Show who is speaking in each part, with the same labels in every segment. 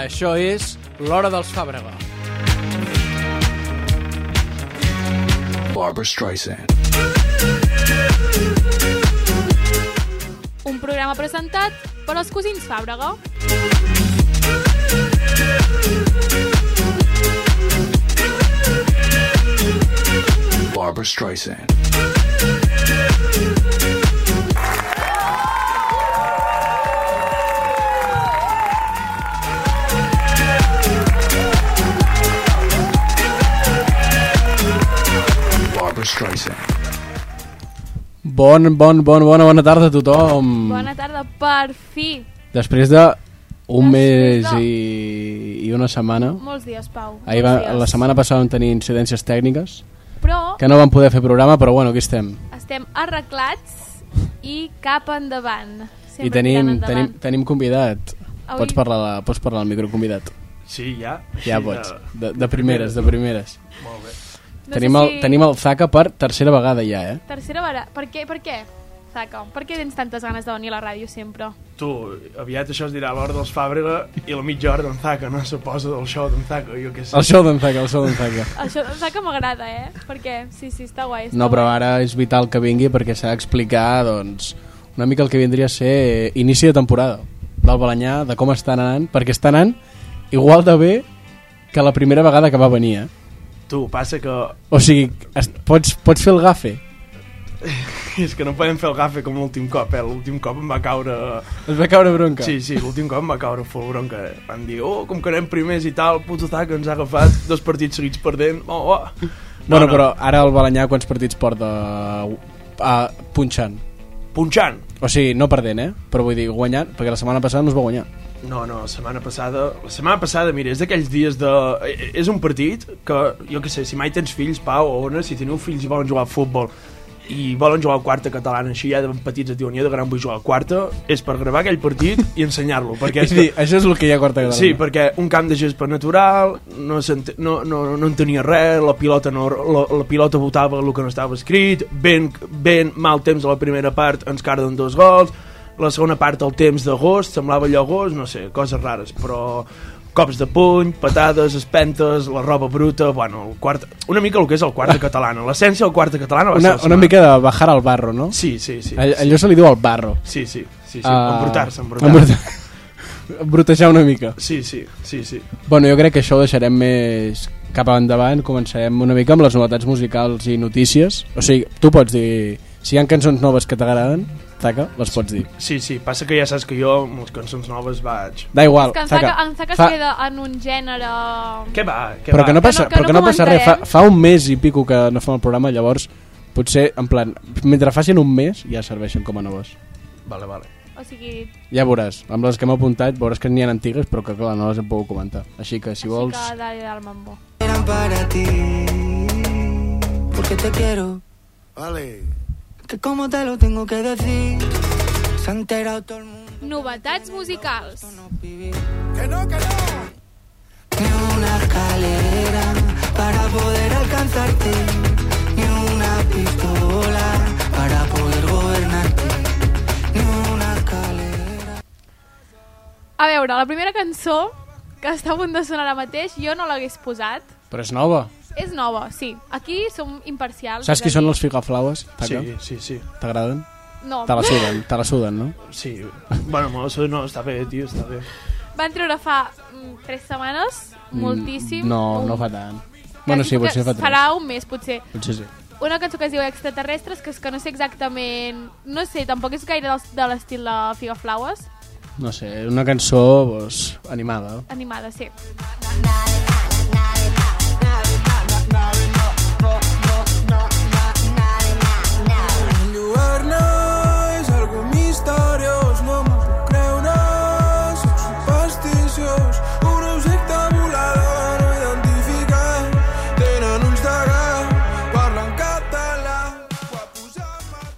Speaker 1: Això és l'Hora dels Fàbrega.
Speaker 2: Barbara Streisand.
Speaker 3: Un programa presentat per els cosins Fàbrega.
Speaker 1: Mm.
Speaker 2: Barbara Streisand. Barbara Streisand.
Speaker 1: Bon, bon, bon, bona, bona tarda a tothom.
Speaker 3: Bona tarda, per fi.
Speaker 1: Després de
Speaker 3: Després
Speaker 1: un mes
Speaker 3: de-
Speaker 1: i, i una setmana...
Speaker 3: Molts dies, Pau.
Speaker 1: Ahir
Speaker 3: molts
Speaker 1: va,
Speaker 3: dies.
Speaker 1: la setmana passada vam tenir incidències tècniques
Speaker 3: Però
Speaker 1: que no vam poder fer programa, però bueno, aquí estem.
Speaker 3: estem arreglats i cap endavant. Sempre
Speaker 1: I tenim,
Speaker 3: tirant
Speaker 1: tenim,
Speaker 3: endavant.
Speaker 1: tenim convidat.
Speaker 3: Avui-
Speaker 1: Pots parlar, la, pots parlar al micro convidat.
Speaker 4: Sí, ja. eh,
Speaker 1: Ja
Speaker 4: Sí,
Speaker 1: pots. De, de primeres, de primeres.
Speaker 4: Molt bé.
Speaker 3: No sé
Speaker 1: tenim, el,
Speaker 3: si-
Speaker 1: tenim el Zaka per tercera vegada ja, eh?
Speaker 3: Tercera vegada. Per què? Per què? Saca, per què tens tantes ganes de venir a la ràdio sempre?
Speaker 4: Tu, aviat això es dirà l'hora dels Fàbrega i la mitja hora d'en Zaca, no? Suposa del show d'en Zaca, jo què sé.
Speaker 1: El show d'en Zaka, el show d'en Zaka.
Speaker 3: Això Saca m'agrada, eh? Per què? Sí, sí, està guai. Està
Speaker 1: No, però
Speaker 3: guai.
Speaker 1: ara és vital que vingui perquè s'ha d'explicar, doncs, una mica el que vindria a ser eh, inici de temporada del Balanyà, de com estan anant, perquè estan anant igual de bé que la primera vegada que va venir, eh?
Speaker 4: Tu, passa que...
Speaker 1: O sigui, es, pots, pots fer el gafe.
Speaker 4: És que no podem fer el gafe com l'últim cop, eh? L'últim cop em va caure...
Speaker 1: Es va caure bronca.
Speaker 4: Sí, sí, l'últim cop em va caure full bronca. eh? Van dir, oh, com que anem primers i tal, puto Zaca ens ha agafat dos partits seguits perdent. Oh, oh.
Speaker 1: Bueno, però ara el Balanyà quants partits porta uh, punxant?
Speaker 4: Punxant.
Speaker 1: O sigui, no perdent, eh? Però vull dir, guanyant, perquè la setmana passada no es va guanyar.
Speaker 4: No, no, la setmana passada... La setmana passada, mira, és d'aquells dies de... eh, És un partit que, jo que sé, si mai tens fills, Pau, o Ona, si teniu fills i volen jugar a futbol i volen jugar a quarta catalana, així ja de petits et diuen, jo de gran vull jugar a quarta, és per gravar aquell partit i ensenyar-lo, perquè és
Speaker 1: És a
Speaker 4: que...
Speaker 1: dir, això és el que hi ha a quarta catalana.
Speaker 4: Sí, perquè un camp de gespa natural, no, s'ente- no, no, no en tenia res, la pilota, no, la, la pilota votava el que no estava escrit, ben, ben mal temps a la primera part, ens carden dos gols, la segona part el temps d'agost, semblava allò agost, no sé, coses rares, però cops de puny, patades, espentes, la roba bruta, bueno, el quart... una mica el que és el quarta catalana, l'essència del quarta catalana va ser
Speaker 1: Una,
Speaker 4: la
Speaker 1: una
Speaker 4: setmana.
Speaker 1: mica de bajar al barro, no?
Speaker 4: Sí, sí, sí.
Speaker 1: All- Allò se li diu al barro.
Speaker 4: Sí, sí, sí, sí,
Speaker 1: Ah,
Speaker 4: embrutar-se, embrutar-se.
Speaker 1: embrutar- Embrutejar una mica.
Speaker 4: Sí, sí, sí, sí.
Speaker 1: Bueno, jo crec que això ho deixarem més cap endavant. Començarem una mica amb les novetats musicals i notícies. O sigui, tu pots dir... Si hi ha cançons noves que t'agraden, taca, les pots dir.
Speaker 4: Sí, sí, passa que ja saps que jo amb les cançons noves vaig...
Speaker 1: Da igual,
Speaker 3: És que en Saca,
Speaker 1: taca.
Speaker 3: en Saca
Speaker 1: Fa-
Speaker 3: es queda en un gènere...
Speaker 4: Què va? Què
Speaker 1: Però
Speaker 4: va?
Speaker 1: que no passa,
Speaker 3: que
Speaker 1: però que
Speaker 3: no
Speaker 1: no passa res. Fa,
Speaker 3: comentarem.
Speaker 1: fa un mes i pico que no fem el programa, llavors potser, en plan, mentre facin un mes ja serveixen com a noves.
Speaker 4: Vale, vale.
Speaker 3: O sigui,
Speaker 1: Ja veuràs, amb les que hem apuntat veuràs que n'hi ha antigues, però que clar, no les hem pogut comentar. Així que si
Speaker 3: així
Speaker 1: vols...
Speaker 3: que dale del mambo.
Speaker 5: eran para ti. Porque te quiero.
Speaker 6: Vale.
Speaker 5: Que como te lo tengo que decir. Se ha enterado todo el mundo.
Speaker 3: Novetats musicals.
Speaker 5: No viví.
Speaker 6: Que no, que no.
Speaker 5: Ni una escalera para poder alcanzarte. Ni una pistola para poder gobernarte. Ni una escalera.
Speaker 3: A veure, la primera cançó que està a punt de sonar ara mateix, jo no l'hagués posat.
Speaker 1: Però és nova.
Speaker 3: És nova, sí. Aquí som imparcials.
Speaker 1: Saps
Speaker 3: és
Speaker 1: qui
Speaker 3: a
Speaker 1: són
Speaker 3: dir,
Speaker 1: els figaflaues?
Speaker 4: Sí,
Speaker 1: Taca?
Speaker 4: sí, sí.
Speaker 1: T'agraden?
Speaker 3: No,
Speaker 1: Te la suden, te la suden, no?
Speaker 4: sí. Bueno, no, això no, està bé, tio, està bé.
Speaker 3: van treure fa mm, tres setmanes, moltíssim.
Speaker 1: Mm, No,
Speaker 3: Un-
Speaker 1: no fa tant.
Speaker 3: quasi
Speaker 1: Bueno, sí,
Speaker 3: que
Speaker 1: potser fa tres.
Speaker 3: Farà un mes, potser.
Speaker 1: Potser sí.
Speaker 3: Una cançó que es diu Extraterrestres, que és que no sé exactament... No sé, tampoc és gaire dels- de l'estil de Figaflaues.
Speaker 1: No sé, una cançó pues, animada.
Speaker 3: Animada, sí.
Speaker 6: Un lugar nice, algo misteriós, no m'ho puc creure. Soc supersticiós, un objecte volador no identificat. Tenen ulls de gat, parlen català. Ho ha posat mal.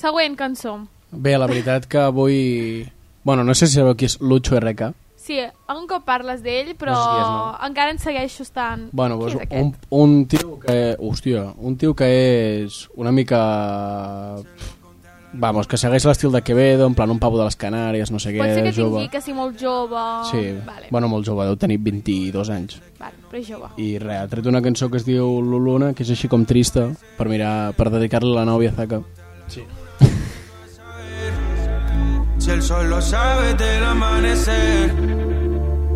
Speaker 3: Següent cançó.
Speaker 1: Bé, la veritat que avui... Bueno, no sé si sabeu qui és Lucho RK.
Speaker 3: Sí, un cop parles d'ell, però
Speaker 1: No sé qui és, no.
Speaker 3: encara ens segueixo estant...
Speaker 1: Bueno,
Speaker 3: Qui
Speaker 1: doncs
Speaker 3: és aquest?
Speaker 1: un, un tio que... Hòstia, un tio que és una mica... Vamos, que segueix l'estil de Quevedo, en plan un pavo de les Canàries, no sé què,
Speaker 3: Pot ser que
Speaker 1: jove.
Speaker 3: tingui que sigui molt jove...
Speaker 1: Sí,
Speaker 3: Vale,
Speaker 1: bueno, molt jove, deu tenir 22 anys.
Speaker 3: vale però és jove.
Speaker 1: I res, ha tret una cançó que es diu Luluna, que és així com trista, per mirar per dedicar-la a la nòvia Zaka.
Speaker 4: Sí.
Speaker 6: Si el sol lo sabe del amanecer.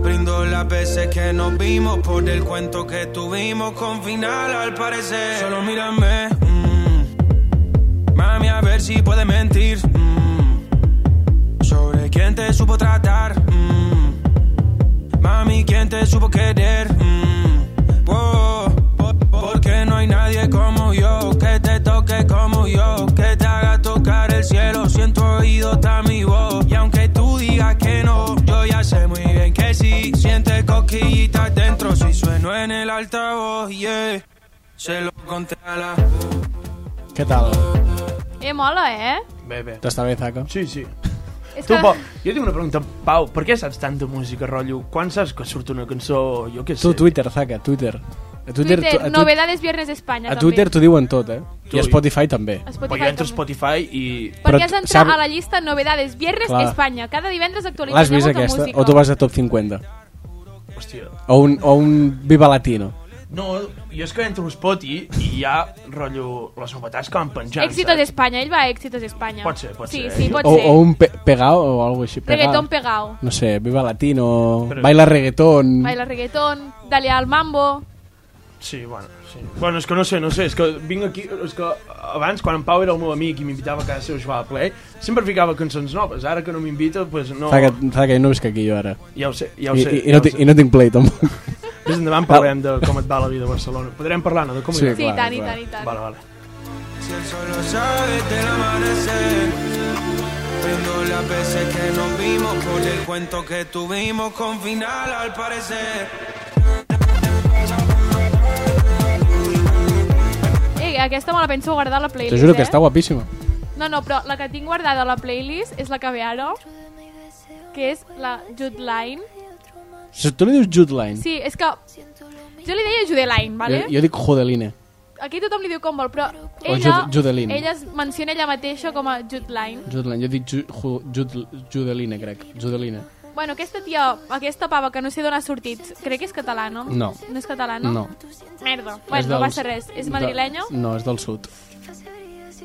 Speaker 6: Brindo las veces que nos vimos por el cuento que tuvimos con final al parecer. Solo mírame, mm. mami, a ver si puedes mentir. mm. Sobre quién te supo tratar. mm. Mami, quién te supo querer. mm. Wow. Po- Porque no hay nadie como yo que te toque como yo, que te haga tocar el cielo. Siento oído está mi voz. Y aunque tú digas que no, yo ya sé muy bien que sí. Siente cosquillitas dentro si sueno en el altavoz, yeah. Se lo conté a la.
Speaker 1: Què tal?
Speaker 3: Eh, mola, eh?
Speaker 4: Bé, bé.
Speaker 1: T'està bé, Zaka?
Speaker 4: Sí, sí.
Speaker 3: És
Speaker 4: Tu, Pau, jo tinc una pregunta. Pau, per què saps tant de música, rotllo? Quan saps que surt una cançó, jo què sé?
Speaker 1: Tu, Twitter, Zaka, Twitter. A
Speaker 3: Twitter,
Speaker 1: tu- a, tu-
Speaker 3: novedades Viernes Espanya,
Speaker 1: a Twitter t'ho diuen tot, eh? I
Speaker 4: Ui.
Speaker 1: a Spotify també.
Speaker 3: també.
Speaker 4: Però
Speaker 3: Spotify,
Speaker 4: jo entro a
Speaker 3: també.
Speaker 4: Spotify i...
Speaker 1: Però
Speaker 3: Perquè has d'entrar
Speaker 1: sab-
Speaker 3: a la llista Novedades Viernes
Speaker 1: Clar.
Speaker 3: Espanya. Cada divendres actualitzen
Speaker 1: L'has vist
Speaker 3: molta
Speaker 1: aquesta?
Speaker 3: música.
Speaker 1: O tu vas a Top 50?
Speaker 4: Hòstia.
Speaker 1: O un, o un Viva Latino?
Speaker 4: No, jo és que entro a Spotify i hi ha, rotllo, les novetats que van penjant.
Speaker 3: Éxitos
Speaker 4: saps?
Speaker 3: Espanya, ell va a Éxitos Espanya.
Speaker 4: Pot ser, pot
Speaker 3: sí,
Speaker 4: ser. eh?
Speaker 3: Sí, sí, pot
Speaker 1: O,
Speaker 3: ser.
Speaker 1: o un pe pegao o alguna així? Pegao.
Speaker 3: Reggaetón pegao.
Speaker 1: No sé, Viva Latino,
Speaker 4: Però-
Speaker 1: Baila Reggaetón...
Speaker 3: Baila reggaetón, dale al mambo...
Speaker 4: Sí, bueno, sí. Bueno, és que no sé, no sé, és que vinc aquí... És que abans, quan en Pau era el meu amic i m'invitava a casa seva a jugar a Play, sempre ficava cançons noves. Ara que no m'invita, doncs pues no...
Speaker 1: Zaka, Zaka, jo no visc aquí jo ara.
Speaker 4: Ja ho sé, ja ho
Speaker 1: I,
Speaker 4: sé.
Speaker 1: i, i, no,
Speaker 4: ja ho
Speaker 1: ti-
Speaker 4: sé.
Speaker 1: I no tinc play, tampoc.
Speaker 4: Més endavant parlarem de com et va la vida a Barcelona. Podrem parlar, no? De com hi
Speaker 1: Sí.
Speaker 4: va.
Speaker 3: Sí,
Speaker 1: Clar,
Speaker 3: tant, i
Speaker 1: clar.
Speaker 3: tant, i tant.
Speaker 4: Vale, vale.
Speaker 6: Si el sol lo sabe del amanecer. Brindo las veces que nos vimos por el cuento que tuvimos con final al parecer.
Speaker 3: Eh, aquesta me la penso guardar a la playlist,
Speaker 1: Te juro que
Speaker 3: eh?
Speaker 1: està guapíssima.
Speaker 3: No, no, però la que tinc guardada a la playlist és la que ve ara, que és la Jude Line.
Speaker 1: Si tu li dius Jude Line,
Speaker 3: Sí, és que... Jo li deia Jude Line, vale?
Speaker 1: jo, jo dic Jodeline.
Speaker 3: Aquí tothom li diu com vol, però
Speaker 1: O
Speaker 3: ella,
Speaker 1: Jude- Jude Line.
Speaker 3: ella es menciona ella mateixa com a Jude Line.
Speaker 1: Jude Line, jo dic Ju, Ju, Jude, Judeline, crec. Judeline.
Speaker 3: Bueno, aquesta tia, aquesta pava que no sé d'on ha sortit, crec que és catalana.
Speaker 1: No.
Speaker 3: No és catalana?
Speaker 1: No. no.
Speaker 3: Merda. Bueno, no
Speaker 1: dels-
Speaker 3: passa res. És madrilenya?
Speaker 1: De, no, és del sud.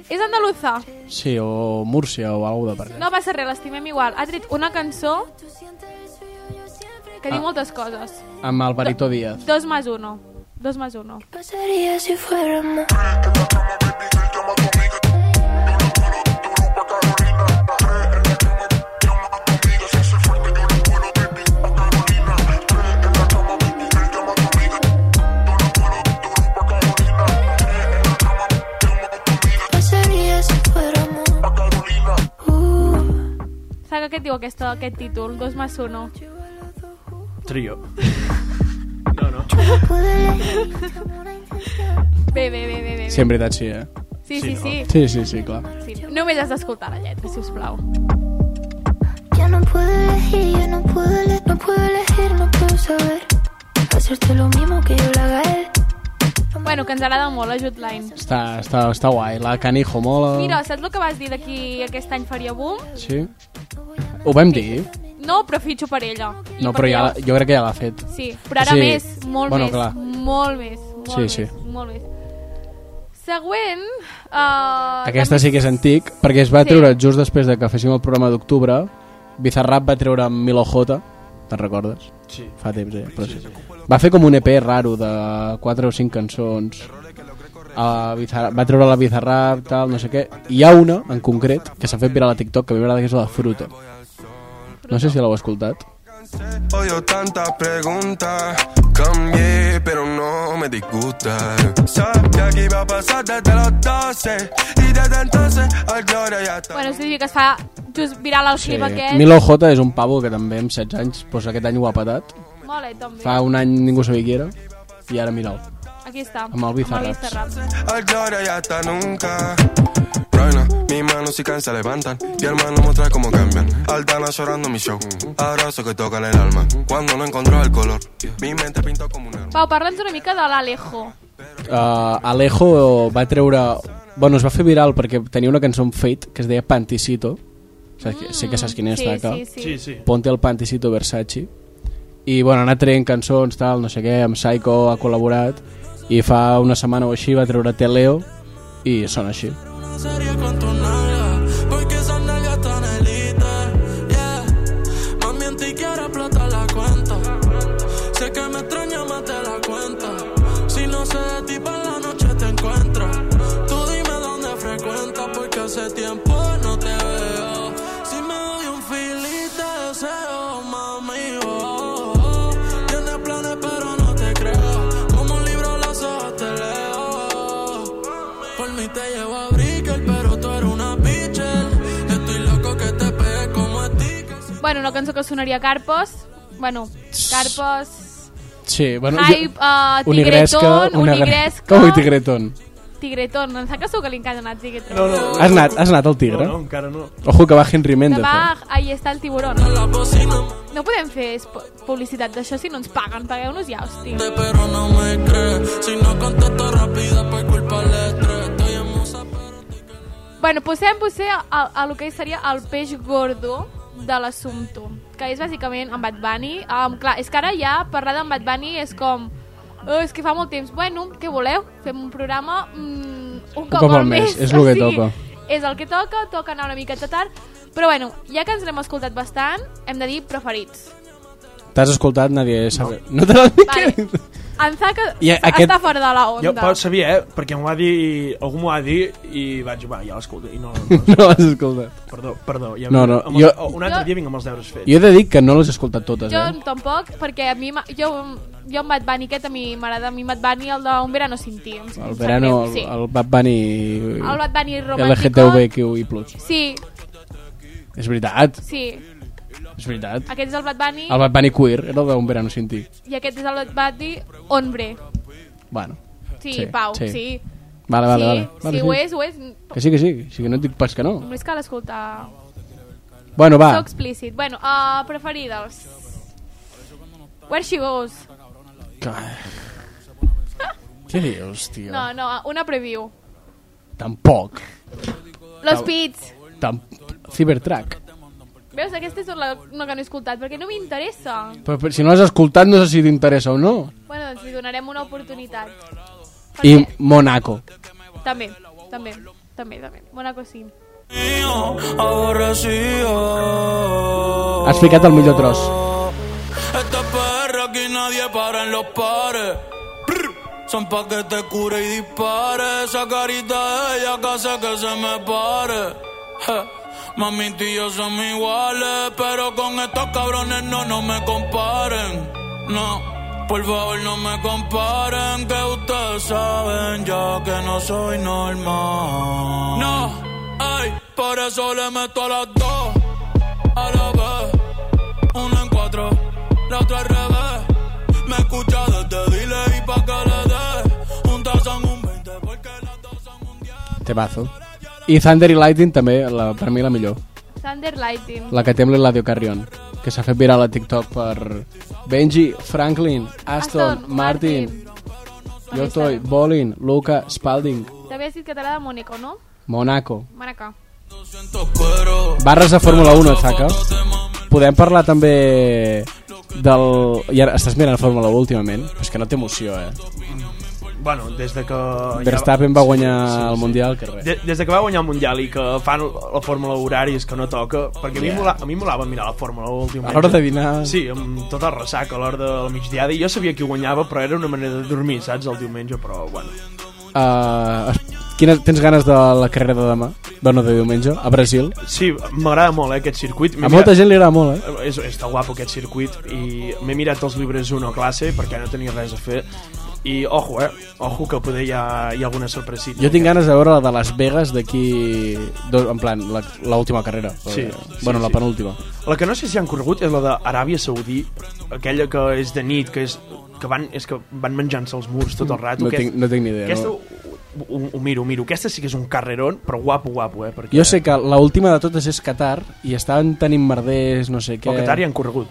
Speaker 3: És andaluza.
Speaker 1: Sí, o Múrcia o alguna de per allà.
Speaker 3: No passa res, l'estimem igual. Ha tret una cançó que
Speaker 1: Ah.
Speaker 3: diu moltes coses.
Speaker 1: Amb el Baritó Díaz.
Speaker 3: Dos más uno. Dos más uno.
Speaker 7: pasaría si fuéramos? Pasaría si fuéramos. Uh.
Speaker 3: Saca què et diu aquesta, aquest títol? Dos más uno.
Speaker 4: Trio. No, no.
Speaker 3: Bé, bé, bé, bé, bé.
Speaker 1: Sí, en veritat sí, eh?
Speaker 3: Sí, sí, sí.
Speaker 1: Sí, sí, sí, clar.
Speaker 3: sí. Només has d'escoltar la lletra, si us plau.
Speaker 7: Ya no puedo elegir, ya no puedo elegir, no puedo elegir, no puedo saber. Hacerte lo mismo que yo le haga a él.
Speaker 3: Bueno, que ens agrada molt la Jude Line.
Speaker 1: Està, està, està guai. La Canijo mola.
Speaker 3: Mira, saps el que vas dir de qui aquest any faria boom?
Speaker 1: Sí. Ho vam dir?
Speaker 3: No, però fitxo per ella. I
Speaker 1: No,
Speaker 3: per
Speaker 1: però ja,
Speaker 3: Déu.
Speaker 1: la- jo crec que ja l'ha fet.
Speaker 3: Sí, però ara
Speaker 1: Sí.
Speaker 3: sí. més, molt bueno,
Speaker 1: Bueno,
Speaker 3: més,
Speaker 1: clar.
Speaker 3: molt més, molt
Speaker 1: Sí,
Speaker 3: més,
Speaker 1: sí.
Speaker 3: molt més. Següent... Uh,
Speaker 1: Aquesta sí que és antic, perquè es va
Speaker 3: Sí.
Speaker 1: treure just després de que féssim el programa d'octubre. Bizarrap va treure Milo J, te'n recordes?
Speaker 4: Sí.
Speaker 1: Fa temps, eh? Però sí. Va fer com un EP raro de 4 o 5 cançons. Uh, Bizarrap, va treure la Bizarrap, tal, no sé què. I Hi ha una, en concret, que s'ha fet viral a TikTok, que a mi m'agrada que és la de Fruto. No sé si l'heu escoltat.
Speaker 6: Odio tantas preguntas. Cambié, pero no me disgusta. Sabía que iba a pasar desde los 12. Y desde entonces, al que ahora ya está.
Speaker 3: Bueno, és a dir, que es fa just viral el clip aquest.
Speaker 1: Milo J és un pavo que també amb 16 anys, doncs aquest any ho ha patat.
Speaker 3: Mola, eh, també.
Speaker 1: Fa un any ningú sabia qui era, i ara mira'l.
Speaker 3: Aquí està.
Speaker 1: amb el Bizarrap.
Speaker 3: Bizarrap.
Speaker 6: Al que ahora ya está nunca. Reina, mis manos y se levantan. Y hermano muestra cómo cambian. Aldana llorando mi show. Abrazo que tocan el alma. Cuando no encontró el color, mi mente pintó como un hermano.
Speaker 3: Pau, parla'ns una mica de l'Alejo.
Speaker 1: Uh, Alejo Eh, va treure Bueno, es va fer viral perquè tenia una cançó amb Fate que es deia Panticito. Saps, qui- Sí que saps quin és,
Speaker 3: Mm, sí,
Speaker 1: clar, clar.
Speaker 3: sí, sí,
Speaker 4: Sí, sí.
Speaker 1: Ponte el Panticito Versace. I, bueno, ha anat traient cançons, tal, no sé què, amb Psycho ha col·laborat. I fa una setmana o així va treure Teleo i sona així.
Speaker 6: No sería con tu nalga, porque esas nalgas tan elite, yeah. Mami, en ti quiero explotar la cuenta. Sé que me extraña, más de la cuenta. Si no sé de ti, para la noche te encuentro. Tú dime dónde frecuentas, porque hace tiempo no te veo. Si me doy un feeling de deseo, mami, oh, oh. Tienes planes, pero no te creo. Como un libro, las hojas te leo. Por mí te llevo a Brickell, pero tú eres una pitcher. Estoy loco que te pegues como a ti. que si-
Speaker 3: Bueno, una cançó que sonaria a Carpos. Bueno, Carpos...
Speaker 1: Sí, bueno... jo-
Speaker 3: Hype, uh, Tigretón,
Speaker 1: una Oh, gra-
Speaker 3: Unigresca...
Speaker 1: Com un tigretón.
Speaker 3: Tigretón, em sap que segur que li encanten els tigretons.
Speaker 4: No, no,
Speaker 1: Has anat, has anat al tigre?
Speaker 4: no, no, encara no.
Speaker 1: Ojo que va Henry Méndez.
Speaker 3: Demà,
Speaker 1: Eh?
Speaker 3: ahí està el tiburón.
Speaker 6: La bocina
Speaker 3: No podem fer espo- publicitat d'això si no ens paguen. Pagueu-nos ja, hòstia.
Speaker 6: me pero no me cree. Si no contesto rápida, pues culpa del estrés. Estoy en musa, pero
Speaker 3: Bueno, posem, potser a, a, a lo que seria el peix gordo de l'assumpto, que és bàsicament en Bad Bunny. Um, clar, és que ara ja parlar d'en Bad Bunny és com... Oh, és que fa molt temps. Bueno, què voleu? Fem un programa mm, un cop,
Speaker 1: cop al
Speaker 3: al
Speaker 1: mes,
Speaker 3: mes.
Speaker 1: és lo
Speaker 3: o
Speaker 1: que
Speaker 3: sigui,
Speaker 1: toca.
Speaker 3: És el que toca, toca anar una miqueta tard. Però bueno, ja que ens n'hem escoltat bastant, hem de dir preferits.
Speaker 1: T'has escoltat, nadie sabe. No, te l'has dit?
Speaker 3: Vale. En Zaka I
Speaker 1: I aquest-
Speaker 3: està fora de la onda.
Speaker 4: Jo però sabia, eh? Perquè m'ho va dir... Algú m'ho va dir i vaig... Va, ja l'escolto. I no...
Speaker 1: No l'has escoltat.
Speaker 4: Perdó, perdó. Ja
Speaker 1: No, no,
Speaker 4: amb
Speaker 1: jo-
Speaker 4: el- Un altre
Speaker 3: Jo-
Speaker 4: dia vinc amb els deures fets.
Speaker 1: Jo he de dir que no l'has escoltat totes,
Speaker 3: Jo
Speaker 1: eh?
Speaker 3: tampoc, perquè a mi, m'ha- jo, jo em Bad Bunny aquest, a mi m'agrada, a mi Bad Bunny el d'un verano sin ti. em- em
Speaker 1: El
Speaker 3: sap
Speaker 1: verano,
Speaker 3: greu,
Speaker 1: el,
Speaker 3: sí.
Speaker 1: el Bad Bunny...
Speaker 3: El Bad Bunny romàntico.
Speaker 1: LGTBQI+.
Speaker 3: Sí,
Speaker 1: És veritat,
Speaker 3: sí,
Speaker 1: és veritat.
Speaker 3: aquest és el Bad Bunny
Speaker 1: El Bad Bunny queer era el d'un verano sin ti.
Speaker 3: i aquest és el Bad Bunny hombre.
Speaker 1: Bueno,
Speaker 3: Sí,
Speaker 1: Sí,
Speaker 3: Pau,
Speaker 1: sí.
Speaker 3: sí. Sí,
Speaker 1: vale, vale, vale. vale
Speaker 3: sí, ho és, ho és.
Speaker 1: Que sí, que sí, sí que no et dic pas que no.
Speaker 3: Només cal escoltar.
Speaker 1: Bueno,
Speaker 3: Ah. So
Speaker 1: va,
Speaker 3: explícit. Bueno, uh, preferides. Where she goes.
Speaker 1: què dius, tio?
Speaker 3: No, no, uh, una preview.
Speaker 1: Tampoc.
Speaker 3: Los Pits.
Speaker 1: Tam... Cybertrack.
Speaker 3: Veus, aquesta és la, una que no he escoltat, perquè no m'interessa.
Speaker 1: Però, però si no l'has escoltat no sé si t'interessa o no.
Speaker 3: Bueno, doncs li donarem una oportunitat.
Speaker 1: I
Speaker 3: Perquè-
Speaker 1: Monaco.
Speaker 3: També, també, també, també. Monaco sí.
Speaker 6: mío, aborrecido.
Speaker 1: Has ficat el millor tros.
Speaker 6: Esta perra aquí nadie para en los pares. Brr. Son pa' que te cure y dispare. Esa carita de ella que hace que se me pare. Je. Mami y yo somos iguales. Pero con estos cabrones no, no me comparen. No, por favor no me comparen. Que ustedes saben ya que no soy normal. No, ay, por eso le meto a las dos. A la vez. Una en cuatro, la otra al revés. Me escucha desde dile y pa' que le dé. Un tazón, un 20, porque las dos son un 10.
Speaker 1: Tebazo. I Thunder i Lightning també, la, per mi la millor.
Speaker 3: Thunder Lightning.
Speaker 1: La que té amb l'Eladio Carrion, que s'ha fet viral a TikTok per Benji, Franklin, Aston, Martin,
Speaker 3: També
Speaker 1: Yotoi,
Speaker 3: està.
Speaker 1: Bolin, Luca, Spalding,
Speaker 3: T'havies dit que t'agrada Mónaco, no?
Speaker 1: Monaco.
Speaker 3: Monaco.
Speaker 6: Siento cuero.
Speaker 1: Barres de Fórmula 1, saca. Podem parlar també del... I ara estàs mirant Fórmula 1 últimament, però és que no té emoció, eh?
Speaker 4: Bueno, des de que... ja
Speaker 1: Verstappen va guanyar el Mundial, que res.
Speaker 4: De, des de que va guanyar el Mundial i que fan la fórmula horàries que no toca, perquè a mi mola- a mi m'olava mirar la fórmula 1 últimament.
Speaker 1: A l'hora de dinar...
Speaker 4: Sí, amb tota la ressaca a l'hora de la migdiada i jo sabia qui guanyava, però era una manera de dormir, saps, el diumenge, però bueno.
Speaker 1: Uh, quines, tens ganes de la carrera de demà? Bueno, de diumenge, a Brasil.
Speaker 4: Sí, m'agrada molt eh, aquest circuit. M'he
Speaker 1: A molta
Speaker 4: mirat-
Speaker 1: gent li agrada molt, eh?
Speaker 4: És, està guapo aquest circuit i m'he mirat els llibres 1 a classe perquè no tenia res a fer i ojo, eh? Ojo que poder hi ha, hi ha alguna sorpresita.
Speaker 1: Jo tinc ganes de veure la de Las Vegas d'aquí... dos- En plan, la- l'última carrera.
Speaker 4: Sí, sí,
Speaker 1: bueno, la
Speaker 4: sí.
Speaker 1: penúltima.
Speaker 4: La que no sé si han corregut és la d'Aràbia Saudí, aquella que és de nit, que és que van, és que van menjant-se els murs tot el rato.
Speaker 1: No tinc- no tinc ni idea,
Speaker 4: Aquesta,
Speaker 1: no.
Speaker 4: ho, ho, ho, miro, ho miro. Aquesta sí que és un carrerón, però guapo, guapo, eh? Perquè,
Speaker 1: Jo sé que l'última de totes és Qatar i estaven tenint merders, no sé
Speaker 4: que...
Speaker 1: què...
Speaker 4: El Qatar hi han corregut.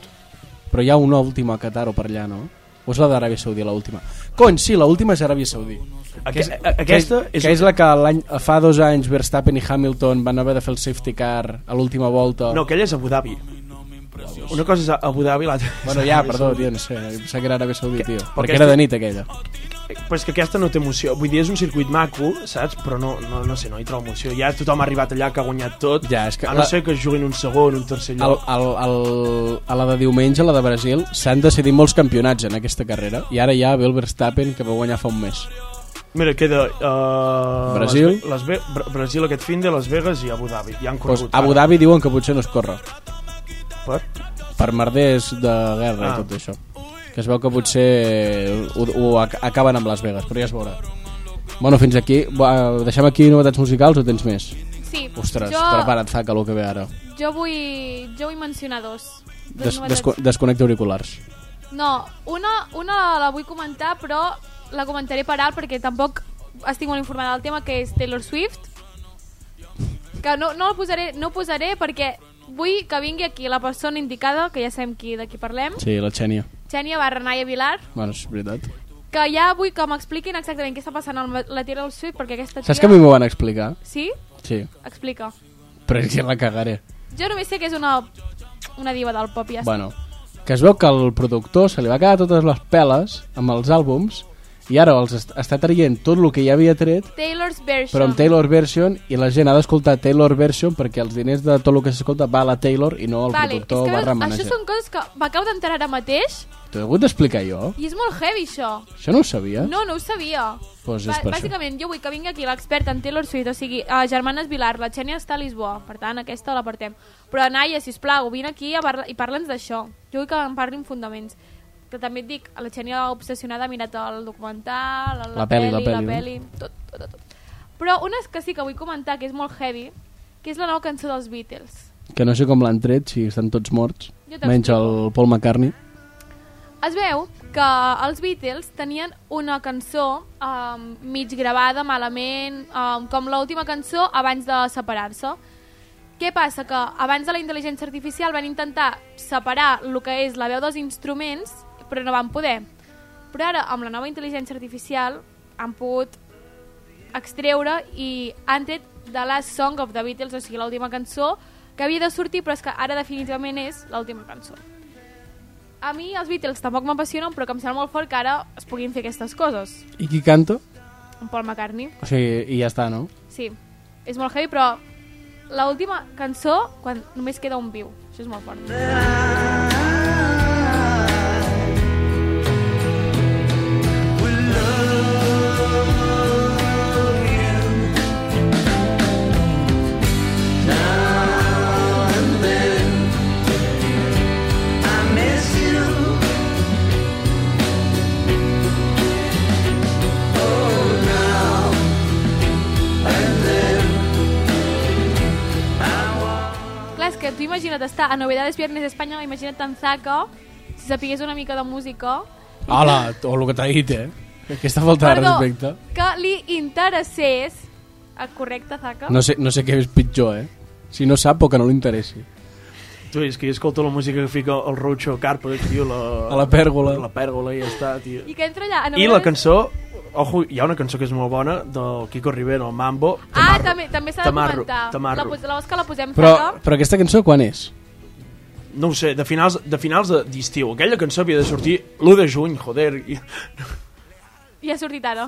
Speaker 1: Però hi ha una última a Qatar o per allà, no? O és la d'Aràbia Saudí, la última? Cony, sí, la última és Aràbia Saudí.
Speaker 4: Aque-
Speaker 1: Que és-
Speaker 4: a- Aquesta
Speaker 1: que,
Speaker 4: és,
Speaker 1: que és la que l'any fa dos anys Verstappen i Hamilton van haver de fer el safety car a l'última volta.
Speaker 4: No, aquella és Abu Dhabi. Una cosa és a- Abu Dhabi, l'altra... és
Speaker 1: Bueno, ja, perdó, tio, no sé, em pensava que era Aràbia Saudí, tio. Perquè
Speaker 4: aquesta-
Speaker 1: era de nit, aquella.
Speaker 4: Però és que aquesta no té emoció. Vull dir, és un circuit maco, saps? Però no, no, no sé, no hi trobo emoció. Ja tothom ha arribat allà que ha guanyat tot.
Speaker 1: Ja, és que
Speaker 4: a no
Speaker 1: la-
Speaker 4: ser que es juguin un segon, un tercer
Speaker 1: Al,
Speaker 4: lloc.
Speaker 1: al, al, a la de diumenge, la de Brasil, s'han decidit molts campionats en aquesta carrera i ara ja ve el Verstappen que va guanyar fa un mes.
Speaker 4: Mira, queda... Uh,
Speaker 1: Brasil.
Speaker 4: Les, Ve- les, Ve- Bra- Brasil aquest fin de Las Vegas i Abu Dhabi. Ja han
Speaker 1: Pues,
Speaker 4: corregut. eh?
Speaker 1: Abu Dhabi diuen que potser no es corre
Speaker 4: Per?
Speaker 1: per merders de guerra ah.
Speaker 4: Ah.
Speaker 1: i tot això que es veu que potser ho, ho ac- acaben amb Las Vegas, però ja es veurà Bueno, fins aquí, Va, deixem aquí novetats musicals o tens més?
Speaker 3: Sí.
Speaker 1: Ostres,
Speaker 3: jo,
Speaker 1: prepara't, Zaca, el que ve ara
Speaker 3: Jo vull, jo vull mencionar dos. dos
Speaker 1: Des,
Speaker 3: novetats.
Speaker 1: desco, Desconnecta auriculars
Speaker 3: No, una, una la vull comentar, però la comentaré per alt perquè tampoc estic molt informada del tema, que és Taylor Swift. Que no, no la posaré, no posaré perquè vull que vingui aquí la persona indicada, que ja sabem qui de qui parlem,
Speaker 1: Sí, la Xènia
Speaker 3: Xènia barra Naia Vilar,
Speaker 1: Bueno, és veritat
Speaker 3: que ja vull que m'expliquin exactament què està passant amb la Taylor Swift, perquè aquesta tia...
Speaker 1: Saps que a mi m'ho van explicar?
Speaker 3: Sí?
Speaker 1: Sí,
Speaker 3: Explica.
Speaker 1: però és que la cagaré
Speaker 3: Jo només sé que és una, una diva del pop, ja està.
Speaker 1: Bueno, que es veu que el productor se li va quedar totes les peles amb els àlbums i ara els est- està traient tot el que ja havia tret
Speaker 3: Taylor's Version.
Speaker 1: però amb Taylor Version i la gent ha d'escoltar Taylor Version perquè els diners de tot el que s'escolta va a la Taylor i no al
Speaker 3: vale, és
Speaker 1: productor
Speaker 3: que
Speaker 1: barra
Speaker 3: veus,
Speaker 1: manager.
Speaker 3: Això són coses que m'acabo d'entrar ara mateix
Speaker 1: T'ho he hagut d'explicar jo?
Speaker 3: i és molt heavy, això.
Speaker 1: Això no ho sabia?
Speaker 3: No, no ho sabia.
Speaker 1: Doncs és
Speaker 3: Ba-
Speaker 1: per això.
Speaker 3: bàsicament, jo vull que vingui aquí l'experta en Taylor Swift, o sigui, a Germanes Vilar, la Xènia està a Lisboa, per tant, aquesta la partem. Però, Naia, sisplau, vine aquí a parla i parla'ns d'això. Jo vull que en parlin fundaments. Que també et dic, la Xènia obsessionada ha mirat el documental, la,
Speaker 1: La peli,
Speaker 3: peli,
Speaker 1: la peli, no?
Speaker 3: peli, tot, tot, tot, tot. Però una és que sí que vull comentar, que és molt heavy, que és la nova cançó dels Beatles.
Speaker 1: Que no sé com l'han tret, si estan tots morts,
Speaker 3: Jo t'explico.
Speaker 1: menys el Paul McCartney.
Speaker 3: Es veu que els Beatles tenien una cançó um, mig gravada, malament, um, com l'última cançó abans de separar-se. Què passa? Que abans de la intel·ligència artificial van intentar separar el que és la veu dels instruments, però no van poder. Però ara, amb la nova intel·ligència artificial, han pogut extreure i han tret de la Song of the Beatles, o sigui, l'última cançó, que havia de sortir, però és que ara definitivament és l'última cançó. A mi els Beatles tampoc m'apassionen, però que em sembla molt fort que ara es puguin fer aquestes coses.
Speaker 1: I qui canta?
Speaker 3: En Paul McCartney,
Speaker 1: O sigui, i ja està, no?
Speaker 3: sí. És molt heavy, però l'última cançó, quan només queda un viu. Això és molt fort. Clar, és que tu imagina't estar a Novedades Viernes Espanya, imagina't en Zaca, si sapigués una mica de música,
Speaker 1: Hola, o el que t'ha dit, eh? Aquesta falta de respecte.
Speaker 3: que li interessés... Ah, Correcte, Zaca?
Speaker 1: No sé, no sé què és pitjor, eh? Si no sap o que no li interessi.
Speaker 4: Tu, és que jo escolto la música que fica el Rocho Carpo, tio, la...
Speaker 1: A la pèrgola.
Speaker 4: La pèrgola, i ja està, tio.
Speaker 3: I que entra allà... a
Speaker 4: I
Speaker 3: Novedades-
Speaker 4: la cançó, ojo, hi ha una cançó que és molt bona, del Kiko Rivera, el Mambo.
Speaker 3: Ah,
Speaker 4: Tamarro.
Speaker 3: també, també s'ha de
Speaker 4: Tamarro,
Speaker 3: comentar. La,
Speaker 4: Tamarro.
Speaker 3: pos- la vols que la posem,
Speaker 1: Però,
Speaker 3: Zaca?
Speaker 1: però aquesta cançó quan és?
Speaker 4: No ho sé, de finals de finals de- d'estiu. De, Aquella cançó havia de sortir l'1 de juny, joder. I...
Speaker 3: Ja ha sortit ara.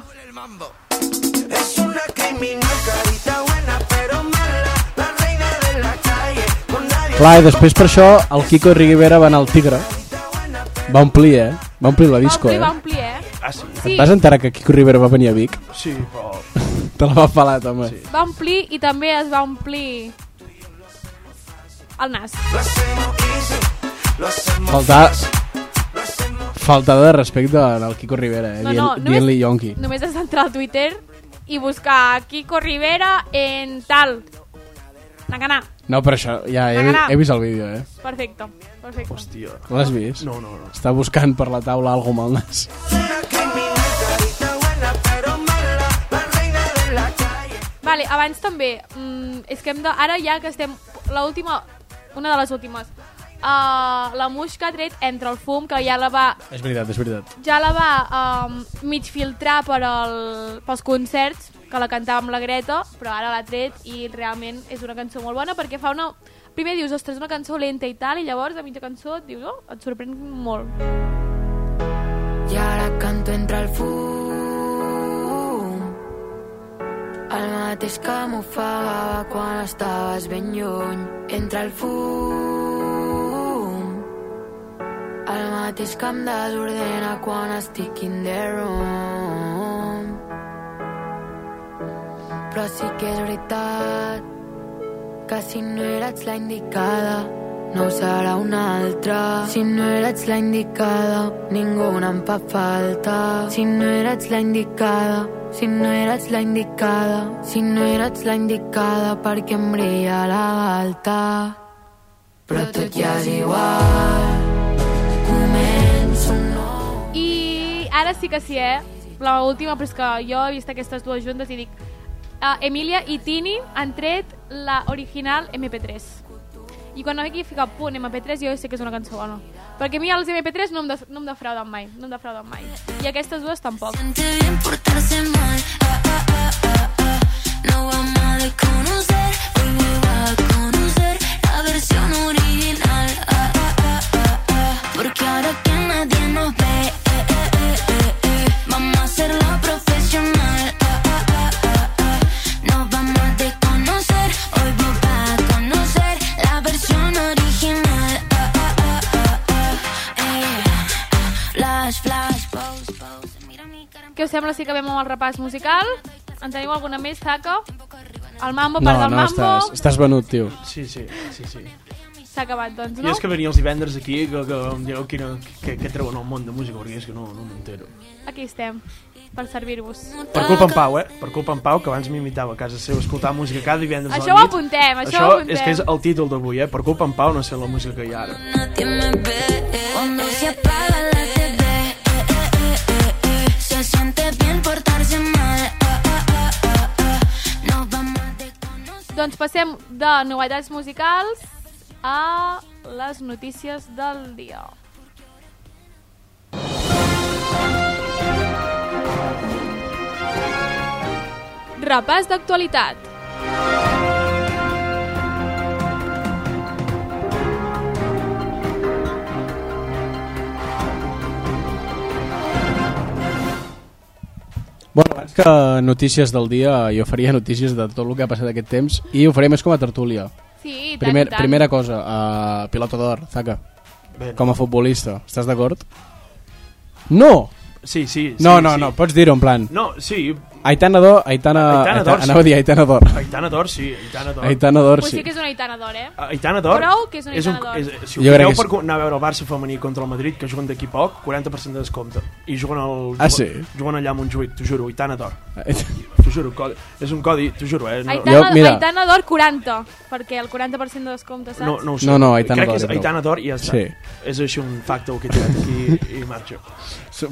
Speaker 6: Es una criminal, carita buena pero mala, la reina de la calle, con nadie.
Speaker 1: Clar, i després per això el Kiko Rivera va anar al Tigre. Va omplir, eh? Va omplir la disco,
Speaker 3: va omplir, va
Speaker 1: eh?
Speaker 3: omplir, eh?
Speaker 4: Ah, sí.
Speaker 3: Sí,
Speaker 1: Vas enterar que Kiko Rivera va venir a Vic?
Speaker 4: Sí, però...
Speaker 1: Te la va pelar, home. Sí.
Speaker 3: va omplir i també es va omplir el nas.
Speaker 6: Lo hacemos easy, lo hacemos
Speaker 1: Falta,
Speaker 6: lo hacemos
Speaker 1: falta de respecte al Kiko Rivera, eh?
Speaker 3: No, no,
Speaker 1: Dient- Dient-li
Speaker 3: només,
Speaker 1: Yonki.
Speaker 3: només has d'entrar al Twitter i buscar Kiko Rivera en tal. Nacana.
Speaker 1: No, però això, ja he,
Speaker 3: M'agrada.
Speaker 1: he vist el vídeo, eh?
Speaker 3: Perfecto. Perfecto.
Speaker 4: Hòstia.
Speaker 1: L'has vist?
Speaker 4: No, no, no.
Speaker 1: Està buscant per la taula algo amb el nas.
Speaker 6: una criminal, carita buena pero mala, la reina de la calle.
Speaker 3: Vale, abans també, mm, és que hem de, ara ja que estem l'última, una de les últimes, uh, la Muixca ha tret entre el fum, que ja la va,
Speaker 1: És veritat, és veritat.
Speaker 3: ja la va um, mig filtrar per el, pels concerts, que la cantava amb la Greta, però ara l'ha tret i realment és una cançó molt bona perquè fa una... Primer dius, ostres, una cançó lenta i tal, i llavors a mitja cançó et dius, oh, et sorprèn molt.
Speaker 8: Y ahora canto entre el fum. El mateix que m'ofegava quan estaves ben lluny. Entre el fum. El mateix que em desordena quan estic in the room. Però sí que és veritat que si no eres la indicada no ho serà una altra. Si no eres la indicada, ninguna em fa falta. Si no eres la indicada, si no eres la indicada, si no eres la indicada, perquè em brilla la galta. Però tot ja és igual, començo un nou...
Speaker 3: I ara sí que sí, eh? La última, però és que jo he vist aquestes dues juntes i dic... Uh, Emilia i Tini han tret la original MP3. I quan aquí fica punt MP3 jo sé que és una cançó bona. Perquè a mi els MP3 no em, def no em defrauden mai, no em defrauden mai. I aquestes dues tampoc.
Speaker 8: Siente bien portarse mal. Ah, ah, ah, ah, ah. No vamos a desconocer. Hoy me va a conocer la versión original. Ah, ah, ah, ah, ah. Porque ahora que nadie nos ve, eh, eh, eh, eh, eh, vamos a hacerlo profesional. Ah, ah, ah, ah, ah. Nos vamos a desconocer. Hoy vos vas a conocer la versión original. Ah, ah, ah, ah, ah. Eh, Flash, flash, pose, pose. Mira mi cara.
Speaker 3: Què us sembla si acabem amb el repàs musical? En teniu alguna més, Saca? El Oh, Mambo,
Speaker 1: No,
Speaker 3: part del
Speaker 1: no, estàs,
Speaker 3: Mambo.
Speaker 1: estàs venut, tio.
Speaker 4: Sí, sí, sí, sí.
Speaker 3: S'ha acabat, doncs,
Speaker 4: I
Speaker 3: no?
Speaker 4: és que venia els divendres aquí que, que em dieu quina, que, que treuen al món de música, perquè és que no, no m'entero.
Speaker 3: Aquí estem, per servir-vos.
Speaker 4: Per culpa en Pau, eh? Per culpa en Pau, que abans m'imitava a casa seu a escoltar música cada divendres a la
Speaker 3: Això ho
Speaker 4: nit.
Speaker 3: apuntem, això,
Speaker 4: Això
Speaker 3: ho apuntem.
Speaker 4: és que és el títol d'avui, eh? Per culpa en Pau no sé la música que hi ha ara.
Speaker 8: Nadie me ve. Cuando se apaga la TV, eh, eh, eh, eh, eh. se siente bien portarse mal. Ah, ah, ah, ah, ah. Nos vamos a desconocer.
Speaker 3: Doncs passem de novetats musicals a les notícies del dia. Repàs d'actualitat.
Speaker 1: Bueno, abans que notícies del dia, jo faria notícies de tot el que ha passat aquest temps i ho faré més com a tertúlia.
Speaker 3: Sí, i tant,
Speaker 1: Primer,
Speaker 3: i tant.
Speaker 1: primera cosa, uh, pilota d'or, Zaca.
Speaker 4: Bé.
Speaker 1: Com a futbolista, estàs d'acord? No!
Speaker 4: Sí, sí. sí
Speaker 1: No, no,
Speaker 4: sí.
Speaker 1: no, pots dir-ho en plan.
Speaker 4: No, sí,
Speaker 1: Aitana d'or, Aitana...
Speaker 4: Aitana d'or, sí.
Speaker 1: Anava a dir Aitana d'or.
Speaker 4: Aitana d'or, sí, Aitana d'or. Ah,
Speaker 1: Aitana d'or,
Speaker 3: Pues sí
Speaker 1: sí.
Speaker 3: que és una gitana d'or, eh?
Speaker 4: Aitana d'or.
Speaker 3: Prou que és una Aitana d'or.
Speaker 4: És, és, si
Speaker 1: Jo
Speaker 4: ho
Speaker 1: crec
Speaker 4: creu
Speaker 1: que
Speaker 4: per
Speaker 1: és-
Speaker 4: anar a veure el Barça femení contra el Madrid, que juguen d'aquí poc, 40% de descompte. I juguen, al,
Speaker 1: Ah,
Speaker 4: juguen-
Speaker 1: sí?
Speaker 4: juguen allà a Montjuïc, t'ho juro, Aitana d'or. T'ho juro, codi, és un codi, t'ho juro, eh? No,
Speaker 3: Aitana,
Speaker 1: Jo,
Speaker 3: jo,
Speaker 1: mira.
Speaker 3: Aitana d'or 40, perquè el 40% de descompte, saps?
Speaker 4: no, no ho sé.
Speaker 1: No, no, Aitana
Speaker 4: Crec que és
Speaker 1: d'or, creu.
Speaker 4: Aitana d'or i ja està.
Speaker 1: Sí.
Speaker 4: És així un facto que he tirat aquí i marxo.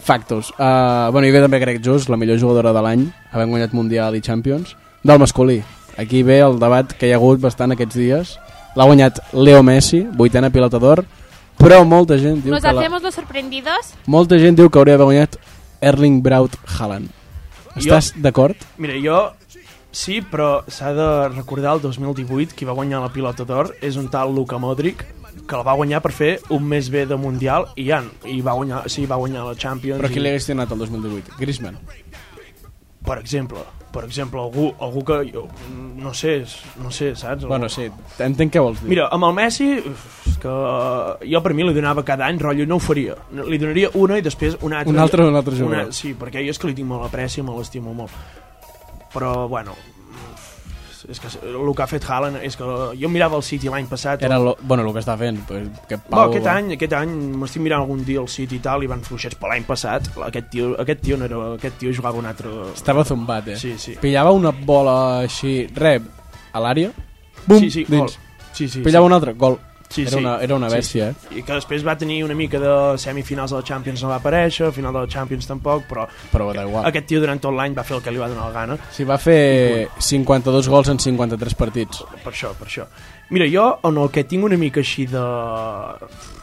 Speaker 1: Factos. Uh, bueno, i ve també Greg Just, la millor jugadora de l'any, havent guanyat Mundial i Champions, del masculí. Aquí ve el debat que hi ha hagut bastant aquests dies. L'ha guanyat Leo Messi, vuitena pilota d'or, però molta gent diu
Speaker 3: Nos
Speaker 1: que la...
Speaker 3: hacemos los sorprendidos.
Speaker 1: Molta gent diu que hauria d'haver guanyat Erling Braut Haaland. Estàs d'acord?
Speaker 4: Mira, jo sí, però s'ha de recordar el 2018 qui va guanyar la pilota d'or és un tal Luka Modric que la va guanyar per fer un mes bé de Mundial i ja, i va guanyar, sí, va guanyar la Champions
Speaker 1: Però
Speaker 4: i,
Speaker 1: qui li hagués donat el 2018? Griezmann.
Speaker 4: per exemple per exemple, algú, algú que jo, no sé, no sé, saps?
Speaker 1: Bueno, sí, entenc què vols dir.
Speaker 4: Mira, amb el Messi, uf, és que eh, jo per mi li donava cada any, rotllo, no ho faria. Li donaria una i després una altra.
Speaker 1: Un altre o un altre jugador.
Speaker 4: Una, sí, perquè jo és que li tinc molt apreci, me l'estimo molt. Però, bueno, uf, és que el que ha fet Haaland és que jo mirava el City l'any passat
Speaker 1: Era lo, bueno, el que està fent. pues, Que
Speaker 4: Pau,
Speaker 1: Pau, eh?
Speaker 4: no, aquest any, aquest any m'estic mirant algun dia el City i tal i van fluixets, però l'any passat aquest tio, aquest tio no era, aquest tio jugava un altre...
Speaker 1: Estava zumbat, eh?
Speaker 4: Sí, sí.
Speaker 1: Pillava una bola així, rep, a l'àrea, bum,
Speaker 4: sí, sí,
Speaker 1: dins.
Speaker 4: gol. Sí, sí,
Speaker 1: Pillava un altre, gol.
Speaker 4: Sí,
Speaker 1: Era una- era una bèstia,
Speaker 4: sí. I que després va tenir una mica de semifinals de la Champions no va aparèixer, final de la Champions tampoc, però
Speaker 1: eh, però da igual.
Speaker 4: aquest tio durant tot l'any va fer el que li va donar la gana.
Speaker 1: Si va fer 52 gols en 53 partits.
Speaker 4: Per això, per això. Mira, jo on el que tinc una mica així de...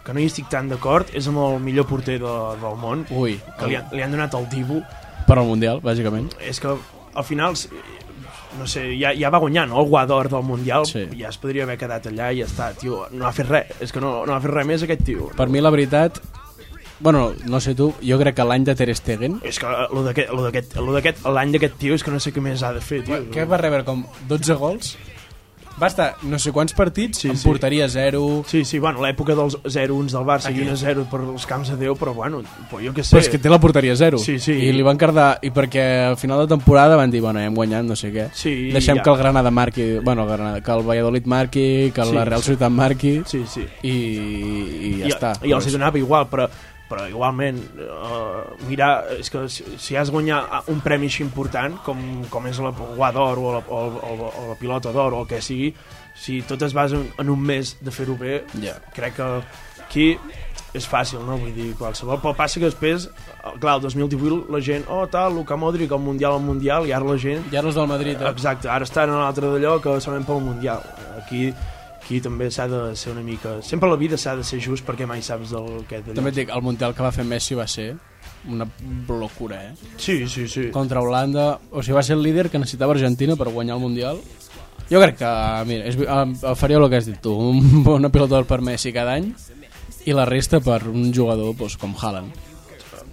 Speaker 4: que no hi estic tan d'acord és amb el millor porter de, del món,
Speaker 1: Ui,
Speaker 4: que li, han, li han donat el Dibu.
Speaker 1: per al Mundial, bàsicament.
Speaker 4: És que al final, s- no sé, ja, ja va guanyar, no? El guador del Mundial,
Speaker 1: Sí.
Speaker 4: ja es podria haver quedat allà i ja està, tio, no ha fet res. És que no, no ha fet res més aquest tio.
Speaker 1: Per mi, la veritat... Bueno, no sé tu, jo crec que l'any de Ter Stegen...
Speaker 4: És que eh, lo d'aquest- lo d'aquest- lo d'aquest- l'any d'aquest tio és que no sé què més ha de fer, tio.
Speaker 1: Que va rebre com 12 gols? Va estar no sé quants partits,
Speaker 4: Sí,
Speaker 1: sí, en
Speaker 4: sí.
Speaker 1: portaria 0...
Speaker 4: Sí, sí, bueno, l'època dels 0-1 del Barça i 1-0 per els camps de Déu, però bueno, però jo què sé.
Speaker 1: Però és que té la porteria 0.
Speaker 4: Sí, sí.
Speaker 1: I li van cardar... I perquè al final de temporada van dir, bueno, ja hem guanyat, no sé què.
Speaker 4: Sí,
Speaker 1: Deixem
Speaker 4: ja.
Speaker 1: que el Granada marqui... Bueno, el Granada, que el Valladolid marqui, que
Speaker 4: Sí,
Speaker 1: la Real
Speaker 4: sí.
Speaker 1: Societat marqui...
Speaker 4: Sí, sí.
Speaker 1: I, i ja
Speaker 4: I,
Speaker 1: està.
Speaker 4: I els hi donava igual, però, però igualment, uh, mira, és que si, si has guanyat eh, un premi així important, com, com és la Guà d'Or o, la- o, o, o la Pilota d'Or o el que sigui, si tot es basa en, en un mes de fer-ho bé,
Speaker 1: Ja.
Speaker 4: crec que aquí és fàcil, no? Vull dir, qualsevol. Però passa que després, eh, clar, el 2018 la gent, oh, tal, Luka Modric, el Mundial, el Mundial, i ara la gent
Speaker 1: I ara els del Madrid... Eh?
Speaker 4: Exacte, ara estan en l'altre d'allò que sonen pel Mundial. Aquí, aquí també s'ha de ser una mica... Sempre a la vida s'ha de ser just perquè mai saps del que... D'allò.
Speaker 1: També et dic, el Mundial que va fer Messi va ser una locura, eh?
Speaker 4: Sí, sí, sí.
Speaker 1: Contra Holanda, o sigui, va ser el líder que necessitava Argentina per guanyar el Mundial. Jo crec que, mira, és, eh, faria el que has dit tu, un, una pilota d'or per Messi cada any i la resta per un jugador doncs, com Haaland.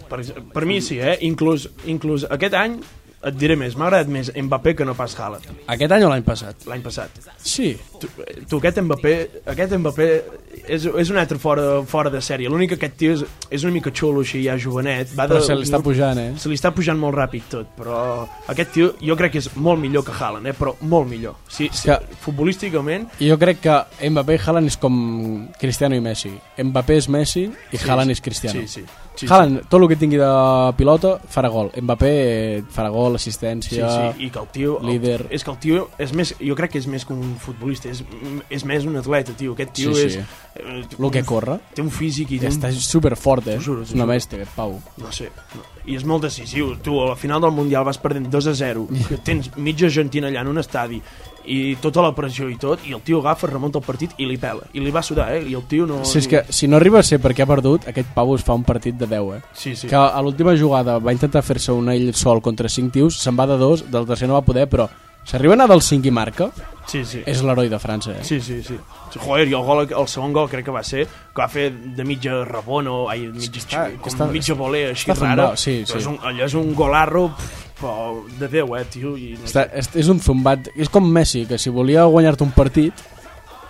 Speaker 4: Per, per mi sí, eh? Inclús, inclús aquest any, et diré més, m'ha agradat més Mbappé que no pas Haaland,
Speaker 1: Aquest any o l'any passat?
Speaker 4: l'any passat.
Speaker 1: Sí,
Speaker 4: Tu, tu, aquest Mbappé, aquest Mbappé és, és un altre fora, fora de sèrie. L'únic que aquest tio és, és una mica xulo, així, ja jovenet. Va
Speaker 1: però
Speaker 4: de,
Speaker 1: se li està pujant, eh?
Speaker 4: se li està pujant molt ràpid tot, però aquest tio jo crec que és molt millor que Haaland, eh? però molt millor. Sí, sí,
Speaker 1: que-
Speaker 4: futbolísticament,
Speaker 1: I Jo crec que Mbappé i Haaland és com Cristiano i Messi. Mbappé és Messi i Haaland és Cristiano.
Speaker 4: sí, sí. sí,
Speaker 1: Haaland, tot el que tingui de pilota, farà gol. Mbappé eh, farà gol,
Speaker 4: Sí,
Speaker 1: assistència...
Speaker 4: sí, i que el tio... el-
Speaker 1: líder.
Speaker 4: És que el tio és més... Jo crec que és més que un futbolista, és, és més un atleta, tio. Aquest tio
Speaker 1: Sí,
Speaker 4: és...
Speaker 1: sí.
Speaker 4: eh,
Speaker 1: Lo que corre.
Speaker 4: Té un físic i...
Speaker 1: Ja
Speaker 4: té un-
Speaker 1: està super fort, eh?
Speaker 4: Mm. T'ho juro, t'ho
Speaker 1: és una
Speaker 4: juro.
Speaker 1: bèstia, aquest Pau.
Speaker 4: No sé. No. I és molt decisiu. Tu, a la final del Mundial vas perdent 2 a 0.
Speaker 1: Mm.
Speaker 4: que Tens mitja Argentina allà en un estadi i tota la pressió i tot, i el tio agafa, remunta el partit i li pela. I li va sudar, eh? I el tio no...
Speaker 1: Si és que, si no arriba a ser perquè ha perdut, aquest Pau es fa un partit de 10, eh?
Speaker 4: Sí, sí.
Speaker 1: Que a l'última jugada va intentar fer-se un ell sol contra 5 tios, se'n va de 2, del tercer no va poder, però s'arriba a anar del 5 i marca,
Speaker 4: Sí, sí.
Speaker 1: és l'heroi de França, eh?
Speaker 4: Sí, sí, sí. Joder, i el, gol, el segon gol crec que va ser que va fer de mitja rebona o ai, mitja,
Speaker 1: està-
Speaker 4: com
Speaker 1: està-
Speaker 4: mitja voler així
Speaker 1: està
Speaker 4: rara.
Speaker 1: zumbat, sí,
Speaker 4: Però
Speaker 1: sí.
Speaker 4: És un, allò és un golarro pff, però de Déu, eh, tio. I no
Speaker 1: Està, és, és un zumbat, és com Messi, que si volia guanyar-te un partit,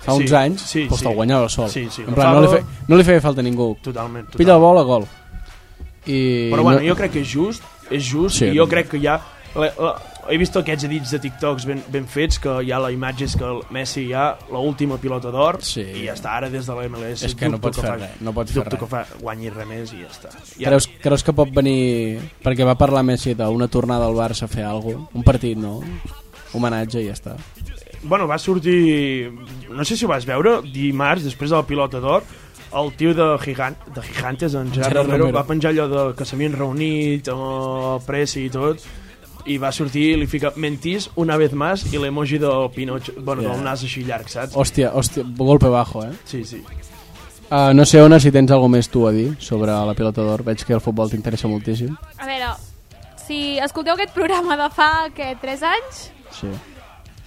Speaker 1: fa
Speaker 4: Sí,
Speaker 1: uns anys,
Speaker 4: sí,
Speaker 1: doncs te'l
Speaker 4: sí.
Speaker 1: guanyava sol.
Speaker 4: Sí, sí,
Speaker 1: en plan, no, li fe,
Speaker 4: agafava-
Speaker 1: no li feia falta a ningú.
Speaker 4: Totalment, totalment.
Speaker 1: Pilla la bola, gol. I
Speaker 4: Però bueno,
Speaker 1: no,
Speaker 4: jo crec que és just, és just,
Speaker 1: Sí.
Speaker 4: sí. i jo crec que ja... La, la, he vist aquests edits de TikToks ben, ben fets, que ja la imatge és que el Messi ja l'última pilota d'or,
Speaker 1: Sí.
Speaker 4: i ja està ara des de la MLS.
Speaker 1: És que no
Speaker 4: dubto
Speaker 1: pot fer
Speaker 4: fa-
Speaker 1: res, no pot fer
Speaker 4: Dubto
Speaker 1: res.
Speaker 4: que fa, guanyi res més i ja està. Ja,
Speaker 1: Creus, creus que pot venir... Perquè va parlar Messi d'una tornada al Barça a fer alguna cosa. Un partit, no? Homenatge i ja està.
Speaker 4: Bueno, va sortir... No sé si ho vas veure, dimarts, després de la pilota d'or, el tio de, Gigant, de Gigantes, en Gerard,
Speaker 1: Gerard
Speaker 4: Romero,
Speaker 1: Romero.
Speaker 4: va penjar allò de, que s'havien reunit amb el Presi i tot, i va sortir i li fica mentís una vez más i l'emoji del Pinocho, bueno,
Speaker 1: Ja.
Speaker 4: yeah. Oh. del nas així llarg, saps?
Speaker 1: Hòstia, hòstia, golpe bajo, eh?
Speaker 4: Sí, sí.
Speaker 1: Uh, no sé, Ona, si tens alguna més tu a dir sobre la pilota d'or. Veig que el futbol t'interessa moltíssim.
Speaker 3: A veure, si escolteu aquest programa de fa, què, 3 anys,
Speaker 1: Sí.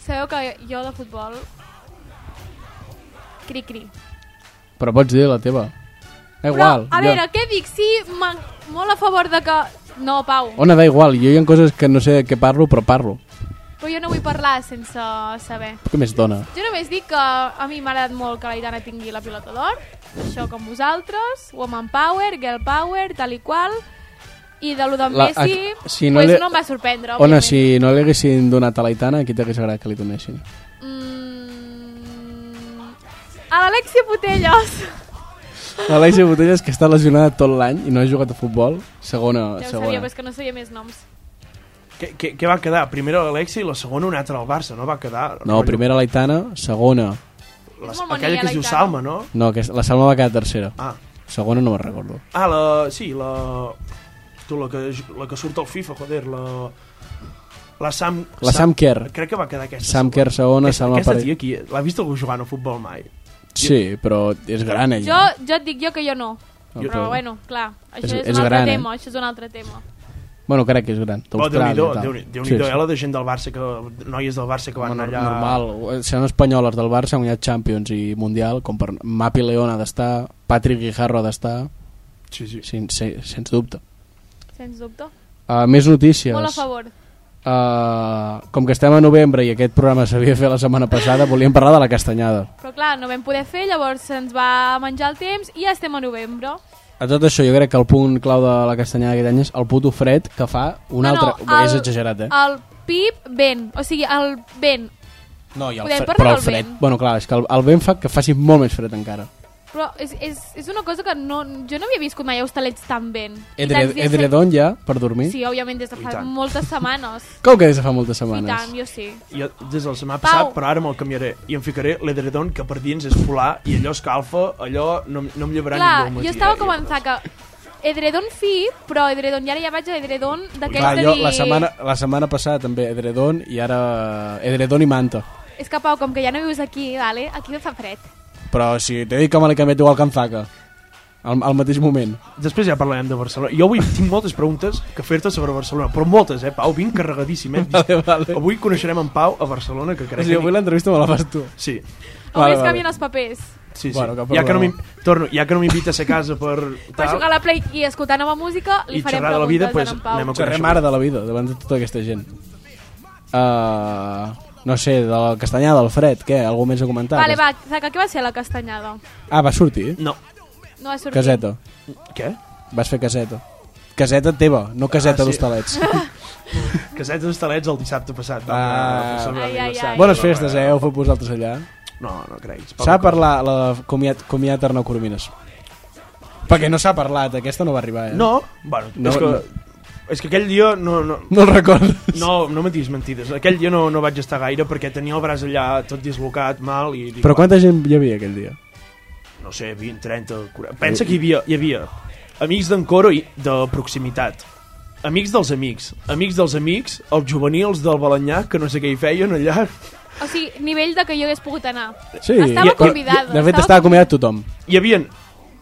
Speaker 3: sabeu que jo de futbol... Cri-cri.
Speaker 1: Però pots dir la teva. Da igual.
Speaker 3: Però, a veure, què dic? Sí, man... molt a favor de que... No, Pau,
Speaker 1: Ona, da igual. Jo hi ha coses que no sé de què parlo, però parlo.
Speaker 3: però jo no vull parlar sense saber.
Speaker 1: Què més dona?
Speaker 3: Jo només dic que a mi m'ha agradat molt que la Itana tingui la pilota d'or, això com vosaltres, woman power, girl power, tal i qual, i de lo de
Speaker 1: La-
Speaker 3: Messi,
Speaker 1: ac- si
Speaker 3: si no,
Speaker 1: no
Speaker 3: pues
Speaker 1: li-
Speaker 3: no em va sorprendre,
Speaker 1: Ona,
Speaker 3: òbviament.
Speaker 1: si no li haguessin donat a l'Aitana, aquí t'hagués agradat que li donessin.
Speaker 3: Mm... A l'Alexia Putellos.
Speaker 1: L'Aleixia Botellas, que està lesionada tot l'any i no ha jugat a futbol, segona...
Speaker 3: Ja ho
Speaker 1: segona.
Speaker 3: sabia, però és que no sabia més noms.
Speaker 4: Què, què, què va quedar? Primera l'Alexi i la segona una altra al Barça, no va quedar...
Speaker 1: No, primera l'Aitana, segona
Speaker 4: La, aquella
Speaker 3: molt maca,
Speaker 4: que es diu
Speaker 3: la
Speaker 4: Salma, no?
Speaker 1: No, que la Salma va quedar tercera.
Speaker 4: Ah,
Speaker 1: Segona no me'n recordo.
Speaker 4: ah la, sí, la... Tu, la que, la que surt al FIFA, joder, la... La Sam...
Speaker 1: La Sam Kerr.
Speaker 4: Crec que va quedar aquesta.
Speaker 1: Sam Kerr segona,
Speaker 4: Aquesta,
Speaker 1: Salma
Speaker 4: aquesta
Speaker 1: Pare...
Speaker 4: tia aquí, l'ha vist algú jugant a futbol mai?
Speaker 1: Sí, però és gran ella.
Speaker 3: Jo, jo et dic jo que jo no.
Speaker 1: Jo-
Speaker 3: Però bueno, clar, això és,
Speaker 1: És- és
Speaker 3: un altre
Speaker 1: gran, eh?
Speaker 3: tema, això és un altre tema.
Speaker 1: Bueno, crec que és gran.
Speaker 4: Oh,
Speaker 1: d'Austràlia
Speaker 4: Déu-n'hi-do,
Speaker 1: i tal.
Speaker 4: Déu-n'hi- Déu-n'hi-do, eh, la de gent del Barça, que, noies del Barça que van
Speaker 1: Home,
Speaker 4: allà...
Speaker 1: Normal, seran espanyoles del Barça, han guanyat Champions i Mundial, com per Mapi León ha d'estar, Patrick Guijarro ha d'estar,
Speaker 4: Sí, sí.
Speaker 1: sin, se, sens dubte.
Speaker 3: Sens dubte.
Speaker 1: Uh, més notícies.
Speaker 3: Molt a favor.
Speaker 1: Uh, com que estem a novembre i aquest programa s'havia fet la setmana passada, volíem parlar de la castanyada.
Speaker 3: Però clar, no vam poder fer, llavors se'ns va menjar el temps i ja estem a novembre.
Speaker 1: A tot això, jo crec que el punt clau de la castanyada d'aquest any és el puto fred que fa un
Speaker 3: Ah, No,
Speaker 1: altre...
Speaker 3: no,
Speaker 1: és
Speaker 3: el- ah,
Speaker 1: exagerat, eh?
Speaker 3: El PIB vent, o sigui, el vent.
Speaker 1: no, i el
Speaker 3: podem
Speaker 1: fred,
Speaker 3: parlar
Speaker 1: però el
Speaker 3: del
Speaker 1: fred...
Speaker 3: vent?
Speaker 1: Bueno, clar, és que el, el vent fa que faci molt més fred encara.
Speaker 3: Però és, és, és una cosa que no, jo no havia viscut mai a hostalets tan vent. I
Speaker 1: Edred,
Speaker 3: tants dies
Speaker 1: edredon ja, per dormir.
Speaker 3: Sí, òbviament, des de
Speaker 4: I
Speaker 3: fa
Speaker 4: tant.
Speaker 3: moltes setmanes.
Speaker 1: Com que des de fa moltes
Speaker 3: I
Speaker 1: setmanes?
Speaker 3: tant, jo sí.
Speaker 4: Jo eh, des del setmana passat,
Speaker 3: Pau.
Speaker 4: però ara me'l canviaré. I em ficaré l'edredon, que per dins és polar, i allò escalfa, allò no, no em llevarà
Speaker 3: Clar,
Speaker 4: ningú al matí.
Speaker 3: jo estava
Speaker 4: eh?
Speaker 3: començant que edredon fi, però edredon, i ara ja vaig a edredon d'aquells
Speaker 1: Clar,
Speaker 3: de
Speaker 1: jo
Speaker 3: dir...
Speaker 1: la setmana, la setmana passada també edredon i ara eh, edredon i manta.
Speaker 3: És que, Pau, com que ja no vius aquí, vale? aquí no fa fred.
Speaker 1: Però si t'he dit que me l'he canviat igual que en Zaca, al, al mateix moment.
Speaker 4: Després ja parlarem de Barcelona. Jo avui tinc moltes preguntes que fer-te sobre Barcelona, però moltes, eh, Pau? Vinc carregadíssim, eh?
Speaker 1: Vale, vale.
Speaker 4: Avui coneixerem en Pau a Barcelona, que
Speaker 1: O
Speaker 4: crec
Speaker 1: sigui,
Speaker 4: que...
Speaker 1: avui l'entrevista me la fas tu.
Speaker 4: Sí,
Speaker 1: Vale,
Speaker 3: Avui es
Speaker 1: vale.
Speaker 3: canvien els papers.
Speaker 4: sí, sí.
Speaker 1: Bueno, cap
Speaker 4: ja que no
Speaker 1: problema.
Speaker 4: m'im- Torno, ja que no m'invites a casa per...
Speaker 3: Per jugar a la Play i escoltar nova música, li
Speaker 4: I
Speaker 3: farem
Speaker 4: xerrar de la
Speaker 3: preguntes
Speaker 4: vida,
Speaker 3: a
Speaker 4: pues,
Speaker 3: en Pau.
Speaker 4: anem a-
Speaker 1: Xerrem ara de la vida, davant de tota aquesta gent. Uh, no sé, de la castanyà, del fred, què? Algú més a comentar?
Speaker 3: Vale, va, Zaca, què va ser la castanyada?
Speaker 1: Ah, va sortir?
Speaker 4: No.
Speaker 3: No va sortir.
Speaker 1: Caseta.
Speaker 4: Què?
Speaker 1: Vas fer caseta. Caseta teva, no caseta
Speaker 4: Ah, sí.
Speaker 1: d'hostalets.
Speaker 4: Casets d'Hostalets el dissabte passat. vam
Speaker 1: Ah.
Speaker 4: anar a Barcelona
Speaker 3: Ai, ai,
Speaker 4: aniversari.
Speaker 3: ai.
Speaker 1: Bones festes, eh? Heu fet vosaltres allà.
Speaker 4: No, no creguis. Pau,
Speaker 1: S'ha
Speaker 4: que-
Speaker 1: parlat la de comiat, comiat Arnau Coromines. Perquè no s'ha parlat, aquesta no va arribar, eh?
Speaker 4: No, bueno,
Speaker 1: No,
Speaker 4: és que...
Speaker 1: no.
Speaker 4: És que aquell dia no, no,
Speaker 1: No el recordes?
Speaker 4: No, no me diguis mentides. Aquell dia no, no vaig estar gaire perquè tenia el braç allà tot dislocat, mal, i dic,
Speaker 1: Però quanta gent hi havia aquell dia?
Speaker 4: va, no sé, 20, 30, 40... Pensa que hi havia, hi havia amics d'en Coro i de proximitat, amics dels amics, amics dels amics, els juvenils del Balanyà, que no sé què hi feien allà.
Speaker 3: O sigui, nivell de que jo hagués pogut anar.
Speaker 1: Sí,
Speaker 3: Estava
Speaker 1: i- però-
Speaker 3: convidada,
Speaker 1: De fet,
Speaker 3: estava
Speaker 1: estava convidat tothom.
Speaker 4: Hi havien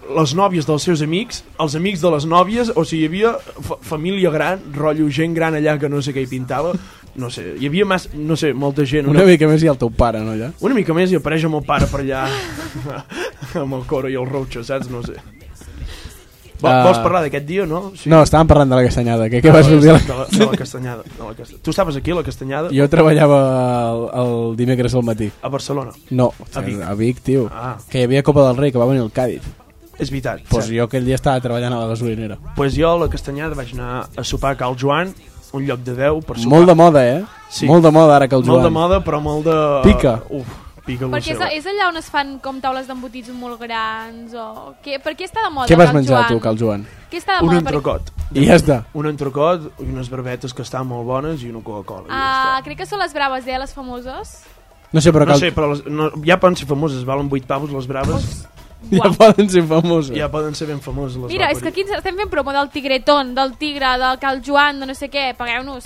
Speaker 4: les nòvies dels seus amics, els amics de les nòvies, o sigui, hi havia fa família gran, rotllo gent gran allà que no sé què hi pintava, no sé, hi havia mas, no sé, molta gent.
Speaker 1: Una mica més i el teu pare, no, allà?
Speaker 4: Una mica més i apareix el meu pare per allà amb el coro i el routxo, saps? No sé. Vol,
Speaker 1: Ah.
Speaker 4: Vols parlar d'aquest dia, no? Sí. Ah,
Speaker 1: No, estàvem parlant de la castanyada, que què vas
Speaker 4: de
Speaker 1: sortir?
Speaker 4: la,
Speaker 1: a la-
Speaker 4: de la castanyada. De la castanyada. Tu estaves aquí, a la castanyada,
Speaker 1: Jo treballava el, el dimecres al matí.
Speaker 4: a Barcelona.
Speaker 1: No,
Speaker 4: A Vic.
Speaker 1: a Vic, tio.
Speaker 4: Ah.
Speaker 1: Que hi havia Copa del Rei, que va venir el Càdiz.
Speaker 4: És veritat.
Speaker 1: Doncs pues
Speaker 4: cert.
Speaker 1: jo aquell dia estava treballant a la gasolinera.
Speaker 4: pues jo a la castanyada vaig anar a sopar a Cal Joan, un lloc de 10 per sopar.
Speaker 1: Molt de moda, eh?
Speaker 4: Sí.
Speaker 1: Molt de moda ara que el Joan.
Speaker 4: Molt de moda, però molt de...
Speaker 1: Pica.
Speaker 4: Uf, pica el
Speaker 3: Perquè
Speaker 4: seu.
Speaker 3: és, és allà on es fan com taules d'embotits molt grans o... Què, per què està de moda
Speaker 1: Què vas
Speaker 3: Cal
Speaker 1: menjar
Speaker 3: Joan?
Speaker 1: tu, Cal Joan?
Speaker 3: Què està de
Speaker 4: Un
Speaker 3: moda?
Speaker 4: entrecot.
Speaker 1: I ja està.
Speaker 4: Un entrecot, i unes barbetes que estan molt bones i una Coca-Cola. i ja
Speaker 3: Ah,
Speaker 4: està.
Speaker 3: crec que són les braves, eh, les famoses.
Speaker 1: No sé,
Speaker 4: No
Speaker 1: però Cal...
Speaker 4: sé, però les, no, ja poden ser famoses, valen 8 pavos les braves.
Speaker 1: ja poden ser eh? famosos.
Speaker 4: Ja poden ser ben famosos les
Speaker 3: Mira, és
Speaker 4: vaporis.
Speaker 3: que aquí ens estem fent promo del tigretón, del tigre, del Cal Joan, de no sé què, pagueu-nos.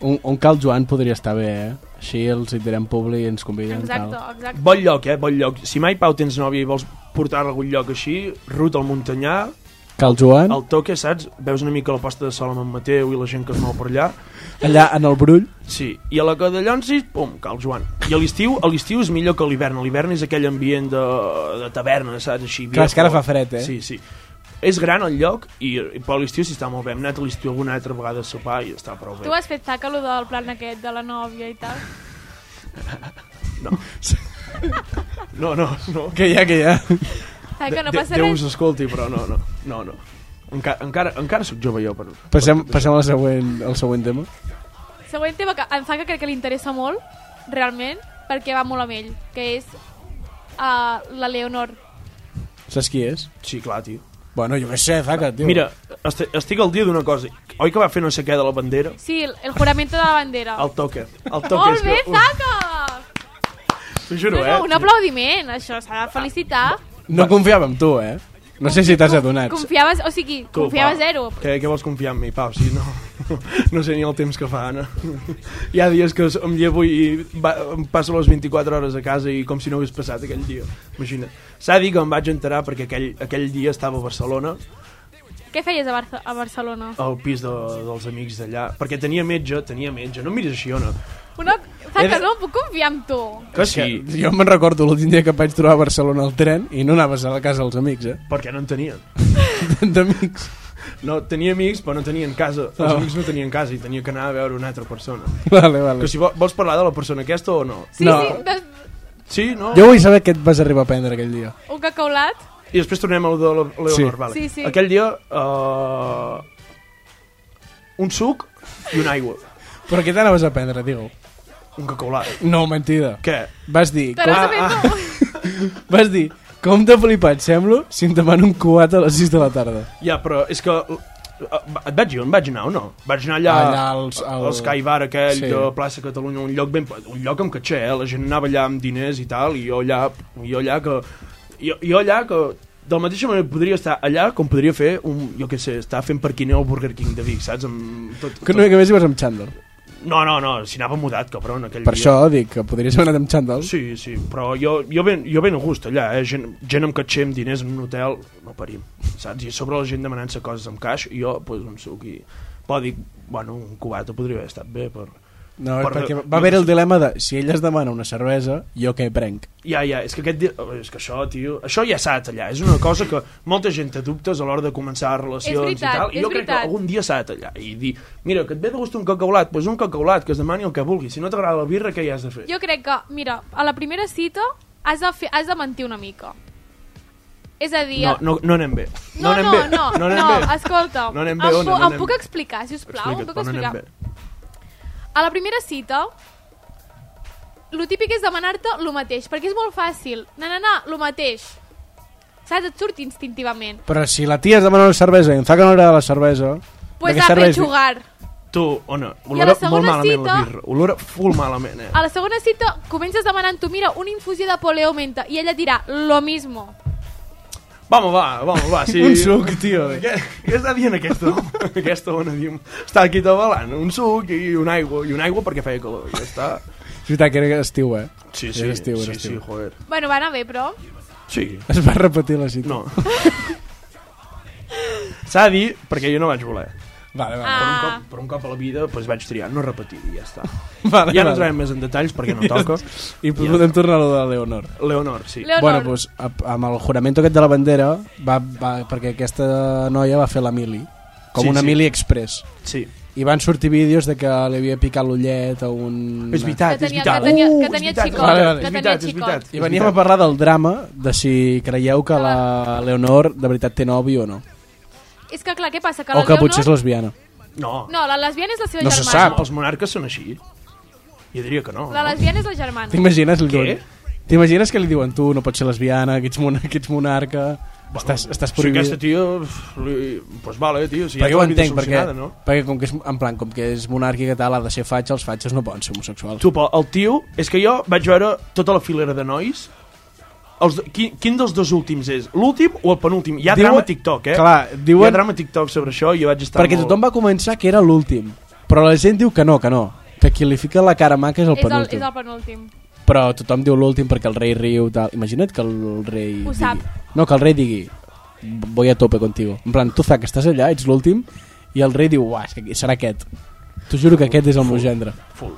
Speaker 1: Un, un Cal Joan podria estar bé, eh? Així els hi direm públic i ens conviden.
Speaker 3: Exacte,
Speaker 1: Tal.
Speaker 3: exacte.
Speaker 4: Bon lloc, eh? Bon lloc. Si mai, Pau, tens nòvia i vols portar-la a algun lloc així, ruta al muntanyà,
Speaker 1: Cal Joan,
Speaker 4: al toque, saps? Veus una mica la posta de sol amb en Mateu i la gent que es mou per allà.
Speaker 1: allà en el Brull.
Speaker 4: Sí. I a la Cadallonsis, pum, cal Joan. I a l'estiu, a l'estiu és millor que a l'hivern. A l'hivern és aquell ambient de, de taverna, saps? Així,
Speaker 1: Clar, és que ara
Speaker 4: viejo.
Speaker 1: fa fred, eh?
Speaker 4: Sí, sí. És gran el lloc, i, i però a l'estiu s'hi està molt bé. Hem anat a l'estiu alguna altra vegada a sopar i està prou
Speaker 3: Tu
Speaker 4: bé.
Speaker 3: has fet taca, allò del plan aquest, de la nòvia i tal.
Speaker 4: No, no, no.
Speaker 1: Que ja, que ja.
Speaker 3: Taca, no
Speaker 4: De-
Speaker 3: passa
Speaker 4: Déu
Speaker 3: res.
Speaker 4: us escolti, però no, no. No, no. Encara, encara, encara sóc jove jo, però...
Speaker 1: Passem, passem al, següent, al següent tema.
Speaker 3: Següent tema que em fa que crec que li interessa molt, realment, perquè va molt amb ell, que és uh, la Leonor.
Speaker 1: Saps qui és?
Speaker 4: Sí, clar, tio.
Speaker 1: Bueno, jo què sé, faca, tio.
Speaker 4: Mira, esti- estic al dia d'una cosa. Oi que va fer no sé què de la bandera?
Speaker 3: Sí, el, el juramento de la bandera.
Speaker 4: El toque. El toque
Speaker 3: Molt
Speaker 4: és
Speaker 3: bé,
Speaker 4: que...
Speaker 3: Zaca!
Speaker 4: T'ho juro, eh?
Speaker 3: No, un aplaudiment, això, s'ha de felicitar.
Speaker 1: No confiava en tu, eh? No sé si t'has adonat.
Speaker 3: Confiaves, o sigui,
Speaker 4: Tu,
Speaker 3: confiava
Speaker 4: Pau,
Speaker 3: zero.
Speaker 4: Què, què vols confiar en mi, Pau? Si no, no sé ni el temps que fa, Anna. Hi ha dies que em llevo i va, em passo les 24 hores a casa i com si no hagués passat aquell dia. Imagina't. S'ha dit que em vaig enterar perquè aquell, aquell dia estava a Barcelona,
Speaker 3: Què feies a, Barce a Barcelona?
Speaker 4: al pis de, dels amics d'allà, perquè tenia metge, tenia metge. No em miris així, Ona.
Speaker 3: Una... Fa
Speaker 4: Era-
Speaker 3: que no puc confiar en tu.
Speaker 4: Que
Speaker 1: Que
Speaker 4: sí,
Speaker 1: Jo me'n recordo l'últim dia que em vaig trobar a Barcelona al tren i no anaves a la casa dels amics, eh?
Speaker 4: perquè no en tenien.
Speaker 1: D'amics.
Speaker 4: No, tenia amics, però no tenien casa. Els
Speaker 1: Ah.
Speaker 4: amics no tenien casa i tenia que anar a veure una altra persona.
Speaker 1: Vale, vale.
Speaker 4: Que si vo- vols parlar de la persona aquesta o no?
Speaker 3: Sí,
Speaker 1: No.
Speaker 3: sí, de...
Speaker 4: Sí, no?
Speaker 1: Jo vull saber què et vas arribar a prendre aquell dia.
Speaker 3: un cacaulat.
Speaker 4: I després tornem al de la- Leonor,
Speaker 1: Sí.
Speaker 4: vale.
Speaker 3: Sí, sí.
Speaker 4: Aquell dia, uh, un suc i una aigua.
Speaker 1: Però què t'anaves a prendre, digue-ho?
Speaker 4: Un cacaulat.
Speaker 1: No, mentida.
Speaker 4: Què?
Speaker 1: Vas dir,
Speaker 3: Te n'has
Speaker 4: Ah,
Speaker 3: de fer
Speaker 4: ah.
Speaker 3: tu.
Speaker 1: vas dir, com de flipat semblo si em demano un cuat a les 6 de la tarda.
Speaker 4: Ja, però és que... uh, uh, et vaig dir on vaig anar o no? Vaig anar allà,
Speaker 1: Allà als- al-
Speaker 4: al Sky Bar aquell
Speaker 1: Sí.
Speaker 4: de plaça Catalunya, un lloc ben... un lloc amb caché, eh? La gent anava allà amb diners i tal, i jo allà, jo allà que... Jo, jo allà que de la mateixa manera podria estar allà com podria fer un, jo què sé, estar fent perquiné al Burger King de Vic, saps? Amb tot,
Speaker 1: Que
Speaker 4: tot...
Speaker 1: no hi més hi vas amb xandall.
Speaker 4: No, no, no, si anava mudat, cabron, aquell
Speaker 1: Per
Speaker 4: dia.
Speaker 1: això dic que podries haver anat amb xandall.
Speaker 4: Sí, sí, però jo, jo, ben, jo ben a gust allà, eh? gent, gent amb catxer, amb diners en un hotel, no parim, saps? I a sobre la gent demanant-se coses amb caix, i jo, pues, un suc i... Però dic, bueno, un cubata podria haver estat bé, per...
Speaker 1: No,
Speaker 4: Per-
Speaker 1: perquè va haver el dilema de si ell es demana una cervesa, jo què prenc?
Speaker 4: Ja, ja, és que aquest... Dia... oh, És que això, tio... Això ja s'ha de tallar. És una cosa que molta gent té dubtes a l'hora de començar relacions
Speaker 3: veritat,
Speaker 4: i tal. I
Speaker 3: és
Speaker 4: jo crec
Speaker 3: veritat.
Speaker 4: que algun dia s'ha de tallar. I dir, mira, que et ve de gust un cacaulat, doncs un cacaulat, que es demani el que vulgui. Si no t'agrada la birra, què hi has de fer?
Speaker 3: Jo crec que, mira, a la primera cita has de, fer, has de mentir una mica. És a dir...
Speaker 4: No, no, no anem bé.
Speaker 3: no,
Speaker 4: anem
Speaker 3: no,
Speaker 4: bé.
Speaker 3: no,
Speaker 4: no,
Speaker 3: no,
Speaker 4: anem bé.
Speaker 3: escolta,
Speaker 4: No anem bé, Ona,
Speaker 3: em, pu-
Speaker 4: no
Speaker 3: em
Speaker 4: anem
Speaker 3: puc
Speaker 4: bé.
Speaker 3: explicar, si us plau, em
Speaker 4: Explica't,
Speaker 3: puc
Speaker 4: però no anem
Speaker 3: explicar.
Speaker 4: bé.
Speaker 3: A la primera cita, lo típic és demanar-te lo mateix, perquè és molt fàcil. Na, na, na, lo mateix. Saps? Et surt instintivament.
Speaker 1: Però si la tia es demana una cervesa i em fa que no agrada la cervesa...
Speaker 3: Pues
Speaker 1: de què
Speaker 3: a
Speaker 1: serveix?
Speaker 3: rejugar.
Speaker 4: Tu, Ona,
Speaker 3: I a
Speaker 4: olora
Speaker 3: la
Speaker 4: molt
Speaker 3: segona
Speaker 4: malament la
Speaker 3: cita- Ah.
Speaker 4: birra. Olora full malament, eh?
Speaker 3: A la segona cita comences demanant tu, mira, una infusió de poleo menta, i ella et dirà lo mismo.
Speaker 4: Vamos, va, vamos, va. Sí.
Speaker 1: Un suc, tio.
Speaker 4: Què, què està dient aquesta? aquesta Ona diu... Està aquí tabalant un suc i una aigua. I una aigua perquè feia calor. Ja està.
Speaker 1: És veritat que era estiu, eh?
Speaker 4: Sí,
Speaker 1: Era
Speaker 4: sí,
Speaker 1: estiu, era
Speaker 4: sí, sí,
Speaker 1: estiu.
Speaker 4: joder.
Speaker 3: Bueno, va anar bé, però...
Speaker 4: Sí.
Speaker 1: Es va repetir la cita.
Speaker 4: No. S'ha de dir, perquè jo no vaig voler.
Speaker 1: Vale, vale.
Speaker 4: Per un
Speaker 3: Ah.
Speaker 4: cop, per un cop a la vida doncs vaig triar, no repetir i ja està.
Speaker 1: vale,
Speaker 4: Ja no
Speaker 1: vale.
Speaker 4: entrarem més en detalls perquè no toca.
Speaker 1: I podem tornar a lo de Leonor.
Speaker 4: Leonor, sí.
Speaker 3: Leonor,
Speaker 1: Bueno, doncs, a- amb el juramento aquest de la bandera, va, va, perquè aquesta noia va fer la mili, com
Speaker 4: Sí,
Speaker 1: una
Speaker 4: sí.
Speaker 1: mili express.
Speaker 4: Sí.
Speaker 1: I van sortir vídeos de que li havia picat l'ullet a un...
Speaker 4: És
Speaker 3: que
Speaker 4: veritat, és
Speaker 3: tenia, que
Speaker 4: veritat.
Speaker 3: tenia,
Speaker 4: Uh,
Speaker 3: que
Speaker 4: és
Speaker 3: tenia
Speaker 4: veritat,
Speaker 3: xicot,
Speaker 1: vale, vale.
Speaker 3: que
Speaker 4: És
Speaker 3: tenia
Speaker 4: veritat, és
Speaker 3: xicot.
Speaker 4: veritat.
Speaker 1: I veníem a parlar del drama de si creieu que la Leonor de veritat té nòvio o no.
Speaker 3: És que clar, què passa? Que
Speaker 1: O
Speaker 3: la
Speaker 1: que
Speaker 3: Leonor...
Speaker 1: potser és lesbiana.
Speaker 4: No,
Speaker 3: No, la lesbiana és la seva
Speaker 1: No se
Speaker 3: germana.
Speaker 1: sap.
Speaker 4: Els monarques són així. Jo diria que no.
Speaker 3: La
Speaker 4: no?
Speaker 3: lesbiana és la germana.
Speaker 1: T'imagines? Li
Speaker 4: Què?
Speaker 1: diuen- T'imagines que li diuen tu no pots ser lesbiana, que ets, mon que ets monarca, estàs, estàs
Speaker 4: Si
Speaker 1: prohibida.
Speaker 4: aquesta tia... pf, Li... Pues vale, tio, si ja
Speaker 1: Però
Speaker 4: té
Speaker 1: jo ho
Speaker 4: la vida
Speaker 1: entenc, perquè,
Speaker 4: solucionada, no?
Speaker 1: perquè com que és, en plan, com que és monàrquica i tal, ha de ser fatxa, els fatxes no poden ser homosexuals.
Speaker 4: Tu, però el tio... És que jo vaig veure tota la filera de nois... Els, do- quin, quin dels dos últims és? L'últim o el penúltim? Hi ha
Speaker 1: Diuen-
Speaker 4: drama a TikTok, eh?
Speaker 1: clar,
Speaker 4: Hi
Speaker 1: diuen-
Speaker 4: ha drama a TikTok sobre això i jo vaig estar
Speaker 1: Perquè
Speaker 4: molt...
Speaker 1: tothom va començar que era l'últim, però la gent diu que no, que no, que qui li fica la cara maca és el
Speaker 3: És el,
Speaker 1: penúltim.
Speaker 3: és el penúltim.
Speaker 1: Però tothom diu l'últim perquè el rei riu tal. Imagina't que el rei
Speaker 3: Ho
Speaker 1: digui...
Speaker 3: sap.
Speaker 1: No, que el rei digui voy a tope contigo. En plan, tu fa que estàs allà, ets l'últim, i el rei diu, uah, és que aquí- serà aquest. T'ho juro que aquest és el meu gendre.
Speaker 4: Full.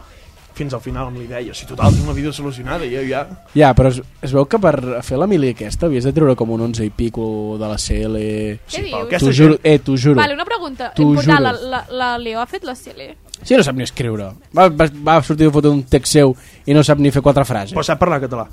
Speaker 4: Fins al final amb la idea. Si total, tinc la vida solucionada, jo ja...
Speaker 1: Ja, però es, es veu que per fer la mili aquesta havies de treure com un 11 i pico de la CL...
Speaker 3: Què
Speaker 4: però
Speaker 3: dius?
Speaker 4: aquesta
Speaker 1: T'ho
Speaker 4: gent-
Speaker 1: juro, eh, t'ho juro.
Speaker 3: Vale, una pregunta
Speaker 1: T'ho
Speaker 3: important. La,
Speaker 1: juro.
Speaker 3: la, la Leo ha fet la CL?
Speaker 1: Sí, no sap ni escriure. Va, va, va sortir de fotre un text seu i no sap ni fer quatre frases.
Speaker 4: Però sap parlar català.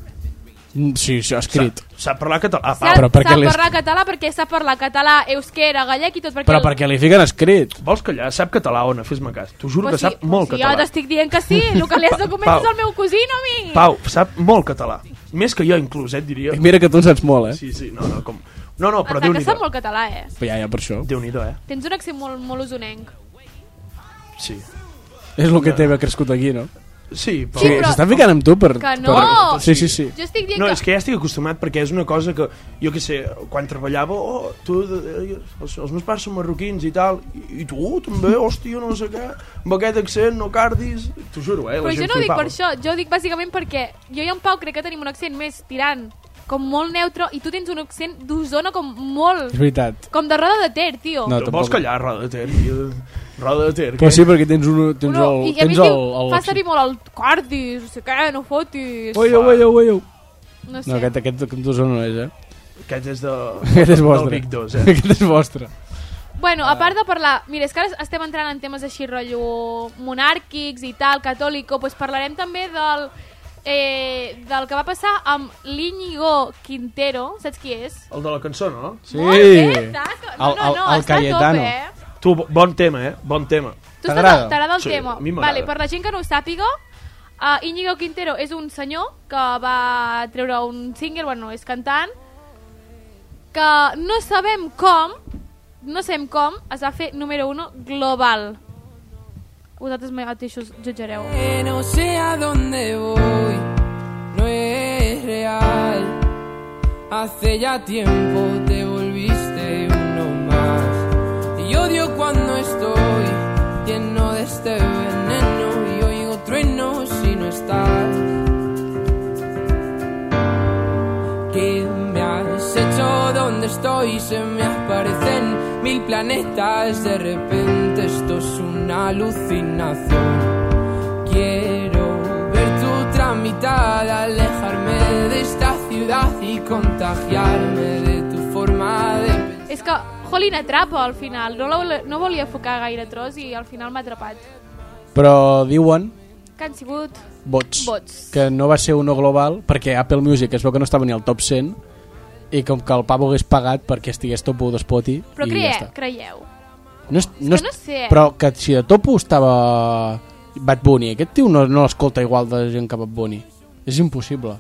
Speaker 1: Mm, Sí, sí, ha escrit.
Speaker 4: Sap, sap parlar català. Ah,
Speaker 3: Sap, però
Speaker 1: però per què
Speaker 3: sap
Speaker 1: l'has-
Speaker 3: parlar català perquè sap parlar català, euskera, gallec i tot. Perquè
Speaker 1: Però perquè li fiquen escrit.
Speaker 4: pa, vols callar? Sap català, Ona, fes-me cas. T'ho juro
Speaker 3: Però
Speaker 4: que sap molt
Speaker 3: si
Speaker 4: català.
Speaker 3: Jo t'estic dient que sí, el que li has de
Speaker 4: Pau.
Speaker 3: comentar és el meu cosí, no a mi.
Speaker 4: Pau, sap molt català. Més que jo, inclús, eh, et diria.
Speaker 1: I mira que tu en saps molt, eh? Sí.
Speaker 4: Sí, sí, no, no, com... No, no, però
Speaker 3: Però que
Speaker 4: Déu-n'hi-do.
Speaker 3: sap molt català, eh?
Speaker 1: Ja, ja, per això.
Speaker 4: Déu-n'hi-do, eh?
Speaker 3: Tens un accent molt, molt usonenc.
Speaker 4: Sí.
Speaker 1: És el que t'he crescut aquí, no?
Speaker 4: Sí, però...
Speaker 1: Sí,
Speaker 3: però-
Speaker 1: S'està ficant amb tu per...
Speaker 3: Que no!
Speaker 1: Per... Sí, sí, sí.
Speaker 3: Jo estic dient
Speaker 4: No,
Speaker 3: que...
Speaker 4: és que ja estic acostumat perquè és una cosa que, jo que sé, quan treballava, oh, tu, eh, els, els meus pares són marroquins i tal, i, i tu "Oh, també, hòstia, no sé què, amb aquest accent no cardis, t'ho juro, eh, la
Speaker 3: Però jo
Speaker 4: gent
Speaker 3: no ho dic
Speaker 4: flipava.
Speaker 3: per això, jo ho dic bàsicament perquè jo i en Pau crec que tenim un accent més tirant, com molt neutre, i tu tens un accent d'Osona com molt...
Speaker 1: És veritat.
Speaker 3: Com de roda de ter, tio.
Speaker 1: No,
Speaker 4: Vols
Speaker 1: tampoc.
Speaker 4: callar, Roda de Ter? tio? Roda de Ter,
Speaker 1: Però sí, perquè tens, un, tens
Speaker 3: No,
Speaker 1: el...
Speaker 3: i a
Speaker 1: Tens
Speaker 3: mi
Speaker 1: el,
Speaker 3: diu,
Speaker 1: el,
Speaker 3: fa servir molt el cardis, no sé què, no fotis...
Speaker 1: Oi, oi, oi, oi, oi.
Speaker 3: no sé.
Speaker 1: No, aquest, aquest, aquest d'Osona no és, eh?
Speaker 4: Aquest és de...
Speaker 1: Aquest és vostre.
Speaker 4: Del Big 2, eh?
Speaker 1: Aquest és vostre.
Speaker 3: Bueno,
Speaker 1: Ah.
Speaker 3: a part de parlar... Mira, és que ara estem entrant en temes així, rotllo monàrquics i tal, catòlico, doncs parlarem també del, eh, del que va passar amb l'Iñigo Quintero, saps qui és?
Speaker 4: El de la cançó, no?
Speaker 1: Sí.
Speaker 3: Molt bé, està... a to- No,
Speaker 1: El-
Speaker 3: no,
Speaker 1: el-
Speaker 3: no,
Speaker 1: el
Speaker 3: està
Speaker 1: Cayetano.
Speaker 3: a tope, eh?
Speaker 4: Tu, bo- bon tema, eh? Bon tema.
Speaker 3: Tu
Speaker 1: T'agrada?
Speaker 3: estàs- T'agrada el
Speaker 4: Sí,
Speaker 3: tema.
Speaker 4: a mi m'agrada.
Speaker 3: vale, per la gent que no ho sàpiga, uh, Íñigo Quintero és un senyor que va treure un single, bueno, és cantant, que no sabem com, no sabem com, es va fer número 1 global. Vosaltres mateixos jutjareu.
Speaker 6: Que no sé a dónde voy, no es real. Hace ya tiempo te volviste uno más. Y odio cuando estoy lleno de este veneno y oigo truenos si no estás. ¿Qué me has hecho? ¿Dónde estoy? Se me aparecen mil planetas. De repente esto es una alucinación. Quiero ver tu tramitar, alejarme de esta ciudad y contagiarme de tu forma de pensar.
Speaker 3: És que, jolín, atrapa al final. No, la, vol- no volia focar gaire tros i al final m'ha atrapat.
Speaker 1: Però diuen
Speaker 3: Que han sigut...
Speaker 1: vots,
Speaker 3: Vots.
Speaker 1: que no va ser un no global perquè Apple Music es veu que no estava ni al top 100 i com que el pavo hagués pagat perquè estigués top 1 d'Spoti
Speaker 3: Però
Speaker 1: i
Speaker 3: creieu,
Speaker 1: ja està.
Speaker 3: creieu.
Speaker 1: No, és,
Speaker 3: que
Speaker 1: no, és,
Speaker 3: no sé. eh?
Speaker 1: Però que si de top 1 estava Bad Bunny, aquest tio no, no l'escolta igual de gent que Bad Bunny. És impossible.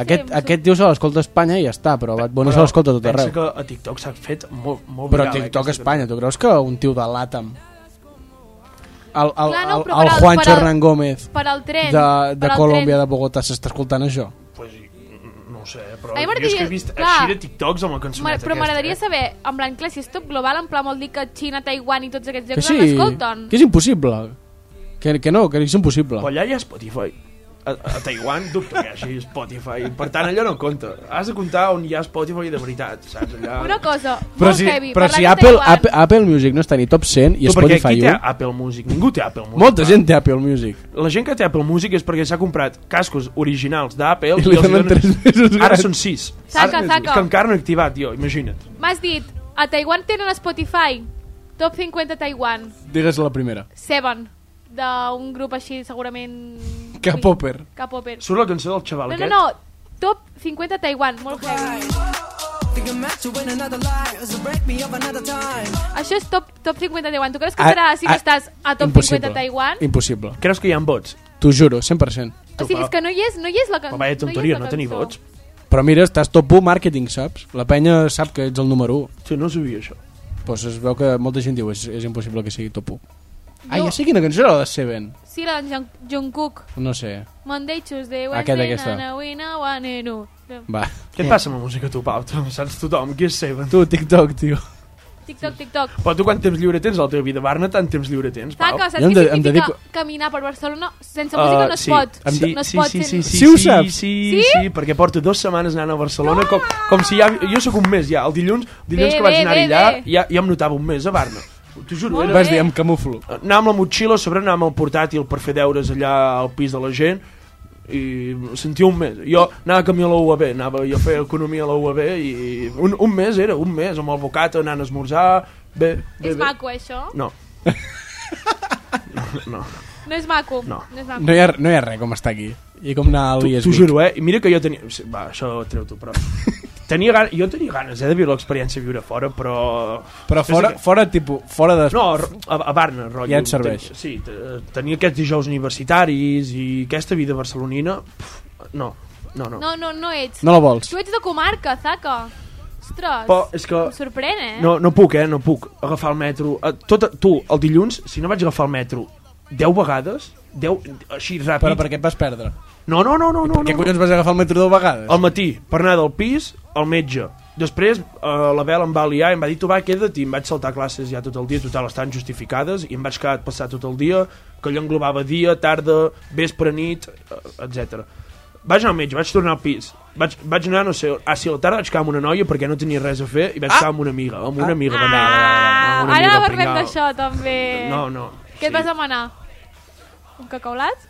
Speaker 1: Aquest,
Speaker 3: em sap-
Speaker 1: aquest tio se l'escolta a Espanya i ja està, però Bad Bunny se l'escolta a tot arreu.
Speaker 4: Pensa que a TikTok s'ha fet molt, molt
Speaker 1: Però
Speaker 4: viral, eh,
Speaker 1: TikTok a
Speaker 4: aquesta
Speaker 1: Espanya, tu creus que un tio de l'Àtam el, el,
Speaker 3: Clar, no,
Speaker 1: el,
Speaker 3: però
Speaker 1: el
Speaker 3: per al-
Speaker 1: Juancho
Speaker 3: per al-
Speaker 1: Hernán Gómez
Speaker 3: Per al tren.
Speaker 1: de,
Speaker 3: per
Speaker 1: de
Speaker 3: al
Speaker 1: Colòmbia,
Speaker 3: tren.
Speaker 1: de Bogotà, s'està escoltant això?
Speaker 4: cançó. Pues, no ho sé, però jo és
Speaker 3: A mi
Speaker 4: que
Speaker 3: m'agradaria-
Speaker 4: he vist
Speaker 3: clar.
Speaker 4: així de TikToks amb la
Speaker 3: Ma-
Speaker 4: cançoneta
Speaker 3: però m'agradaria
Speaker 1: eh?
Speaker 4: aquesta,
Speaker 3: saber, en plan, clar, si és top global, en plan vol dir que Xina, Taiwan i tots aquests
Speaker 1: Que
Speaker 3: llocs
Speaker 1: sí,
Speaker 3: no l'escolten.
Speaker 1: que és impossible. Que, que no, que és impossible.
Speaker 4: Però allà hi ha Spotify. A, a Taiwan dubto que hi hagi Spotify. Per tant, allò no compta. Has de comptar on hi ha Spotify de veritat, saps? Allà...
Speaker 3: Una cosa,
Speaker 1: Però
Speaker 3: molt
Speaker 1: si,
Speaker 3: heavy,
Speaker 1: però
Speaker 3: parlant
Speaker 1: si
Speaker 3: de
Speaker 1: Apple,
Speaker 3: Taiwan,
Speaker 1: Apple, Apple Music no està ni top 100 i
Speaker 4: Tu, perquè
Speaker 1: Spotify
Speaker 4: aquí té
Speaker 1: 1,
Speaker 4: Apple Music. Ningú té Apple Music.
Speaker 1: molta gent té Apple Music.
Speaker 4: La gent que té Apple Music és perquè s'ha comprat cascos originals d'Apple
Speaker 1: I li donen tres mesos
Speaker 4: Ara
Speaker 1: gratis.
Speaker 4: són sis.
Speaker 3: Saca,
Speaker 1: Ah,
Speaker 4: Ara-
Speaker 3: saca.
Speaker 4: És que encara no he activat, jo, imagina't.
Speaker 3: M'has dit, a Taiwan tenen Spotify, top 50 Taiwan,
Speaker 1: Digues la primera.
Speaker 3: Seven, d'un grup així, segurament...
Speaker 1: K-popper.
Speaker 3: K-popper.
Speaker 4: Surt la cançó del xaval
Speaker 3: No, no,
Speaker 4: aquest.
Speaker 3: no, top 50 Taiwan, molt heavy.
Speaker 6: Think I'm meant to win another life, so break me up another time.
Speaker 3: Això és top, top 50 Taiwan. Tu creus que
Speaker 1: Ah,
Speaker 3: serà si no
Speaker 1: ah,
Speaker 3: estàs a top
Speaker 1: Impossible.
Speaker 3: 50 Taiwan?
Speaker 1: Impossible.
Speaker 4: Creus que hi ha vots?
Speaker 1: T'ho juro, 100%.
Speaker 3: O sigui, és que no hi és, no hi és la can-
Speaker 4: Però
Speaker 3: hi
Speaker 4: vaya
Speaker 3: és la cançó.
Speaker 4: tonteria, no tenir vots.
Speaker 1: Però mira, estàs top 1 màrqueting, saps? La penya sap que ets el número 1.
Speaker 4: Hòstia, no sabia això.
Speaker 1: Doncs es veu que molta gent diu és, és impossible que sigui top 1. Ah,
Speaker 3: Jo-
Speaker 1: ja sé quina cançó era la de Seven.
Speaker 3: Sí, la d'en Jung- Jungkook.
Speaker 1: No sé.
Speaker 3: Monday, Tuesday,
Speaker 1: Aquest,
Speaker 3: Wednesday, na,
Speaker 1: aquesta.
Speaker 3: na, we, na, one, and two.
Speaker 1: Va.
Speaker 4: Què et passa amb la música, tu, Pau? Tu saps tothom, qui és seva?
Speaker 1: Tu, TikTok, tio.
Speaker 3: TikTok, TikTok.
Speaker 4: Però tu quant temps lliure tens a la teva vida? Barna, tant temps lliure tens, Pau?
Speaker 3: Taca, saps
Speaker 1: Jo em
Speaker 3: què
Speaker 1: de- em
Speaker 3: significa
Speaker 1: dedico-
Speaker 3: caminar per Barcelona? Sense música no es
Speaker 4: Ah, sí,
Speaker 3: pot.
Speaker 4: Sí,
Speaker 3: no es
Speaker 4: sí,
Speaker 3: pot
Speaker 4: sí, sí,
Speaker 3: sense-
Speaker 4: sí,
Speaker 1: Sí, ho
Speaker 4: sí,
Speaker 1: saps?
Speaker 4: Sí,
Speaker 3: Sí?
Speaker 4: sí, perquè porto dues setmanes anant a Barcelona, com, com si ja... Jo sóc un mes ja, el dilluns, dilluns
Speaker 3: Bé,
Speaker 4: que vaig
Speaker 3: bé,
Speaker 4: anar-hi
Speaker 3: bé,
Speaker 4: allà,
Speaker 3: bé.
Speaker 4: ja, ja em notava un mes a Barna. T'ho juro, eh?
Speaker 3: Molt
Speaker 4: era,
Speaker 1: Vas
Speaker 3: bé.
Speaker 1: dir, em camuflo.
Speaker 4: anar amb la motxilla, a sobre anar amb el portàtil per fer deures allà al pis de la gent i sentia un mes. Jo anava a camí a la UAB, anava jo a fer economia a la UAB i un, un mes era, un mes, amb el bocata anant a esmorzar, bé, bé,
Speaker 3: És
Speaker 4: bé.
Speaker 3: maco, eh, això?
Speaker 4: No. No, no.
Speaker 3: No és maco.
Speaker 4: No.
Speaker 3: no és maco.
Speaker 1: No hi, ha, no hi ha res com està aquí. I com anar a
Speaker 4: T'ho
Speaker 1: l'IES
Speaker 4: t'ho juro, eh? I mira que jo tenia... sí, Va, això treu-t'ho, però... Tenia ganes, jo tenia ganes, eh, de viure l'experiència de viure fora, però...
Speaker 1: Però fora, fora, tipus, fora de...
Speaker 4: No, a, a Barna, rotllo.
Speaker 1: Ja et serveix.
Speaker 4: Ten- Sí, te- tenia aquests dijous universitaris i aquesta vida barcelonina... Pf, no, no, no.
Speaker 3: No, no, no ets.
Speaker 1: No la vols.
Speaker 3: Tu ets de comarca, Zaca. Ostres,
Speaker 4: Però és que...
Speaker 3: em sorprèn, eh?
Speaker 4: No, no puc, eh? No puc agafar el metro. Eh, Tot, tu, el dilluns, si no vaig agafar el metro 10 vegades, Deu, així ràpid.
Speaker 1: Però per què et vas perdre?
Speaker 4: No, no, no, no. no,
Speaker 1: per què
Speaker 4: no.
Speaker 1: collons vas agafar el metro dues vegades?
Speaker 4: Al matí, per anar del pis al metge. Després eh, la Bel em va liar i em va dir tu va, queda't i em vaig saltar classes ja tot el dia, total, estan justificades i em vaig quedar a passar tot el dia, que allò englobava dia, tarda, vespre, nit, etc. Vaig anar al metge, vaig tornar al pis. Vaig, vaig anar, no sé, ah, sí, a la tarda vaig quedar amb una noia perquè no tenia res a fer i vaig quedar amb una amiga, amb una amiga. Ah,
Speaker 3: Ah, ara parlem d'això, també.
Speaker 4: No, no.
Speaker 3: Què et vas demanar? Un cacaulat?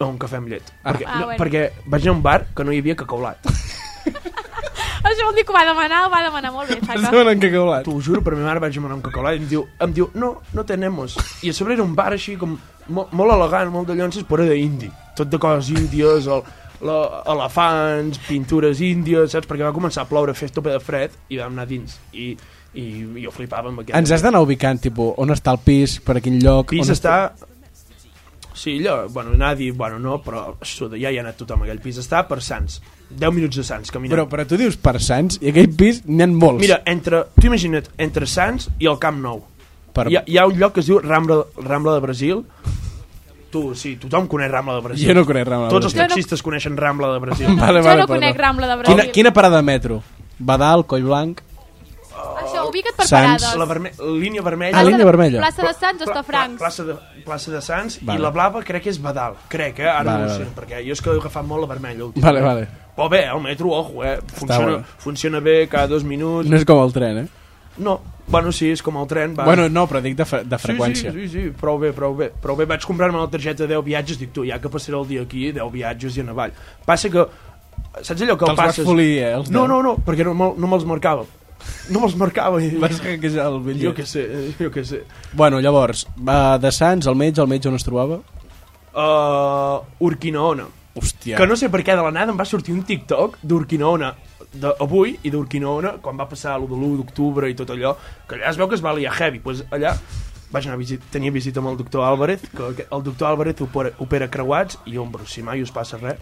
Speaker 4: No, un cafè amb llet. Ah.
Speaker 1: Ah.
Speaker 4: Perquè,
Speaker 3: Ah,
Speaker 4: no,
Speaker 3: bueno.
Speaker 4: perquè vaig anar a un bar que no hi havia cacaulat.
Speaker 3: Això vol dir que ho va demanar, ho va demanar molt bé,
Speaker 1: Em
Speaker 3: saca.
Speaker 1: semblen que caulat.
Speaker 4: T'ho juro, per mi mare vaig demanar un cacaulat i em diu, em diu no, no tenemos. I a sobre era un bar així com molt, molt elegant, molt de llonces, però era indi. Tot de coses índies, el, la, elefants, pintures índies, saps? Perquè va començar a ploure, a fer estopa de fred i vam anar dins. I, i jo flipava amb aquest...
Speaker 1: Ens has d'anar ubicant, tipus, on està el pis, per a quin lloc...
Speaker 4: Pis
Speaker 1: on
Speaker 4: està... Sí, allò, bueno, anar a dir, bueno, no, però suda, ja hi ha anat tothom, aquell pis està per Sants. 10 minuts de Sants, caminant.
Speaker 1: Però, però tu dius per Sants, i aquell pis n'hi ha molts.
Speaker 4: Mira, entre, tu imagina't, entre Sants i el Camp Nou.
Speaker 1: per...
Speaker 4: Hi ha, hi ha un lloc que es diu Rambla, Rambla de Brasil. Tu, sí, tothom coneix Rambla de Brasil.
Speaker 1: Jo no conec Rambla de
Speaker 4: Tots els
Speaker 1: Brasil.
Speaker 4: taxistes coneixen Rambla de Brasil.
Speaker 1: Vale,
Speaker 3: Jo
Speaker 1: vale,
Speaker 3: no conec
Speaker 1: perdó.
Speaker 3: Rambla de
Speaker 1: Quina,
Speaker 3: Brasil.
Speaker 1: quina parada de metro? Badal, Collblanc...
Speaker 3: Això, ubica't per
Speaker 1: Sants.
Speaker 3: parades.
Speaker 4: La verme línia
Speaker 1: Ah,
Speaker 4: vermella...
Speaker 1: línia vermella.
Speaker 3: Plaça de Sants,
Speaker 4: Pla-
Speaker 3: Hostafrancs.
Speaker 4: pla- Plaça de, plaça de Sants
Speaker 1: Vale.
Speaker 4: i la blava crec que és Badal. Crec, eh? Ara no
Speaker 1: Vale,
Speaker 4: ho sé,
Speaker 1: vale.
Speaker 4: perquè jo és que he agafat molt la vermella. últimament.
Speaker 1: Vale, vale.
Speaker 4: Però bé, el metro, ojo, eh? Funciona,
Speaker 1: bé.
Speaker 4: funciona bé cada dos minuts.
Speaker 1: No és com el tren, eh?
Speaker 4: No, bueno, sí, és com el tren. Va.
Speaker 1: Bueno, no, però dic de, fre de freqüència.
Speaker 4: Sí, sí, sí, sí, prou bé, prou bé. Prou bé, vaig comprar-me la targeta de 10 viatges, dic tu, ja que passaré el dia aquí, 10 viatges i en avall. Passa que, saps allò que
Speaker 1: Te'ls
Speaker 4: el
Speaker 1: vas
Speaker 4: passes...
Speaker 1: polir, eh, els
Speaker 4: no,
Speaker 1: deu.
Speaker 4: no, no, perquè no, me'l- no me'ls marcava. No me'ls marcava. I,
Speaker 1: Vas hackejar el bitllet.
Speaker 4: jo què sé, eh, jo què sé.
Speaker 1: Bueno, llavors, va de Sants, al metge, al metge on es trobava?
Speaker 4: Uh, Urquinaona.
Speaker 1: Hòstia.
Speaker 4: Que no sé per què de la nada em va sortir un TikTok d'Urquinaona de- avui i d'Urquinaona quan va passar allò de l'1 d'octubre i tot allò, que allà es veu que es va liar heavy, pues allà vaig anar a visit, tenia visita amb el doctor Álvarez, que aqu- el doctor Álvarez opera, opera creuats i ombros, si mai us passa res.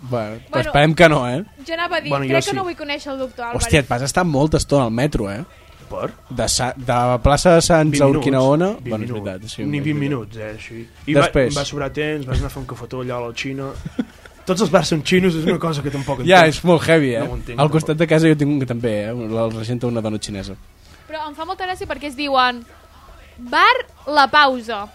Speaker 1: Bueno,
Speaker 3: Bueno.
Speaker 1: bueno, esperem que no, eh?
Speaker 3: Jo anava a dir,
Speaker 4: Bueno, jo
Speaker 3: crec
Speaker 4: sí.
Speaker 3: que no vull conèixer el doctor Álvarez.
Speaker 1: Hòstia, et vas estar molta estona al metro, eh?
Speaker 4: Per?
Speaker 1: De, Sa de la plaça de Sants
Speaker 4: 20
Speaker 1: a
Speaker 4: minuts.
Speaker 1: Urquinaona...
Speaker 4: 20
Speaker 1: Bueno, és
Speaker 4: minuts.
Speaker 1: veritat. Sí,
Speaker 4: Ni 20
Speaker 1: és veritat.
Speaker 4: minuts, eh, així. I va,
Speaker 1: Després.
Speaker 4: em va sobrar temps, vas anar a fer un cafetó allà a la Xina. Tots els bars són xinos, és una cosa que tampoc entenc.
Speaker 1: Ja, és molt heavy, eh?
Speaker 4: No ho entenc,
Speaker 1: al
Speaker 4: tampoc.
Speaker 1: costat de casa jo tinc un que també, eh? El regenta una dona xinesa.
Speaker 3: Però em fa molta gràcia perquè es diuen Bar La Pausa.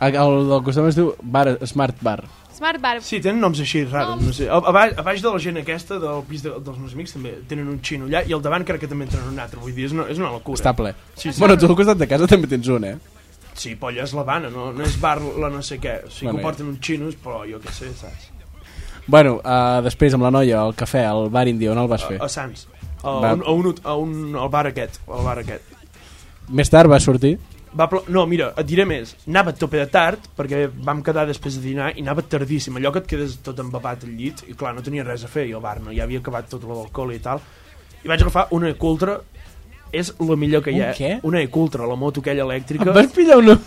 Speaker 1: El, el del costat es diu bar, Smart Bar.
Speaker 3: Smart Bar.
Speaker 4: Sí, tenen noms així raros, no sé. A, a, baix, a baix de la gent aquesta, del pis de, dels meus amics, també tenen un xino allà, i al davant crec que també en tenen un altre. Vull dir, és una, és una locura.
Speaker 1: Està ple.
Speaker 4: Sí, sí.
Speaker 1: Bueno, tu al costat de casa també tens un, eh?
Speaker 4: Sí, polla és l'Havana, no, no és bar la no sé què. O sigui,
Speaker 1: Bueno,
Speaker 4: que ho porten uns xinos, però jo què sé, saps?
Speaker 1: Bueno, uh, després amb la noia, al cafè, al bar indi, on el vas fer?
Speaker 4: A, a Sants. A,
Speaker 1: Va.
Speaker 4: un, a, un, a un, al bar aquest, al bar aquest.
Speaker 1: Més tard va sortir.
Speaker 4: Va plo... No, mira, et diré més. Anava a tope de tard, perquè vam quedar després de dinar, i anava tardíssim. Allò que et quedes tot embabat al llit, i clar, no tenia res a fer, i al bar no, ja havia acabat tot l'alcohol i tal. I vaig agafar una cultra, és la millor que hi ha.
Speaker 1: Un què?
Speaker 4: Una cultra, la moto aquella elèctrica,
Speaker 1: Em vas pillar una...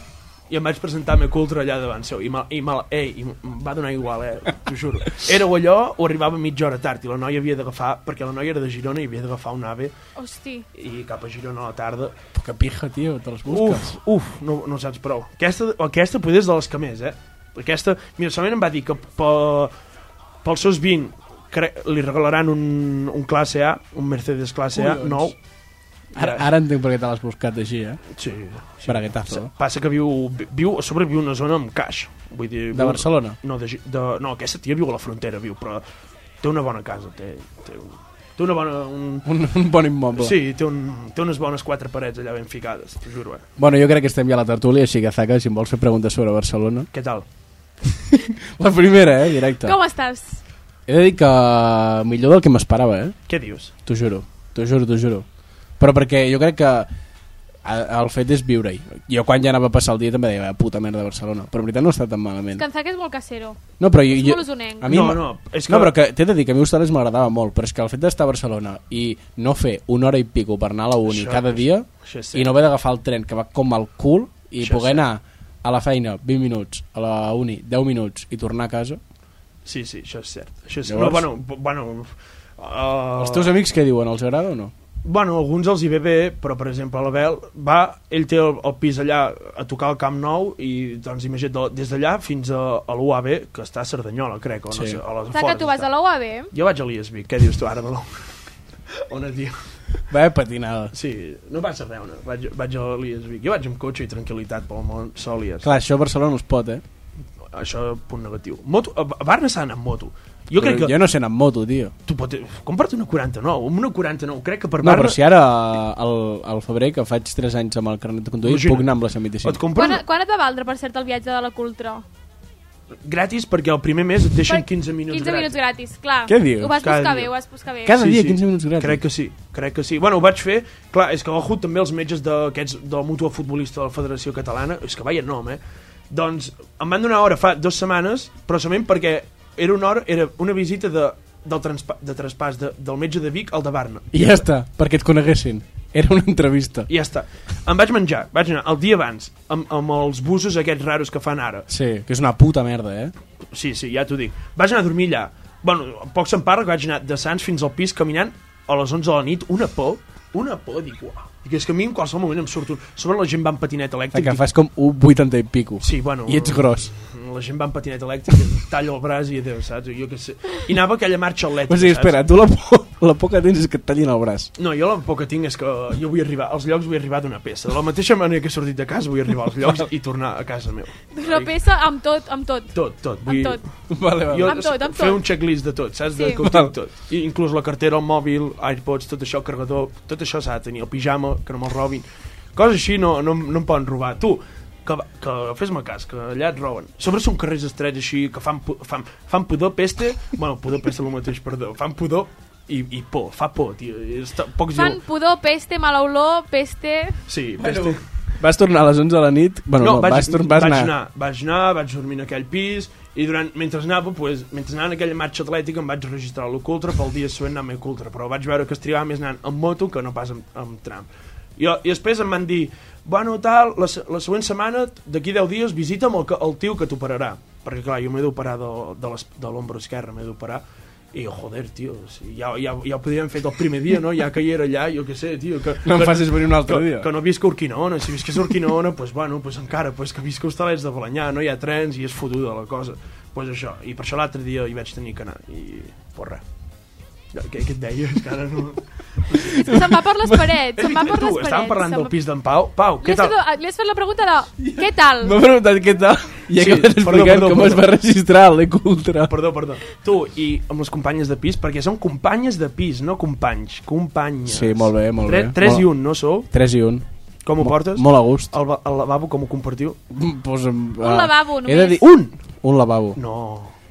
Speaker 4: i em vaig presentar amb cultra allà davant seu, i, me, i, me, la- ei, i em va donar igual, eh, t'ho juro. Era o allò, o arribava mitja hora tard, i la noia havia d'agafar, perquè la noia era de Girona, i havia d'agafar un ave,
Speaker 3: Hosti.
Speaker 4: i cap a Girona a la tarda,
Speaker 1: Que pija, tio, te les busques.
Speaker 4: Uf, uf, no, no ho saps prou. Aquesta, aquesta potser és de les que més, eh? Aquesta, mira, solament em va dir que pe, pels seus 20 cre, li regalaran un, un classe A, un Mercedes classe A,
Speaker 1: Collons.
Speaker 4: nou.
Speaker 1: Ara, ara entenc per què te l'has buscat així, eh?
Speaker 4: Sí. sí.
Speaker 1: Braguetazo.
Speaker 4: Passa que viu, viu, a sobre viu en una zona amb caix. Vull dir,
Speaker 1: De
Speaker 4: viu,
Speaker 1: Barcelona?
Speaker 4: No, de, Gi- de, no, aquesta tia viu a la frontera, viu, però té una bona casa, té, té, un, té una bona... Un,
Speaker 1: Un, un bon immoble.
Speaker 4: sí, té, un, té unes bones quatre parets allà ben ficades, t'ho juro, eh?
Speaker 1: Bueno, jo crec que estem ja a la tertúlia, així que, Zaka, si em vols fer preguntes sobre Barcelona...
Speaker 4: Què tal?
Speaker 1: La primera, eh? Directe.
Speaker 3: Com estàs?
Speaker 1: He de dir que millor del que m'esperava, eh?
Speaker 4: Què dius?
Speaker 1: T'ho juro, t'ho juro, t'ho juro. Però perquè jo crec que a- el fet és viure-hi. Jo quan ja anava a passar el dia també deia, "Ah, puta merda Barcelona. Però en veritat no està tan malament.
Speaker 3: Que en Zac és molt casero.
Speaker 1: No, però jo,
Speaker 3: és
Speaker 1: jo,
Speaker 3: molt usonenc.
Speaker 1: a mi
Speaker 4: No,
Speaker 1: m'ha-
Speaker 4: no, és que-
Speaker 1: no, però que t'he de dir que a mi Hostales m'agradava molt, però és que el fet d'estar a Barcelona i no fer una hora i pico per anar a la uni
Speaker 4: Això-
Speaker 1: cada dia
Speaker 4: això és
Speaker 1: i no haver d'agafar el tren que va com al cul i
Speaker 4: Això
Speaker 1: poder
Speaker 4: és
Speaker 1: anar a la feina 20 minuts, a la uni 10 minuts i tornar a casa.
Speaker 4: Sí, sí, això és cert. Això és...
Speaker 1: Llavors-
Speaker 4: No, bueno, bu- bueno... Uh...
Speaker 1: Els teus amics què diuen? Els agrada o no?
Speaker 4: Bueno, alguns els hi ve bé, però per exemple l'Abel va, ell té el, el pis allà a tocar el Camp Nou i doncs imagina't de- des d'allà fins a, a l'UAB, que està a Cerdanyola, crec, o no
Speaker 1: Sí.
Speaker 4: sé, a les
Speaker 3: Clar que tu vas a l'UAB,
Speaker 4: Jo vaig a l'ISB, què dius tu ara de l'O? On et diu? eh,
Speaker 1: Va, patinada.
Speaker 4: Sí, no passa res, no. Vaig, vaig a l'ISB. Jo vaig amb cotxe i tranquil·litat pel món, sol i es.
Speaker 1: Clar, això a Barcelona no es pot, eh?
Speaker 4: Això, punt negatiu. Moto, a a Barna s'ha anat amb moto. Jo crec
Speaker 1: Però
Speaker 4: que...
Speaker 1: Jo no sé anar amb moto, tio.
Speaker 4: Tu pot... Compra't una 49, amb una 49, crec que per
Speaker 1: No,
Speaker 4: Barna...
Speaker 1: però si ara al, al febrer, que faig 3 anys amb el carnet de conduir,
Speaker 4: Imagina't.
Speaker 1: puc anar amb la
Speaker 4: Et
Speaker 1: 125.
Speaker 4: compren
Speaker 3: Quan, quan et va valdre, per cert, el viatge de la Cultra?
Speaker 4: gratis perquè el primer mes et deixen
Speaker 3: Per-
Speaker 4: 15 minuts
Speaker 3: 15 minuts
Speaker 4: gratis.
Speaker 3: gratis, clar.
Speaker 1: Què dius?
Speaker 3: Ho vas
Speaker 4: Cada
Speaker 3: buscar
Speaker 4: dia.
Speaker 3: bé, ho vas buscar bé.
Speaker 1: Cada dia 15 minuts gratis.
Speaker 4: Crec que sí, crec que sí. Bueno, ho vaig fer... Clar, és que a l'Ajut també els metges d'aquests del Mutua Futbolista de la Federació Catalana, és que vaia nom, eh? Doncs em van donar hora fa dues setmanes, però solament perquè era una hora, era una visita de, del transpa, de traspàs de, del metge de Vic al de Barna.
Speaker 1: I ja està, perquè et coneguessin. Era una entrevista.
Speaker 4: I ja està. Em vaig menjar, vaig anar el dia abans, amb, amb els busos aquests raros que fan ara.
Speaker 1: Sí, que és una puta merda, eh?
Speaker 4: Sí, sí, ja t'ho dic. Vaig anar a dormir allà. Bueno, poc se'n parla que vaig anar de Sants fins al pis caminant a les 11 de la nit, una por, una por, dic, uah. Dic, és que a mi en qualsevol moment em surt un... Sobre la gent va amb patinet elèctric.
Speaker 1: Que
Speaker 4: dic,
Speaker 1: fas com un 80 i pico.
Speaker 4: Sí, bueno...
Speaker 1: I ets gros.
Speaker 4: "Mm, La gent va amb patinet elèctric, talla el braç i adéu, saps? Jo què sé. I anava aquella marxa atlètica,
Speaker 1: O sigui,
Speaker 4: saps?
Speaker 1: espera, tu la por, la por que tens és que et tallin el braç.
Speaker 4: No, jo la por que tinc és que jo vull arribar, als llocs vull arribar d'una peça. De la mateixa manera que he sortit de casa, vull arribar als llocs i tornar a casa meu.
Speaker 3: Una peça amb tot, amb tot.
Speaker 4: Tot, tot.
Speaker 3: Amb
Speaker 4: Vull...
Speaker 3: tot.
Speaker 1: Vale, vale.
Speaker 4: Jo
Speaker 3: Amb tot, amb
Speaker 4: fer
Speaker 3: tot.
Speaker 4: un checklist de tot, saps? Sí. De
Speaker 3: Sí.
Speaker 4: que ho tinc tot. I inclús la cartera, el mòbil, iPods, tot això, el carregador, tot això s'ha de tenir, el pijama, que no me'l robin. Coses així no, no, em- no em poden robar. Tu, que, va- que fes-me cas, que allà et roben. A Sobre són carrers estrets així, que fan, pu- fan, fan pudor, peste... bueno, pudor, peste, el mateix, perdó. Fan pudor i, i por, fa por, tio. Està, pocs
Speaker 3: Fan
Speaker 4: diuen...
Speaker 3: pudor, peste, mala olor, peste...
Speaker 4: Sí, peste.
Speaker 1: Vas tornar a les 11 de la nit... Bueno, no, no vas, tor- vas,
Speaker 4: vaig
Speaker 1: anar.
Speaker 4: Vaig anar, vaig dormir en aquell pis i durant, mentre anava, pues, mentre anava en aquella marxa atlètica em vaig registrar a l'Ocultra pel dia següent anar a l'Ocultra, però vaig veure que es trigava més anant amb moto que no pas amb, amb tram. I, I després em van dir, bueno, tal, la, se- la següent setmana, d'aquí 10 dies, visita'm el, que- el tio que t'operarà. Perquè, clar, jo m'he d'operar de, de les- de l'ombro esquerre, m'he d'operar. I jo, joder, tio, si ja, ja, ja ho podíem fet el primer dia, no? Ja que hi era allà, jo què sé, tio. Que,
Speaker 1: No em
Speaker 4: que-
Speaker 1: facis venir un altre
Speaker 4: que,
Speaker 1: dia.
Speaker 4: Que no visc a Urquinaona, si visqués a Urquinaona, doncs, bueno, doncs encara, doncs que visc a Hostalets de Balanyà, no hi ha trens i és fotuda la cosa. Doncs això, i per això l'altre dia hi vaig tenir que anar, i porra. Ja, Què, què et deia? És que ara no...
Speaker 3: És que se'n va per les parets, se'n va Ah, per les
Speaker 4: tu,
Speaker 3: parets.
Speaker 4: estàvem parlant
Speaker 3: se'n
Speaker 4: del
Speaker 3: va-
Speaker 4: pis d'en Pau. Pau,
Speaker 3: Li
Speaker 4: què
Speaker 3: has,
Speaker 4: tal?
Speaker 3: fet, li has fet la pregunta de què tal?
Speaker 1: M'ha preguntat què tal i
Speaker 4: Sí,
Speaker 1: sí, acabat
Speaker 4: perdó,
Speaker 1: explicant
Speaker 4: perdó,
Speaker 1: com
Speaker 4: perdó.
Speaker 1: es va registrar a l'Ecultra.
Speaker 4: Perdó, perdó. Tu i amb les companyes de pis, perquè són companyes de pis, no companys, companyes.
Speaker 1: Sí, molt bé, molt bé.
Speaker 4: 3
Speaker 1: Molt-
Speaker 4: i 1, no sou?
Speaker 1: 3 i 1.
Speaker 4: Com ho portes?
Speaker 1: Molt a gust.
Speaker 4: El, ba- el lavabo, com ho compartiu?
Speaker 1: Mm, Pues, un
Speaker 3: lavabo,
Speaker 1: He de
Speaker 3: només.
Speaker 1: dir,
Speaker 4: Un!
Speaker 1: un lavabo.
Speaker 4: No.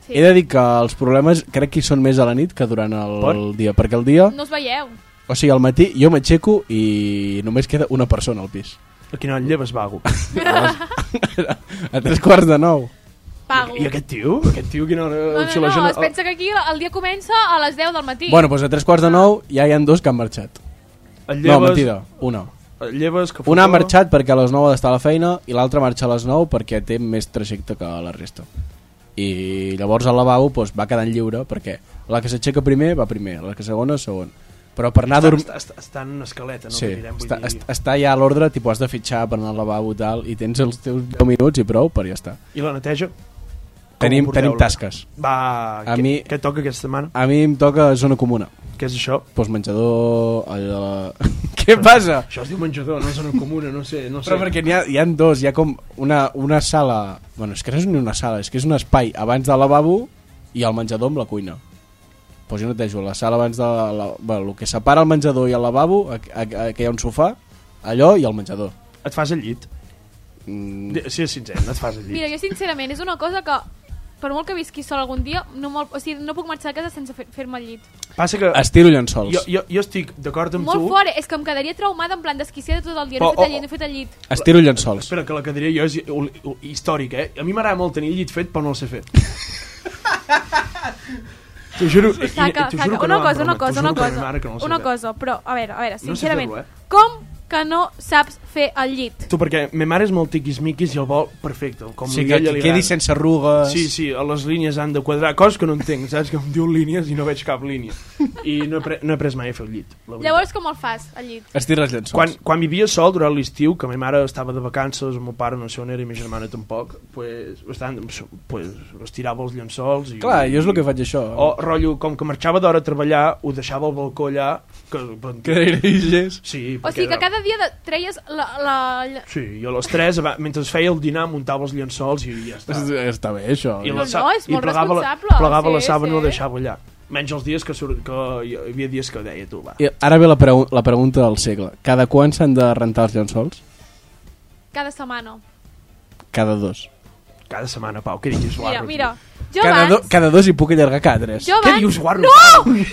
Speaker 3: Sí.
Speaker 1: He de dir que els problemes crec que hi són més a la nit que durant el,
Speaker 4: Per?
Speaker 1: dia, perquè el dia,
Speaker 3: No us veieu.
Speaker 1: o sigui, al matí jo m'aixeco i només queda una persona al pis.
Speaker 4: A quina hora et lleves, vago?
Speaker 1: A tres quarts de nou.
Speaker 3: Pago.
Speaker 4: I aquest tio? Aquest tio, quina hora...
Speaker 3: No,
Speaker 4: si
Speaker 3: no,
Speaker 4: la
Speaker 3: no,
Speaker 4: gent-
Speaker 3: es pensa que aquí el dia comença a les 10 del matí.
Speaker 1: Bueno, doncs a tres quarts de nou ja hi han dos que han marxat.
Speaker 4: Et
Speaker 1: No,
Speaker 4: lleves,
Speaker 1: mentida, una.
Speaker 4: Et lleves que
Speaker 1: Una ha
Speaker 4: fotó,
Speaker 1: marxat perquè a les 9 ha d'estar a la feina i l'altra marxa a les 9 perquè té més trajecte que la resta. I llavors el lavabo doncs, va quedant lliure perquè la que s'aixeca primer va primer, la que segona segon. Però per anar a
Speaker 4: Està,
Speaker 1: dormir...
Speaker 4: està, està, està en una escaleta, no?
Speaker 1: Sí,
Speaker 4: Que direm, vull
Speaker 1: està,
Speaker 4: dir.
Speaker 1: est- està ja a l'ordre, tipus has de fitxar per anar al lavabo i tal, i tens els teus 10 minuts i prou per ja està.
Speaker 4: I la neteja? ho
Speaker 1: Tenim,
Speaker 4: porteu,
Speaker 1: tenim
Speaker 4: la-
Speaker 1: tasques.
Speaker 4: Va,
Speaker 1: A
Speaker 4: què,
Speaker 1: mi-
Speaker 4: què toca aquesta setmana?
Speaker 1: A mi em toca zona comuna.
Speaker 4: Què és això?
Speaker 1: Pues menjador... allò de La... Què passa?
Speaker 4: Això es diu menjador, no zona comuna, no sé, no sé.
Speaker 1: Però perquè n'hi ha, hi ha dos, hi ha com una, una sala... Bueno, és que no és ni una sala, és que és un espai abans del lavabo i el menjador amb la cuina. Doncs jo netejo la sala abans de... La, bueno, el que separa el menjador i el lavabo, a, a, a, que hi ha un sofà, allò i el menjador.
Speaker 4: Et fas el llit.
Speaker 1: Mm,
Speaker 4: Di- Sí, és sincer, et fas el llit.
Speaker 3: Mira, jo sincerament, és una cosa que per molt que visqui sol algun dia, no, molt, o sigui, no puc marxar de casa sense fer- fer-me el llit.
Speaker 4: Passa que
Speaker 1: estiro llençols.
Speaker 4: jo, jo, jo estic d'acord amb
Speaker 3: Molt
Speaker 4: tu...
Speaker 3: fort, és que em quedaria traumada en plan desquiciada tot el dia.
Speaker 4: Oh,
Speaker 3: No
Speaker 4: oh,
Speaker 3: he fet el llit, no he fet el llit.
Speaker 1: Estiro llençols.
Speaker 4: Espera, que la que diré jo és ol- ol- històric, eh? A mi m'agrada molt tenir el llit fet, però no el sé fer. T'ho juro, i- i-
Speaker 3: Saca,
Speaker 4: t'ho
Speaker 3: saca.
Speaker 4: juro que
Speaker 3: Una
Speaker 4: no,
Speaker 3: cosa,
Speaker 4: en broma,
Speaker 3: una
Speaker 4: t'ho
Speaker 3: cosa,
Speaker 4: juro
Speaker 3: una
Speaker 4: que a mi m'agrada
Speaker 3: cosa.
Speaker 4: que no el sé
Speaker 3: Una
Speaker 4: fer.
Speaker 3: cosa, però, a veure, a veure,
Speaker 4: sé fer-lo,
Speaker 3: sincerament,
Speaker 4: eh?
Speaker 3: com que no saps fer el llit.
Speaker 4: Tu, perquè ma mare és molt tiquismiquis i el vol perfecte. Com
Speaker 1: Sí,
Speaker 4: li
Speaker 1: que,
Speaker 4: ella li
Speaker 1: que quedi
Speaker 4: agrada.
Speaker 1: sense arrugues.
Speaker 4: Sí, sí, les línies han de quadrar, coses que no entenc, saps? Que em diu línies i no veig cap línia. I no he, pre no he pres mai a fer el llit. La veritat.
Speaker 3: Llavors com el fas, el llit?
Speaker 1: Estirra els llençols.
Speaker 4: Quan, quan vivia sol durant l'estiu, que ma mare estava de vacances, el meu pare no sé on era i ma germana tampoc, pues, bastant, pues, es tirava els llençols i...
Speaker 1: Clar, jo és el que faig això.
Speaker 4: O, rotllo, com que marxava d'hora a treballar, ho deixava al balcó allà... Que,
Speaker 1: Que diriges.
Speaker 4: Sí,
Speaker 3: O sigui que
Speaker 4: era-
Speaker 3: cada dia de- treies la... la... la-
Speaker 4: Sí, jo a les 3, aba- mentre es feia el dinar, muntava els llençols i ja està.
Speaker 1: Està bé, això.
Speaker 4: Ah.
Speaker 1: eh?
Speaker 4: I
Speaker 3: No,
Speaker 4: la sa-
Speaker 3: no, és molt
Speaker 4: plegava
Speaker 3: responsable,
Speaker 4: La, plegava la
Speaker 3: sí,
Speaker 4: sàbana i
Speaker 3: sí.
Speaker 4: la deixava allà. Menys els dies que, surt, que hi havia dies que deia tu, va.
Speaker 1: I ara ve la, preu la pregunta del segle. Cada quan s'han de rentar els llençols?
Speaker 3: Cada setmana.
Speaker 1: Cada dos.
Speaker 4: Cada setmana, Pau, què diguis,
Speaker 3: Mira,
Speaker 4: guarro?
Speaker 3: mira. Jo
Speaker 1: cada,
Speaker 3: abans...
Speaker 1: cada dos hi puc allargar cada tres.
Speaker 3: Jo
Speaker 4: Què
Speaker 3: abans...
Speaker 4: dius, guarro?
Speaker 3: No! No!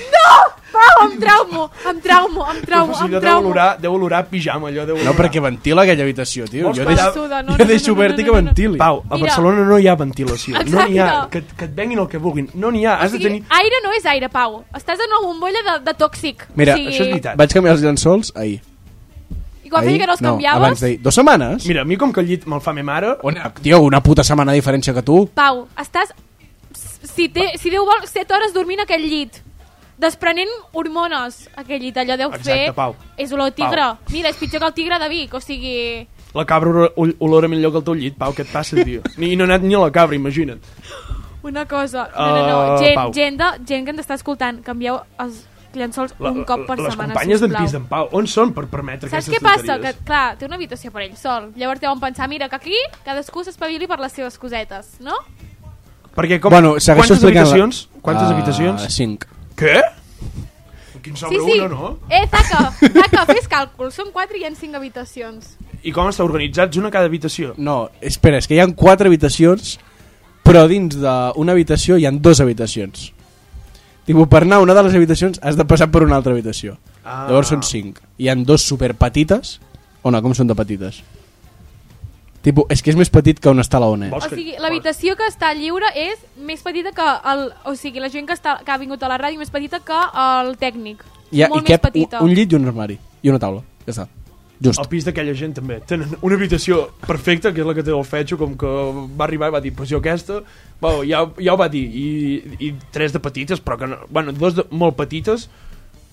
Speaker 3: Pau, em traumo, em traumo, em
Speaker 4: Però,
Speaker 3: traumo,
Speaker 4: si
Speaker 3: em
Speaker 4: deu olorar,
Speaker 3: traumo.
Speaker 4: deu olorar a pijama, allò deu
Speaker 1: No,
Speaker 4: olorar.
Speaker 1: perquè ventila aquella habitació, tio.
Speaker 4: Vols
Speaker 1: Jo
Speaker 4: que
Speaker 1: deixo,
Speaker 3: suda? No, no,
Speaker 1: jo
Speaker 3: no,
Speaker 1: deixo
Speaker 3: no, no,
Speaker 1: obert i
Speaker 3: no,
Speaker 1: que
Speaker 3: no, no.
Speaker 1: ventili.
Speaker 4: Pau, a
Speaker 3: Mira.
Speaker 4: Barcelona no hi ha ventilació. No n'hi ha.
Speaker 3: Exacte.
Speaker 4: Que, que et venguin el que vulguin. No n'hi ha.
Speaker 3: O
Speaker 4: Has de
Speaker 3: sigui,
Speaker 4: tenir...
Speaker 3: aire no és aire, Pau. Estàs en una bombolla de, de tòxic.
Speaker 1: Mira,
Speaker 3: o sigui,
Speaker 4: això és veritat.
Speaker 1: Vaig canviar els llençols ahir.
Speaker 3: I quan feia
Speaker 1: ahir?
Speaker 3: que no els
Speaker 1: No, abans
Speaker 3: canviaves...
Speaker 1: d'ahir. Dos setmanes?
Speaker 4: Mira, a mi com que el llit me'l fa ma mare...
Speaker 1: Una, tio, una puta setmana de diferència que tu.
Speaker 3: Pau, estàs... Si, té, si Déu vol, 7 hores dormint a aquell llit. Desprenent hormones, aquell llit. Allò deu
Speaker 4: Exacte,
Speaker 3: fer...
Speaker 4: Pau.
Speaker 3: És olor a tigre. Mira, és pitjor que el tigre de Vic, o sigui...
Speaker 4: La cabra ol- ol- olora millor que el teu llit, Pau, què et passa, tio? Ni, no ha anat ni a la cabra, imagina't.
Speaker 3: Una cosa... No, no, no.
Speaker 4: Eh,
Speaker 3: Gent,
Speaker 4: Pau.
Speaker 3: gent, de, gent que ens està escoltant, canvieu els llençols
Speaker 4: La,
Speaker 3: un cop per
Speaker 4: les
Speaker 3: setmana,
Speaker 4: companyes d'en
Speaker 3: sisplau.
Speaker 4: Pis d'en Pau, on són per permetre
Speaker 3: Saps què
Speaker 4: aquestes
Speaker 3: passa? Que,
Speaker 4: tonteries?
Speaker 3: clar, té una habitació per ell sol. Llavors deuen pensar, mira, que aquí cadascú s'espavili per les seves cosetes, no?
Speaker 4: Perquè com...
Speaker 1: bueno, segueixo
Speaker 4: quantes
Speaker 1: explicant...
Speaker 4: habitacions? Quantes
Speaker 1: Uh,
Speaker 4: habitacions?
Speaker 1: cinc.
Speaker 4: Què? Quin sobre una, no?
Speaker 3: Eh, taca, taca, fes càlcul. Són 4 i hi ha 5 habitacions.
Speaker 4: I com està organitzats? Una a cada habitació.
Speaker 1: No, espera, és que hi han quatre habitacions, però dins d'una habitació hi han dues habitacions. Tipo, per anar a una de les habitacions has de passar per una altra habitació.
Speaker 4: Ah.
Speaker 1: Llavors són cinc. Hi han dos superpetites. O no, com són de petites? Tipo, és que és més petit que on està la ONE.
Speaker 4: Vols
Speaker 3: O
Speaker 4: que-
Speaker 3: sigui, l'habitació que està lliure és més petita que el... O sigui, la gent que, està, que ha vingut a la ràdio més petita que el tècnic.
Speaker 1: Hi ha,
Speaker 3: Molt
Speaker 1: hi
Speaker 3: més
Speaker 1: cap un,
Speaker 3: petita.
Speaker 1: un llit i un armari. I una taula. Ja està. Just.
Speaker 4: al pis d'aquella gent també. Tenen una habitació perfecta, que és la que té el Fetxo, com que va arribar i va dir, pues jo aquesta, bueno, ja, ja ho va dir, i, i tres de petites, però que no, bueno, dos de, molt petites,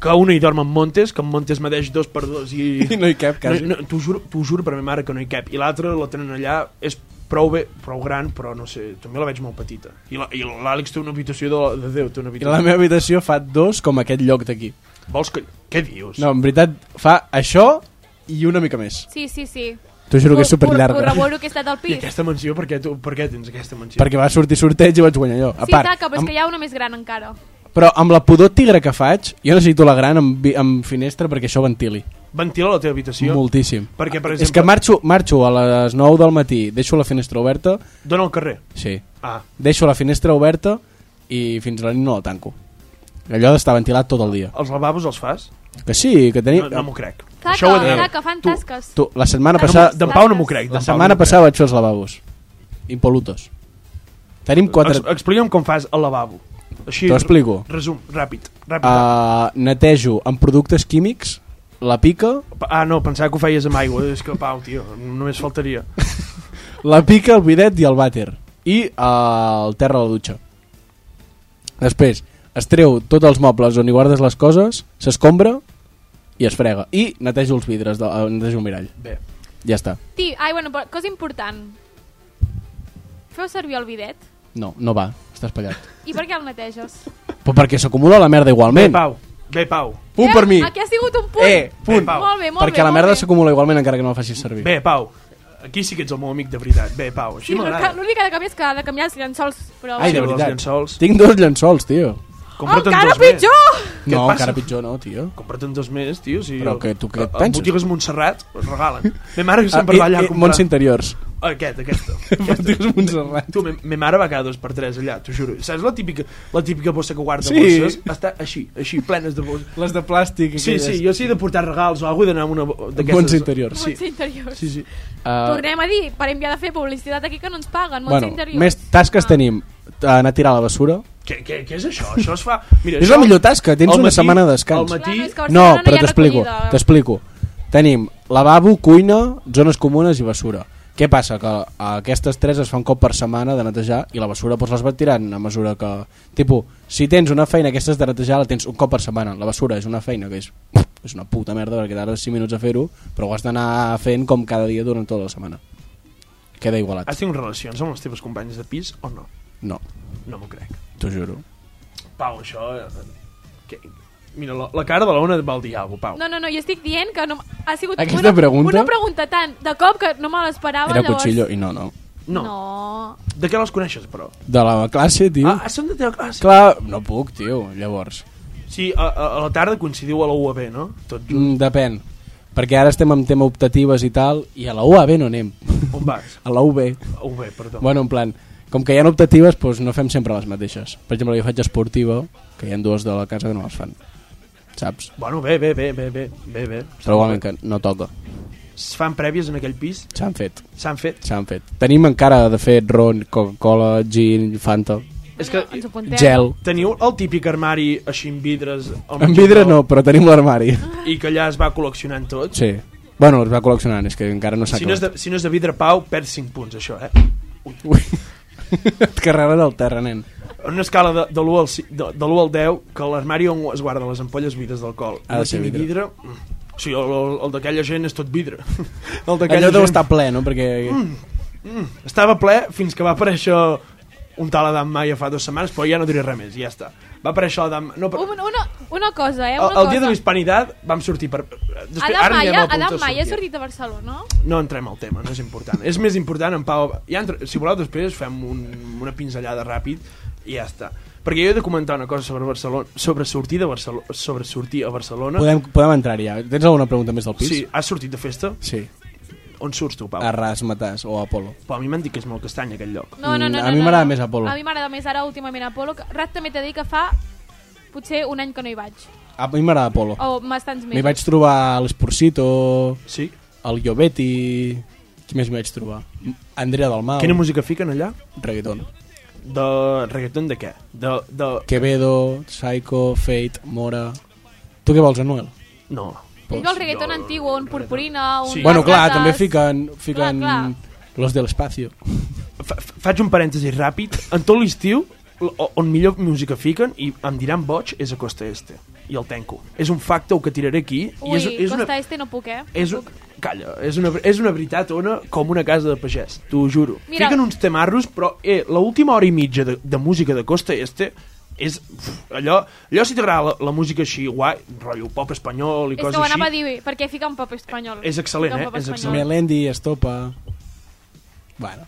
Speaker 4: que una hi dorm amb Montes, que en Montes medeix dos per dos i...
Speaker 1: I no hi cap, quasi.
Speaker 4: No, no, T'ho juro, t'ho juro per ma mare que no hi cap. I l'altra la tenen allà, és prou bé, prou gran, però no sé, també la veig molt petita. I la- i l'Àlex té una habitació de, de Déu, té una
Speaker 1: I la
Speaker 4: habitació...
Speaker 1: meva habitació fa dos com aquest lloc d'aquí.
Speaker 4: Vols que... Què dius?
Speaker 1: No, en veritat, fa això i una mica més.
Speaker 3: Sí, sí, sí.
Speaker 1: T'ho juro que és
Speaker 3: Cor- cor-
Speaker 1: superllarga.
Speaker 3: Corroboro que he estat al
Speaker 4: I
Speaker 3: pis.
Speaker 4: aquesta mansió, per què, tu, per què tens aquesta mansió?
Speaker 1: Perquè va sortir sorteig i vaig guanyar jo. A
Speaker 3: Sí,
Speaker 1: part,
Speaker 3: taca, però és
Speaker 1: amb-
Speaker 3: que hi ha una més gran encara.
Speaker 1: Però amb la pudor tigre que faig, jo necessito la gran amb, vi- amb finestra perquè això ventili.
Speaker 4: Ventila la teva habitació.
Speaker 1: Moltíssim.
Speaker 4: Perquè, per
Speaker 1: És que
Speaker 4: exemple,
Speaker 1: marxo, marxo a les 9 del matí, deixo la finestra oberta,
Speaker 4: dona al carrer.
Speaker 1: sí,
Speaker 4: Ah,
Speaker 1: deixo la finestra oberta i fins a la nit no la tanco. Allò d'estar ventilat tot el dia.
Speaker 4: els lavabos els fas?
Speaker 1: Que sí, que
Speaker 4: No,
Speaker 1: tenia...
Speaker 4: no m'ho crec.
Speaker 3: Taca,
Speaker 4: Això ho he de dir.
Speaker 3: taca, fan
Speaker 4: Tu-
Speaker 3: tasques.
Speaker 1: Tu, la setmana
Speaker 3: No m'ho-
Speaker 1: passada...
Speaker 4: D'en Pau no m'ho crec.
Speaker 1: La
Speaker 4: d'en Pau
Speaker 1: setmana
Speaker 4: no m'ho
Speaker 1: passada vaig fer els lavabos. Impolutos. Tenim
Speaker 4: crec.
Speaker 1: quatre...
Speaker 4: Ex Explica'm com fas el lavabo. Així,
Speaker 1: T'ho explico.
Speaker 4: Resum, ràpid. ràpid.
Speaker 1: Uh, netejo amb productes químics, la pica,
Speaker 4: Pa- Ah, no, pensava que ho feies amb aigua. És que, Pau, tio, només faltaria.
Speaker 1: La pica, el bidet i el vàter. I eh, el terra a la dutxa. Després, es treu tots els mobles on hi guardes les coses, s'escombra i es frega. I netejo els vidres, de, eh, netejo el mirall.
Speaker 4: Bé.
Speaker 1: Ja està.
Speaker 3: Ti, ai, bueno, però cosa important. Feu servir el bidet?
Speaker 1: No, no va, està espallat.
Speaker 3: I per què el neteges?
Speaker 1: Però perquè s'acumula la merda
Speaker 4: Bé,
Speaker 1: igualment.
Speaker 4: Pau. Bé, Pau.
Speaker 1: Punt per mi.
Speaker 3: Eh, Aquí ha sigut un punt.
Speaker 1: Eh,
Speaker 4: punt.
Speaker 3: Molt bé, molt bé.
Speaker 1: perquè la
Speaker 3: molt
Speaker 1: merda
Speaker 3: bé.
Speaker 1: s'acumula igualment encara que no la facis servir.
Speaker 4: Bé, Pau. Aquí sí que ets el meu amic de veritat. Bé, Pau, així
Speaker 3: Sí, però que-
Speaker 4: m'agrada.
Speaker 3: l'únic que ha de canviar és que ha de canviar els llençols. Però...
Speaker 1: Ai,
Speaker 4: Sí,
Speaker 1: de
Speaker 4: els
Speaker 1: veritat.
Speaker 4: llençols.
Speaker 1: Tinc dos llençols, tio.
Speaker 3: oh,
Speaker 4: Compra't en
Speaker 3: encara
Speaker 4: dos més.
Speaker 3: pitjor!
Speaker 4: et
Speaker 1: no,
Speaker 4: passa?
Speaker 1: encara pitjor no, tio.
Speaker 4: Compra't en dos més, tio. Si
Speaker 1: Però que tu què et
Speaker 4: a- a
Speaker 1: penses?
Speaker 4: Botigues Montserrat, es regalen. Ma mare que
Speaker 1: Ah,
Speaker 4: sempre va
Speaker 1: i-
Speaker 4: allà a
Speaker 1: i-
Speaker 4: comprar.
Speaker 1: Montse Interiors.
Speaker 4: Aquest, aquesta.
Speaker 1: Dius Montserrat.
Speaker 4: Tu, me- me mare va cada dos per tres allà, t'ho juro. Saps la típica, la típica bossa que guarda
Speaker 1: Sí.
Speaker 4: sí. bosses? Està així, així, plenes de bosses.
Speaker 1: Les de plàstic.
Speaker 4: Sí, sí, jo sí he de portar regals o alguna cosa d'anar amb una bo-
Speaker 1: Montse
Speaker 4: d'aquestes...
Speaker 1: Interiors.
Speaker 4: Sí.
Speaker 3: Montse Interiors.
Speaker 4: Sí, sí.
Speaker 1: Ah,
Speaker 3: Tornem a dir, per enviar de fer publicitat aquí que no ens paguen, Montse
Speaker 1: bueno,
Speaker 3: Interiors.
Speaker 1: més tasques
Speaker 3: Ah.
Speaker 1: tenim. Eh, Anar a tirar la bessura.
Speaker 4: Què, què, què és això? Això es fa... Mira,
Speaker 1: És la millor tasca, tens
Speaker 4: al
Speaker 1: una setmana de
Speaker 4: Al
Speaker 1: descans.
Speaker 4: matí...
Speaker 3: Clar, no, és que a
Speaker 1: No,
Speaker 3: Barcelona
Speaker 1: però
Speaker 3: hi ha
Speaker 1: t'explico,
Speaker 3: recollida.
Speaker 1: t'explico. Tenim lavabo, cuina, zones comunes i bessura. Què passa? Que eh, aquestes tres es fan cop per setmana de netejar i la bessura doncs, les vas tirant a mesura que... Tipo, si tens una feina aquestes de netejar la tens un cop per setmana. La bessura és una feina que és, és una puta merda perquè tardes 5 minuts a fer-ho, però ho has d'anar fent com cada dia durant tota la setmana. Queda igualat.
Speaker 4: Has tingut relacions amb les teves companyes de pis o no?
Speaker 1: No,
Speaker 4: No m'ho crec.
Speaker 1: t'ho juro.
Speaker 4: Pau, això... eh, Que... Mira, la, la cara de l'Ona et va al diabo, Pau.
Speaker 3: No, no, no, jo estic dient que no... ha sigut
Speaker 1: Aquesta
Speaker 3: una,
Speaker 1: pregunta?
Speaker 3: una pregunta tan de cop que no me l'esperava.
Speaker 1: Era
Speaker 3: Ah, llavors...
Speaker 1: cuchillo i no, no.
Speaker 4: No. no.
Speaker 3: No.
Speaker 4: De què les coneixes, però?
Speaker 1: De la classe, tio.
Speaker 4: Ah, ah, són de teva classe.
Speaker 1: Clar, no puc, tio, llavors.
Speaker 4: Sí, a, a, a la tarda coincidiu a la UAB, no? Tot just.
Speaker 1: Mm, depèn. Perquè ara estem amb tema optatives i tal, i a la UAB no anem.
Speaker 4: Mm. On vas?
Speaker 1: A la UB.
Speaker 4: A UAB, perdó.
Speaker 1: Bueno, en plan, com que hi ha optatives, doncs no fem sempre les mateixes. Per exemple, jo faig esportiva, que hi ha dues de la casa que no les fan. Saps?
Speaker 4: Bueno, bé, bé, bé, bé, bé, bé, bé.
Speaker 1: Però igualment que no toca.
Speaker 4: Es fan prèvies en aquell pis?
Speaker 1: S'han fet,
Speaker 4: S'han fet?
Speaker 1: s'han fet. Tenim encara, de fet, ron, Coca-Cola, gin, Fanta,
Speaker 4: És que
Speaker 3: Ens ho apuntem.
Speaker 1: gel.
Speaker 4: teniu el típic armari així amb vidres... al
Speaker 1: En
Speaker 4: mig
Speaker 1: vidre
Speaker 4: del-
Speaker 1: no, però tenim l'armari.
Speaker 4: I que allà es va col·leccionant tot?
Speaker 1: Sí. Bueno, els va col·leccionant, és que encara no s'ha
Speaker 4: Si no, és
Speaker 1: acabat.
Speaker 4: de, si no és de vidre, Pau, perd 5 punts, això, eh?
Speaker 1: Ui. Et carreguen el terra, nen.
Speaker 4: En una escala de, de l'1 al, ci- de, de l'1 al 10, que l'armari on es guarden les ampolles vides d'alcohol.
Speaker 1: Ha de ser
Speaker 4: tingui vidre
Speaker 1: vidre.
Speaker 4: mm. sí, el, el, el d'aquella gent és tot vidre. El
Speaker 1: Allò deu estar ple, no? Perquè...
Speaker 4: Mm, Estava ple fins que va aparèixer un tal Adam Maia fa dues setmanes, però ja no diré res més, ja està. Va aparèixer Adam... No, però...
Speaker 3: Un, una, una cosa, eh?
Speaker 4: El,
Speaker 3: Una
Speaker 4: el dia
Speaker 3: cosa.
Speaker 4: de la Hispanitat vam sortir per... Després,
Speaker 3: Adam
Speaker 4: ara anirem
Speaker 3: Maia,
Speaker 4: al punt
Speaker 3: Adam
Speaker 4: de
Speaker 3: Maia ha
Speaker 4: sortir.
Speaker 3: sortit a Barcelona.
Speaker 4: No entrem al tema, no és important. És més important, en Pau... Ja entre... Si voleu, després fem un, una pinzellada ràpid i ja està. Perquè jo he de comentar una cosa sobre Barcelona, sobre sortir de Barcelona, sobre sortir a Barcelona.
Speaker 1: Podem, podem entrar-hi ja. Tens alguna pregunta més del pis?
Speaker 4: Sí, has sortit de festa?
Speaker 1: Sí.
Speaker 4: On surts tu, Pau?
Speaker 1: A Ras Matàs o a Apolo.
Speaker 4: Però a mi m'han dit que és molt castany aquell lloc.
Speaker 3: No, no, no, no,
Speaker 1: Mm, a mi
Speaker 3: no,
Speaker 1: m'agrada
Speaker 3: no.
Speaker 1: més Apolo.
Speaker 3: A mi m'agrada més ara últimament Apolo. que- Rat també t'he de dir que fa potser un any que no hi vaig.
Speaker 1: A mi m'agrada Apolo.
Speaker 3: O bastants
Speaker 1: M'hi
Speaker 3: mesos.
Speaker 1: vaig trobar l'Esporcito,
Speaker 4: Sí?
Speaker 1: el Llobeti... Qui més m'hi vaig trobar? Andrea Dalmau,
Speaker 4: Quina música fiquen allà?
Speaker 1: reggaeton.
Speaker 4: De reggaeton de què? De, de...
Speaker 1: Quevedo, Psycho, Fate, Mora... Tu què vols, Anuel?
Speaker 4: No.
Speaker 3: Ell vol reggaeton antiguo, un purpurina, un...
Speaker 4: Sí.
Speaker 3: Sí.
Speaker 1: bueno,
Speaker 4: les
Speaker 1: clar, també fiquen, fiquen
Speaker 3: Clar,
Speaker 1: Los del Espacio.
Speaker 4: Fa, fa- faig un parèntesi ràpid. En tot l'estiu, l- o- on millor música fiquen, i em diran boig, és a Costa Este. I el tenco. És un facto que tiraré aquí.
Speaker 3: Ui,
Speaker 4: i és, és
Speaker 3: Costa
Speaker 4: una,
Speaker 3: Este no puc, eh?
Speaker 4: és un, calla, és una, és una veritat, Ona, com una casa de pagès, t'ho juro.
Speaker 3: Mira-
Speaker 4: Fiquen uns temarros, però eh, l'última hora i mitja de, de música de Costa Este és uf, allò, allò si t'agrada la, la música així guai, rotllo pop espanyol i
Speaker 3: És que
Speaker 4: coses
Speaker 3: ho anava a
Speaker 4: així,
Speaker 3: dir, perquè fica un pop espanyol.
Speaker 4: És excel·lent,
Speaker 3: Fica un
Speaker 4: eh?
Speaker 3: pop
Speaker 4: És
Speaker 3: espanyol.
Speaker 4: excel·lent.
Speaker 1: Melendi, Estopa... Bueno,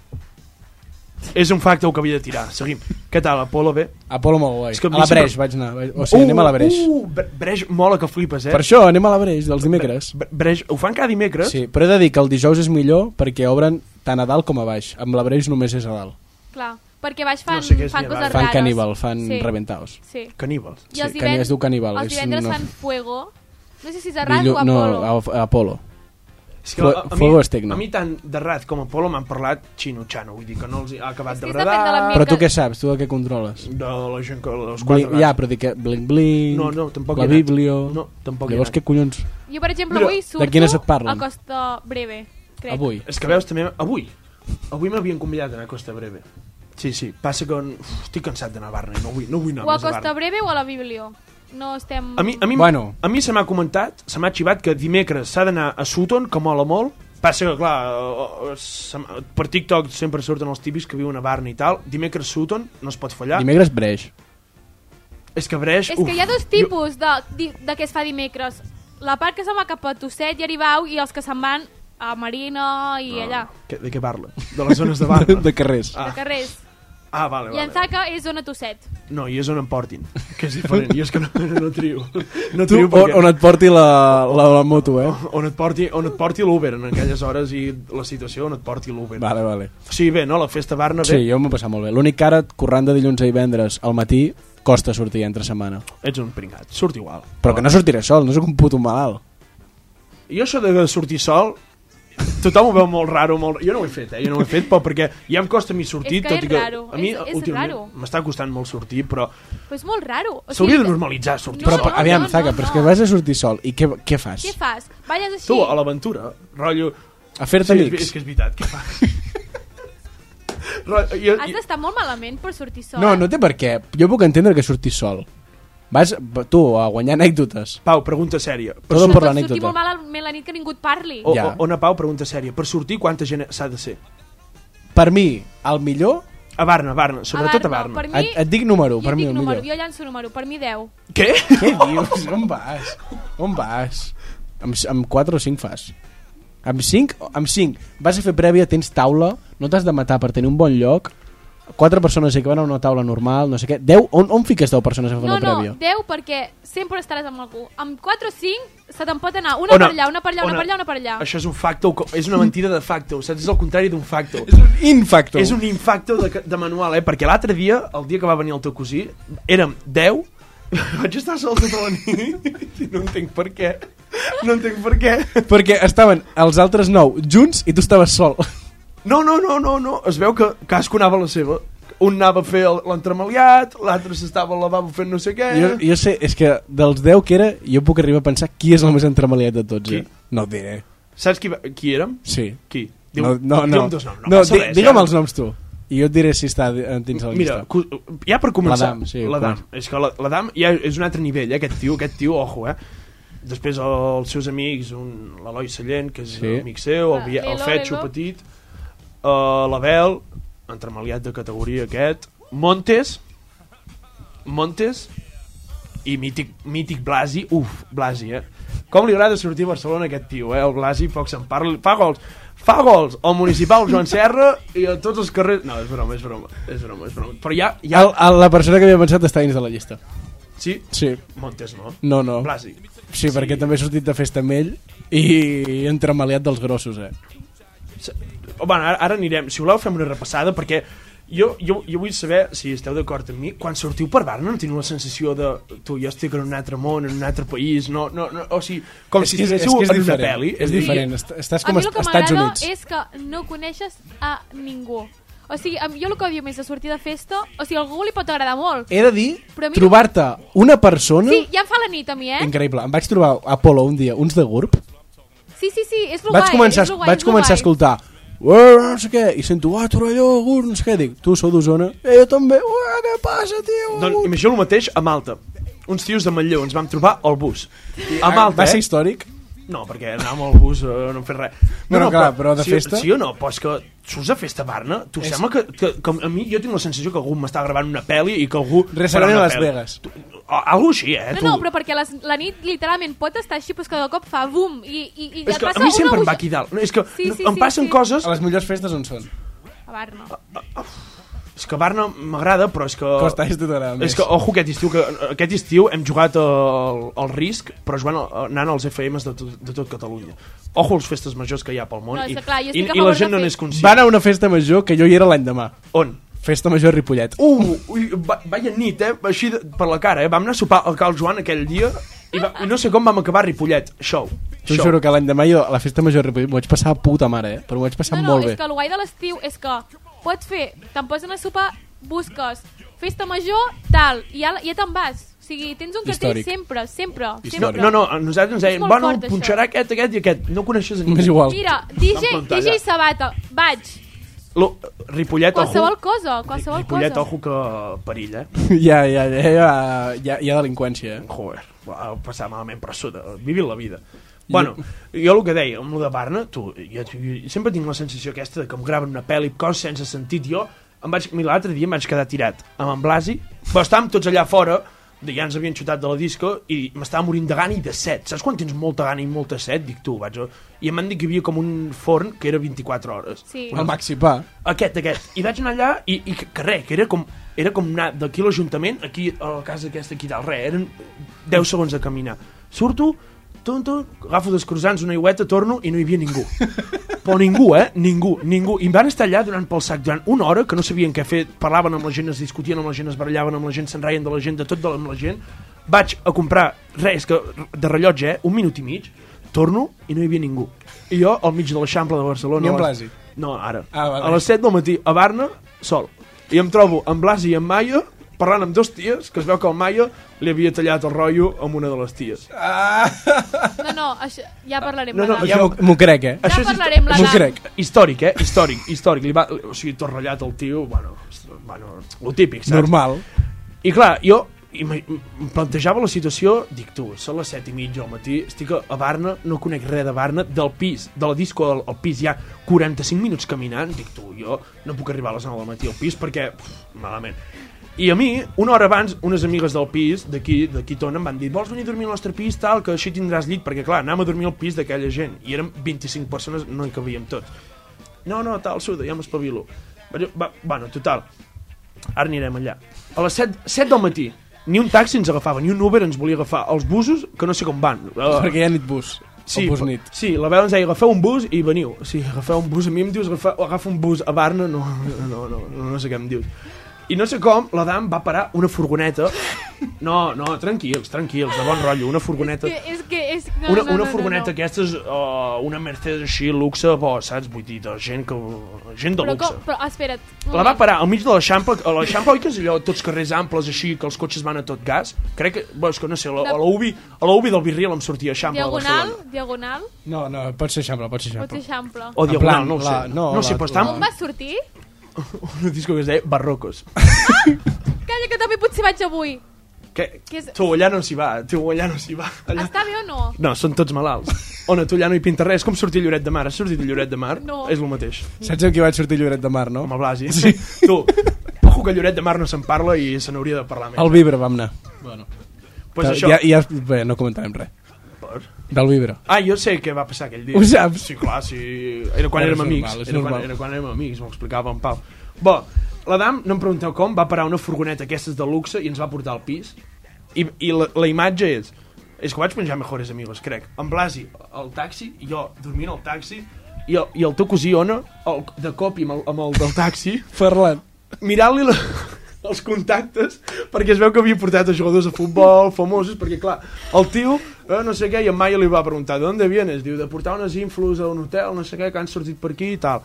Speaker 4: és un facte que havia de tirar. Seguim. Què tal, Apolo, bé?
Speaker 1: Apolo molt guai.
Speaker 4: És que a mi
Speaker 1: a la
Speaker 4: sempre-
Speaker 1: Breix vaig anar. vaig- O sigui, anem a la Breix.
Speaker 4: Uh, Bre- Breix mola que flipes, eh?
Speaker 1: Per això, anem a la Breix, dels dimecres.
Speaker 4: Bre- Breix, ho fan cada dimecres?
Speaker 1: Sí, però he de dir que el dijous és millor perquè obren tant a dalt com a baix. Amb la Breix només és a dalt.
Speaker 3: Clar, perquè baix fan,
Speaker 4: No sé què és
Speaker 3: fan
Speaker 4: ni
Speaker 3: coses
Speaker 4: raro.
Speaker 3: rares.
Speaker 1: Fan caníbal, fan
Speaker 3: sí.
Speaker 1: reventaos.
Speaker 3: Sí.
Speaker 4: Caníbals.
Speaker 3: I els
Speaker 1: Sí, cani-
Speaker 3: divendres,
Speaker 1: es diu caníbal,
Speaker 3: Els
Speaker 1: és
Speaker 3: divendres
Speaker 1: una-
Speaker 3: fan fuego. No sé si és Arrat
Speaker 1: Dillu-
Speaker 3: o
Speaker 1: no,
Speaker 3: Apolo.
Speaker 1: a, a Apolo.
Speaker 4: És que
Speaker 1: Fue-
Speaker 4: a- a mi-
Speaker 1: Fuego es tecno.
Speaker 4: A mi tant de Rat com Apolo m'han parlat xino-xano, vull dir que no els hi ha acabat
Speaker 3: És que és
Speaker 4: d'agradar.
Speaker 3: depèn de l'ambient.
Speaker 1: Però tu què saps? Tu de què controles?
Speaker 4: de la gent que els quatre
Speaker 1: Bling,
Speaker 4: gats.
Speaker 1: ja, però dic que bling bling,
Speaker 4: No, no, tampoc
Speaker 1: la
Speaker 4: he anat.
Speaker 1: biblio...
Speaker 4: No, tampoc he
Speaker 1: Llavors
Speaker 4: anat.
Speaker 1: què collons?
Speaker 3: Jo, per exemple,
Speaker 4: Mira,
Speaker 3: avui
Speaker 4: de
Speaker 3: surto
Speaker 1: quines et parlen?
Speaker 3: a Costa Breve, crec.
Speaker 1: Avui.
Speaker 4: És que veus també... Avui, avui m'havien convidat a anar a Costa Breve. Sí, sí, passa que uf, estic cansat d'anar a Barna, no vull, no vull anar
Speaker 3: O a
Speaker 4: més a
Speaker 3: Costa
Speaker 4: Barna.
Speaker 3: Breve o a la Biblio. No estem...
Speaker 4: A mi, a mi,
Speaker 1: Bueno.
Speaker 4: a mi se m'ha comentat, se m'ha xivat que dimecres s'ha d'anar a Sutton, que mola molt, passa que, clar, eh, eh, se m- per TikTok sempre surten els tipis que viuen a Barna i tal. Dimecres Sutton, no es pot fallar.
Speaker 1: Dimecres breix.
Speaker 4: És que Breix...
Speaker 3: És que hi ha dos tipus de, di- de què es fa dimecres. La part que se'n va cap a Tosset i Aribau i els que se'n van a Marina i allà.
Speaker 4: Jo... De què parla? De les zones de Barna?
Speaker 1: de carrers.
Speaker 4: Ah.
Speaker 3: De carrers.
Speaker 4: Ah, vale, vale.
Speaker 3: Llançaca és zona Tosset.
Speaker 4: No, i és on em portin, que és diferent. Jo és que no, no trio. No
Speaker 1: Tu,
Speaker 4: trio
Speaker 1: on, on et porti la, la, la moto, eh?
Speaker 4: on et porti, on et porti l'Uber en aquelles hores i la situació on et porti l'Uber.
Speaker 1: Vale, vale.
Speaker 4: Sí, bé, no? La festa Barna,
Speaker 1: Sí,
Speaker 4: bé,
Speaker 1: jo m'ho he passat molt bé. L'únic que ara, corrent de dilluns a divendres al matí, costa sortir entre setmana.
Speaker 4: ets un pringat, surt igual.
Speaker 1: Però que no sortiré sol, no sóc un puto malalt.
Speaker 4: Jo això de sortir sol, tothom ho veu molt raro, molt... jo no ho he fet, eh? jo no ho he fet, però perquè ja em costa a mi sortir,
Speaker 3: És que
Speaker 4: tot
Speaker 3: és
Speaker 4: i que
Speaker 3: raro,
Speaker 4: a mi
Speaker 3: és- és raro.
Speaker 4: últimament m'està costant molt sortir, però
Speaker 3: Però és molt raro. O
Speaker 4: s'hauria de normalitzar sortir. Ah,
Speaker 1: Però,
Speaker 3: No,
Speaker 1: no, aviam,
Speaker 3: no,
Speaker 1: no, Zaga,
Speaker 3: no,
Speaker 1: però és
Speaker 3: no.
Speaker 1: que vas a sortir sol. I què, què fas?
Speaker 3: Què fas? Balles així?
Speaker 4: Tu, a l'aventura, rotllo...
Speaker 1: A
Speaker 4: Sí,
Speaker 1: fer-te
Speaker 4: és,
Speaker 1: amics.
Speaker 4: és que és veritat, què fas? Rotllo, jo,
Speaker 3: Has d'estar molt malament per sortir sola.
Speaker 1: No, no té per què. Jo puc entendre que sortir sol. Vas, tu, a guanyar anècdotes.
Speaker 4: Pau, pregunta sèria. Per
Speaker 3: Però
Speaker 1: Todo per
Speaker 3: pots sortir molt
Speaker 1: l'anècdota.
Speaker 3: malament la nit que ningú et parli.
Speaker 4: O,
Speaker 1: Ja.
Speaker 4: o, Ona Pau, pregunta sèria. Per sortir, quanta gent s'ha de ser?
Speaker 1: Per mi, el millor,
Speaker 4: A Barna, a Barna, sobretot a Barna.
Speaker 3: Per mi,
Speaker 1: et, et dic número,
Speaker 3: jo,
Speaker 1: per mi
Speaker 3: dic
Speaker 1: el
Speaker 3: número,
Speaker 1: millor.
Speaker 3: jo llanço número, per mi 10.
Speaker 4: Què?
Speaker 1: Què dius? On vas? On vas? Amb, amb 4 o 5 fas. Amb 5? Amb 5. Vas a fer prèvia, tens taula, no t'has de matar per tenir un bon lloc, 4 persones que van a una taula normal, no sé què. 10? On, on fiques 10 persones a fer
Speaker 3: No,
Speaker 1: una
Speaker 3: no,
Speaker 1: prèvia?
Speaker 3: 10 perquè sempre estaràs amb algú. Amb 4 o 5 se te'n pot anar una per allà, una per allà, una per allà, una per allà.
Speaker 4: Això és un facto, co- és una mentida de facto, saps? És el contrari d'un facto.
Speaker 1: Infacto.
Speaker 4: És un infacto de, de manual, eh? Perquè l'altre dia, el dia que va venir el teu cosí, érem 10, vaig estar sol tota la nit i no entenc per què. No entenc per què.
Speaker 1: Perquè estaven els altres 9 junts i tu estaves sol.
Speaker 4: No, no, no, no, no. Es veu que cadascú anava a la seva. Un anava a fer el- l'entremaliat, l'altre s'estava al lavabo fent no sé què.
Speaker 1: Jo, jo sé, és que dels 10 que era, jo puc arribar a pensar qui és el més entremaliat de tots. Eh?
Speaker 4: Qui?
Speaker 1: No et diré.
Speaker 4: Saps qui, va- qui érem?
Speaker 1: Sí.
Speaker 4: Qui?
Speaker 1: no, no, no.
Speaker 4: Digue'm dos noms. No,
Speaker 1: no
Speaker 4: passa
Speaker 1: di,
Speaker 4: res,
Speaker 1: digue'm
Speaker 4: eh?
Speaker 1: els noms tu. I jo et diré si està di- dins la
Speaker 4: Mira,
Speaker 1: llista.
Speaker 4: cu- ja per començar...
Speaker 1: L'Adam, sí,
Speaker 4: L'Adam.
Speaker 1: com-
Speaker 4: És que la- l'Adam ja és un altre nivell, eh, aquest tio, aquest tio, ojo, eh? Després els seus amics, un- l'Eloi Sallent, que és
Speaker 1: Sí.
Speaker 4: amic seu, el,
Speaker 3: Ah,
Speaker 4: Vi- el
Speaker 3: Lelo,
Speaker 4: Fetxo
Speaker 3: Lelo.
Speaker 4: Petit, uh, l'Abel, entremaliat de categoria aquest, Montes, Montes, i mític, mític Blasi, uf, Blasi, eh? Com li agrada sortir a Barcelona a aquest tio, eh? El Blasi poc se'n parla, fa gols, fa gols al municipal Joan Serra i a tots els carrers... No, és broma, és broma, és broma, és broma. Però ja, ja...
Speaker 1: El, el, la persona que havia pensat està dins de la llista.
Speaker 4: Sí,
Speaker 1: Sí.
Speaker 4: Montes no.
Speaker 1: No, no.
Speaker 4: Blasi.
Speaker 1: Sí, perquè també he sortit de festa amb ell i entremaliat dels grossos, eh?
Speaker 4: Oh, bueno, ara, ara anirem, si voleu fem una repassada perquè jo, jo, jo vull saber si esteu d'acord amb mi, quan sortiu per Barna no teniu la sensació de, tu, jo estic en un altre món en un altre país, no, no, no o sigui com si
Speaker 1: que
Speaker 4: estiguéssiu en una
Speaker 1: diferent.
Speaker 4: pel·li
Speaker 1: És diferent. Est- Estàs
Speaker 3: A
Speaker 1: com
Speaker 3: mi
Speaker 1: a
Speaker 3: el que
Speaker 1: Estats
Speaker 3: m'agrada
Speaker 1: Units.
Speaker 3: és que no coneixes a ningú. O sigui, a mi- jo el que odio més de sortir de festa... O sigui, a algú li pot agradar molt.
Speaker 1: He de dir,
Speaker 3: Però a mi no-
Speaker 1: trobar-te una persona...
Speaker 3: Sí, ja em fa la nit a mi, eh?
Speaker 1: Increïble. Em vaig trobar a Polo un dia, uns de GURB,
Speaker 3: Sí, sí, sí, és lo
Speaker 1: vaig
Speaker 3: guai,
Speaker 1: començar,
Speaker 3: és lo guai, és
Speaker 1: vaig
Speaker 3: lo
Speaker 1: començar a
Speaker 3: guai.
Speaker 1: escoltar "Ué, no sé què, i sento, ah, Torelló, Gur, no sé què, dic, tu sou d'Osona? Eh, jo també, ué, què passa, tio?
Speaker 4: Doncs imagino el mateix a Malta. Uns tios de Manlleu ens vam trobar al bus. A
Speaker 1: Ah,
Speaker 4: Malta,
Speaker 1: Va ser
Speaker 4: eh?
Speaker 1: històric?
Speaker 4: No, perquè anàvem al bus, eh, no hem fet res. No,
Speaker 1: Bueno, clar, però de
Speaker 4: sí,
Speaker 1: festa?
Speaker 4: Sí o no? Però és que surts a festa a Barna, tu és... sembla que, que, que, a mi jo tinc la sensació que algú m'està gravant una pel·li i que algú...
Speaker 1: Restaurant
Speaker 4: farà una
Speaker 1: a Las
Speaker 4: pel·li.
Speaker 1: Vegas.
Speaker 4: Tu, o- algo així, eh?
Speaker 3: No,
Speaker 4: tu.
Speaker 3: no, però perquè les, la nit literalment pot estar així, però és que de cop fa bum i, i, i
Speaker 4: És
Speaker 3: et
Speaker 4: que
Speaker 3: passa
Speaker 4: a mi sempre
Speaker 3: una
Speaker 4: em va aquí dalt. No, és que
Speaker 3: Sí,
Speaker 4: no,
Speaker 3: sí,
Speaker 4: em
Speaker 3: sí,
Speaker 4: passen
Speaker 3: sí.
Speaker 4: coses...
Speaker 1: A les millors festes on són?
Speaker 3: A Barna.
Speaker 4: És que Barna m'agrada, però és que...
Speaker 1: Costa, és tot agrada més.
Speaker 4: Oh. És que, ojo, aquest estiu, que, aquest estiu hem jugat al, al risc, però jugant al- anant als FMs de tot, de tot Catalunya. Ojo als festes majors que hi ha pel món
Speaker 3: No, és
Speaker 4: i,
Speaker 3: que clar, jo
Speaker 4: i,
Speaker 3: estic
Speaker 4: i
Speaker 3: a
Speaker 4: la
Speaker 3: favor
Speaker 4: gent
Speaker 3: de
Speaker 4: no
Speaker 3: fer-
Speaker 4: n'és conscient.
Speaker 1: Van a una festa major que jo hi era l'any demà.
Speaker 4: On?
Speaker 1: Festa major a Ripollet. Uh,
Speaker 4: Uh, ui, va, vaya nit, eh? Així de, per la cara, eh? Vam anar a sopar al Cal Joan aquell dia i, va, i no sé com vam acabar a Ripollet. Show.
Speaker 1: T'ho
Speaker 4: Show.
Speaker 1: juro que l'any demà jo a la festa major a Ripollet m'ho vaig passar a puta mare, eh? Però m'ho vaig passar
Speaker 3: No, no,
Speaker 1: molt
Speaker 3: és
Speaker 1: bé.
Speaker 3: que el guai de l'estiu és que pots fer, te'n pots anar a sopar, busques festa major, tal, i ja, ja te'n vas. O sigui, tens un cartell
Speaker 1: Històric.
Speaker 3: sempre, sempre,
Speaker 4: No,
Speaker 3: sempre.
Speaker 4: no, no, a nosaltres ens
Speaker 3: És
Speaker 4: deien,
Speaker 3: molt
Speaker 4: bueno,
Speaker 3: fort, això.
Speaker 4: punxarà aquest, aquest i aquest. No coneixes a ningú.
Speaker 1: M'és igual.
Speaker 3: Mira, DJ,
Speaker 4: Vam plantar
Speaker 3: DJ
Speaker 4: allà.
Speaker 3: Sabata, vaig.
Speaker 4: Lo, Ripollet,
Speaker 3: Qualsevol
Speaker 4: ojo.
Speaker 3: cosa, qualsevol
Speaker 4: Ripollet,
Speaker 3: cosa.
Speaker 4: ojo, que perill, eh?
Speaker 1: Ja, ja, ja, ja, ja, hi ha delinqüència, eh?
Speaker 4: Joder, va passar malament, però soda, vivint la vida. Bueno, jo el que deia, amb el de Barna, tu, jo, jo sempre tinc la sensació aquesta de que em graven una pel·li, coses sense sentit, jo em vaig, mira, l'altre dia em vaig quedar tirat amb en Blasi, però estàvem tots allà fora, de- ja ens havien xutat de la disco i m'estava morint de gana i de set. Saps quan tens molta gana i molta set? Dic tu, vaig... a- I em van dir que hi havia com un forn que era 24 hores
Speaker 3: Sí.
Speaker 1: El Maxi Pa.
Speaker 4: aquest, aquest. I vaig anar allà i, i que, que res, que era com, era com anar d'aquí a l'Ajuntament, aquí a la casa aquesta, aquí dalt, res, eren 10 segons de caminar. Surto, tonto, agafo dos croissants, una aigüeta, torno i no hi havia ningú. Però ningú, eh? Ningú, ningú. I em van estar allà durant pel sac durant una hora que no sabien què fer, parlaven amb la gent, es discutien amb la gent, es barallaven amb la gent, se'n reien de la gent, de tot de la, amb la gent. Vaig a comprar res que, de rellotge, eh? Un minut i mig torno i no hi havia ningú. I jo al mig de l'Eixample de Barcelona...
Speaker 1: Ni en
Speaker 4: a les-
Speaker 1: Blasi?
Speaker 4: No, ara.
Speaker 1: Ah, vale.
Speaker 4: A les 7 del matí, a Barna, sol. I em trobo amb Blasi i amb Maia parlant amb dos ties, que es veu que el Maia li havia tallat el rotllo amb una de les ties.
Speaker 3: No, no, això, ja parlarem.
Speaker 4: No, no,
Speaker 3: Nadal.
Speaker 1: Ja m'ho- m'ho crec, eh?
Speaker 4: Això és
Speaker 3: parlarem
Speaker 4: histo-
Speaker 1: M'ho
Speaker 3: legal.
Speaker 1: crec.
Speaker 4: Històric, eh? Històric, històric. Li va, o sigui, tot ratllat el tio, bueno, bueno, lo típic, saps?
Speaker 1: Normal.
Speaker 4: I clar, jo ima- em plantejava la situació, dic tu, són les set i mitja al matí, estic a a Barna, no conec res de Barna, del pis, de la disco al, al pis hi ha 45 minuts caminant, dic tu, jo no puc arribar a les 9 del matí al pis perquè, puf, malament. I a mi, una hora abans, unes amigues del pis, d'aquí, d'aquí Tona, em van dir vols venir a dormir al nostre pis, tal, que així tindràs llit, perquè clar, anàvem a dormir al pis d'aquella gent, i érem 25 persones, no hi cabíem tots. No, no, tal, suda, ja m'espavilo. Va, va, bueno, total, ara anirem allà. A les 7, 7 del matí, ni un taxi ens agafava, ni un Uber ens volia agafar. Els busos, que no sé com van. Uh,
Speaker 1: Ah, Perquè hi ha nit bus. Sí. bus nit.
Speaker 4: Sí, la Bel ens deia, agafeu un bus i veniu. O sigui, agafeu un bus, a mi em dius, agafa, agafa un bus a Barna, no, no, no, no, no sé què em dius. I no sé com, la Dam va parar una furgoneta. No, no, tranquils, tranquils, de bon rotllo, una furgoneta
Speaker 3: Que, és que... És... No,
Speaker 4: una,
Speaker 3: no, no,
Speaker 4: una
Speaker 3: no,
Speaker 4: furgoneta
Speaker 3: no.
Speaker 4: aquesta és uh, una Mercedes així, luxe, bo, saps? Vull dir, de gent, que, gent de
Speaker 3: Però,
Speaker 4: luxe.
Speaker 3: com, però espera't. un
Speaker 4: La va
Speaker 3: moment.
Speaker 4: parar al mig de l'Eixample, a l'Eixample oi que és allò, tots carrers amples així, que els cotxes van a tot gas? Crec que, bo, és que no sé, a la, a la UBI, a la UBI del Virril em sortia Eixample
Speaker 3: Diagonal,
Speaker 4: a Barcelona. Oh.
Speaker 3: diagonal,
Speaker 1: No, no, pot ser xample, pot ser
Speaker 3: pot ser
Speaker 1: xample.
Speaker 3: eixample.
Speaker 4: O
Speaker 1: En
Speaker 4: Diagonal,
Speaker 1: plan,
Speaker 4: no ho sé.
Speaker 1: la-
Speaker 4: no,
Speaker 1: no,
Speaker 4: no sé,
Speaker 1: la-
Speaker 4: però estàvem
Speaker 3: On vas sortir?
Speaker 4: un disco que es deia Barrocos.
Speaker 3: Calla, que també potser vaig avui.
Speaker 4: Que,
Speaker 3: Què és-
Speaker 4: tu allà no s'hi va, tu allà no s'hi va. Allà...
Speaker 3: Està bé o no?
Speaker 4: No, són tots malalts. Ona, tu allà no hi pinta res. Com sortir a Lloret de Mar? Has sortit a Lloret de Mar?
Speaker 3: No.
Speaker 4: És el mateix.
Speaker 1: Saps amb qui vaig sortir Lloret de Mar, no?
Speaker 4: Home, Blasi. Sí. tu, ojo que a Lloret de Mar no se'n parla i se n'hauria de parlar més.
Speaker 1: Al Vibre vam anar.
Speaker 4: pues això...
Speaker 1: Ja, ja, bé, no comentarem res.
Speaker 4: Per?
Speaker 1: Del Vibre.
Speaker 4: Ah, jo sé què va passar aquell dia.
Speaker 1: Ho saps?
Speaker 4: Sí, clar, sí. Era quan
Speaker 1: Bueno,
Speaker 4: érem
Speaker 1: és
Speaker 4: amics.
Speaker 1: normal, és
Speaker 4: era, quan,
Speaker 1: normal.
Speaker 4: era quan érem amics, m'ho explicava en Pau. Bo, la dam, no em pregunteu com, va parar una furgoneta aquestes de luxe i ens va portar al pis. I, i la, la imatge és... És que ho vaig penjar a Mejores Amigos, crec. En Blasi, al taxi, i jo dormint al taxi, i el, i el teu cosí Ona, el, de cop i amb el, amb el del taxi,
Speaker 1: Ferran.
Speaker 4: mirant-li la, els contactes perquè es veu que havia portat a jugadors de futbol famosos, perquè clar, el tio eh, no sé què, i en Maia li va preguntar d'on vienes? Diu, de portar unes influs a un hotel no sé què, que han sortit per aquí i tal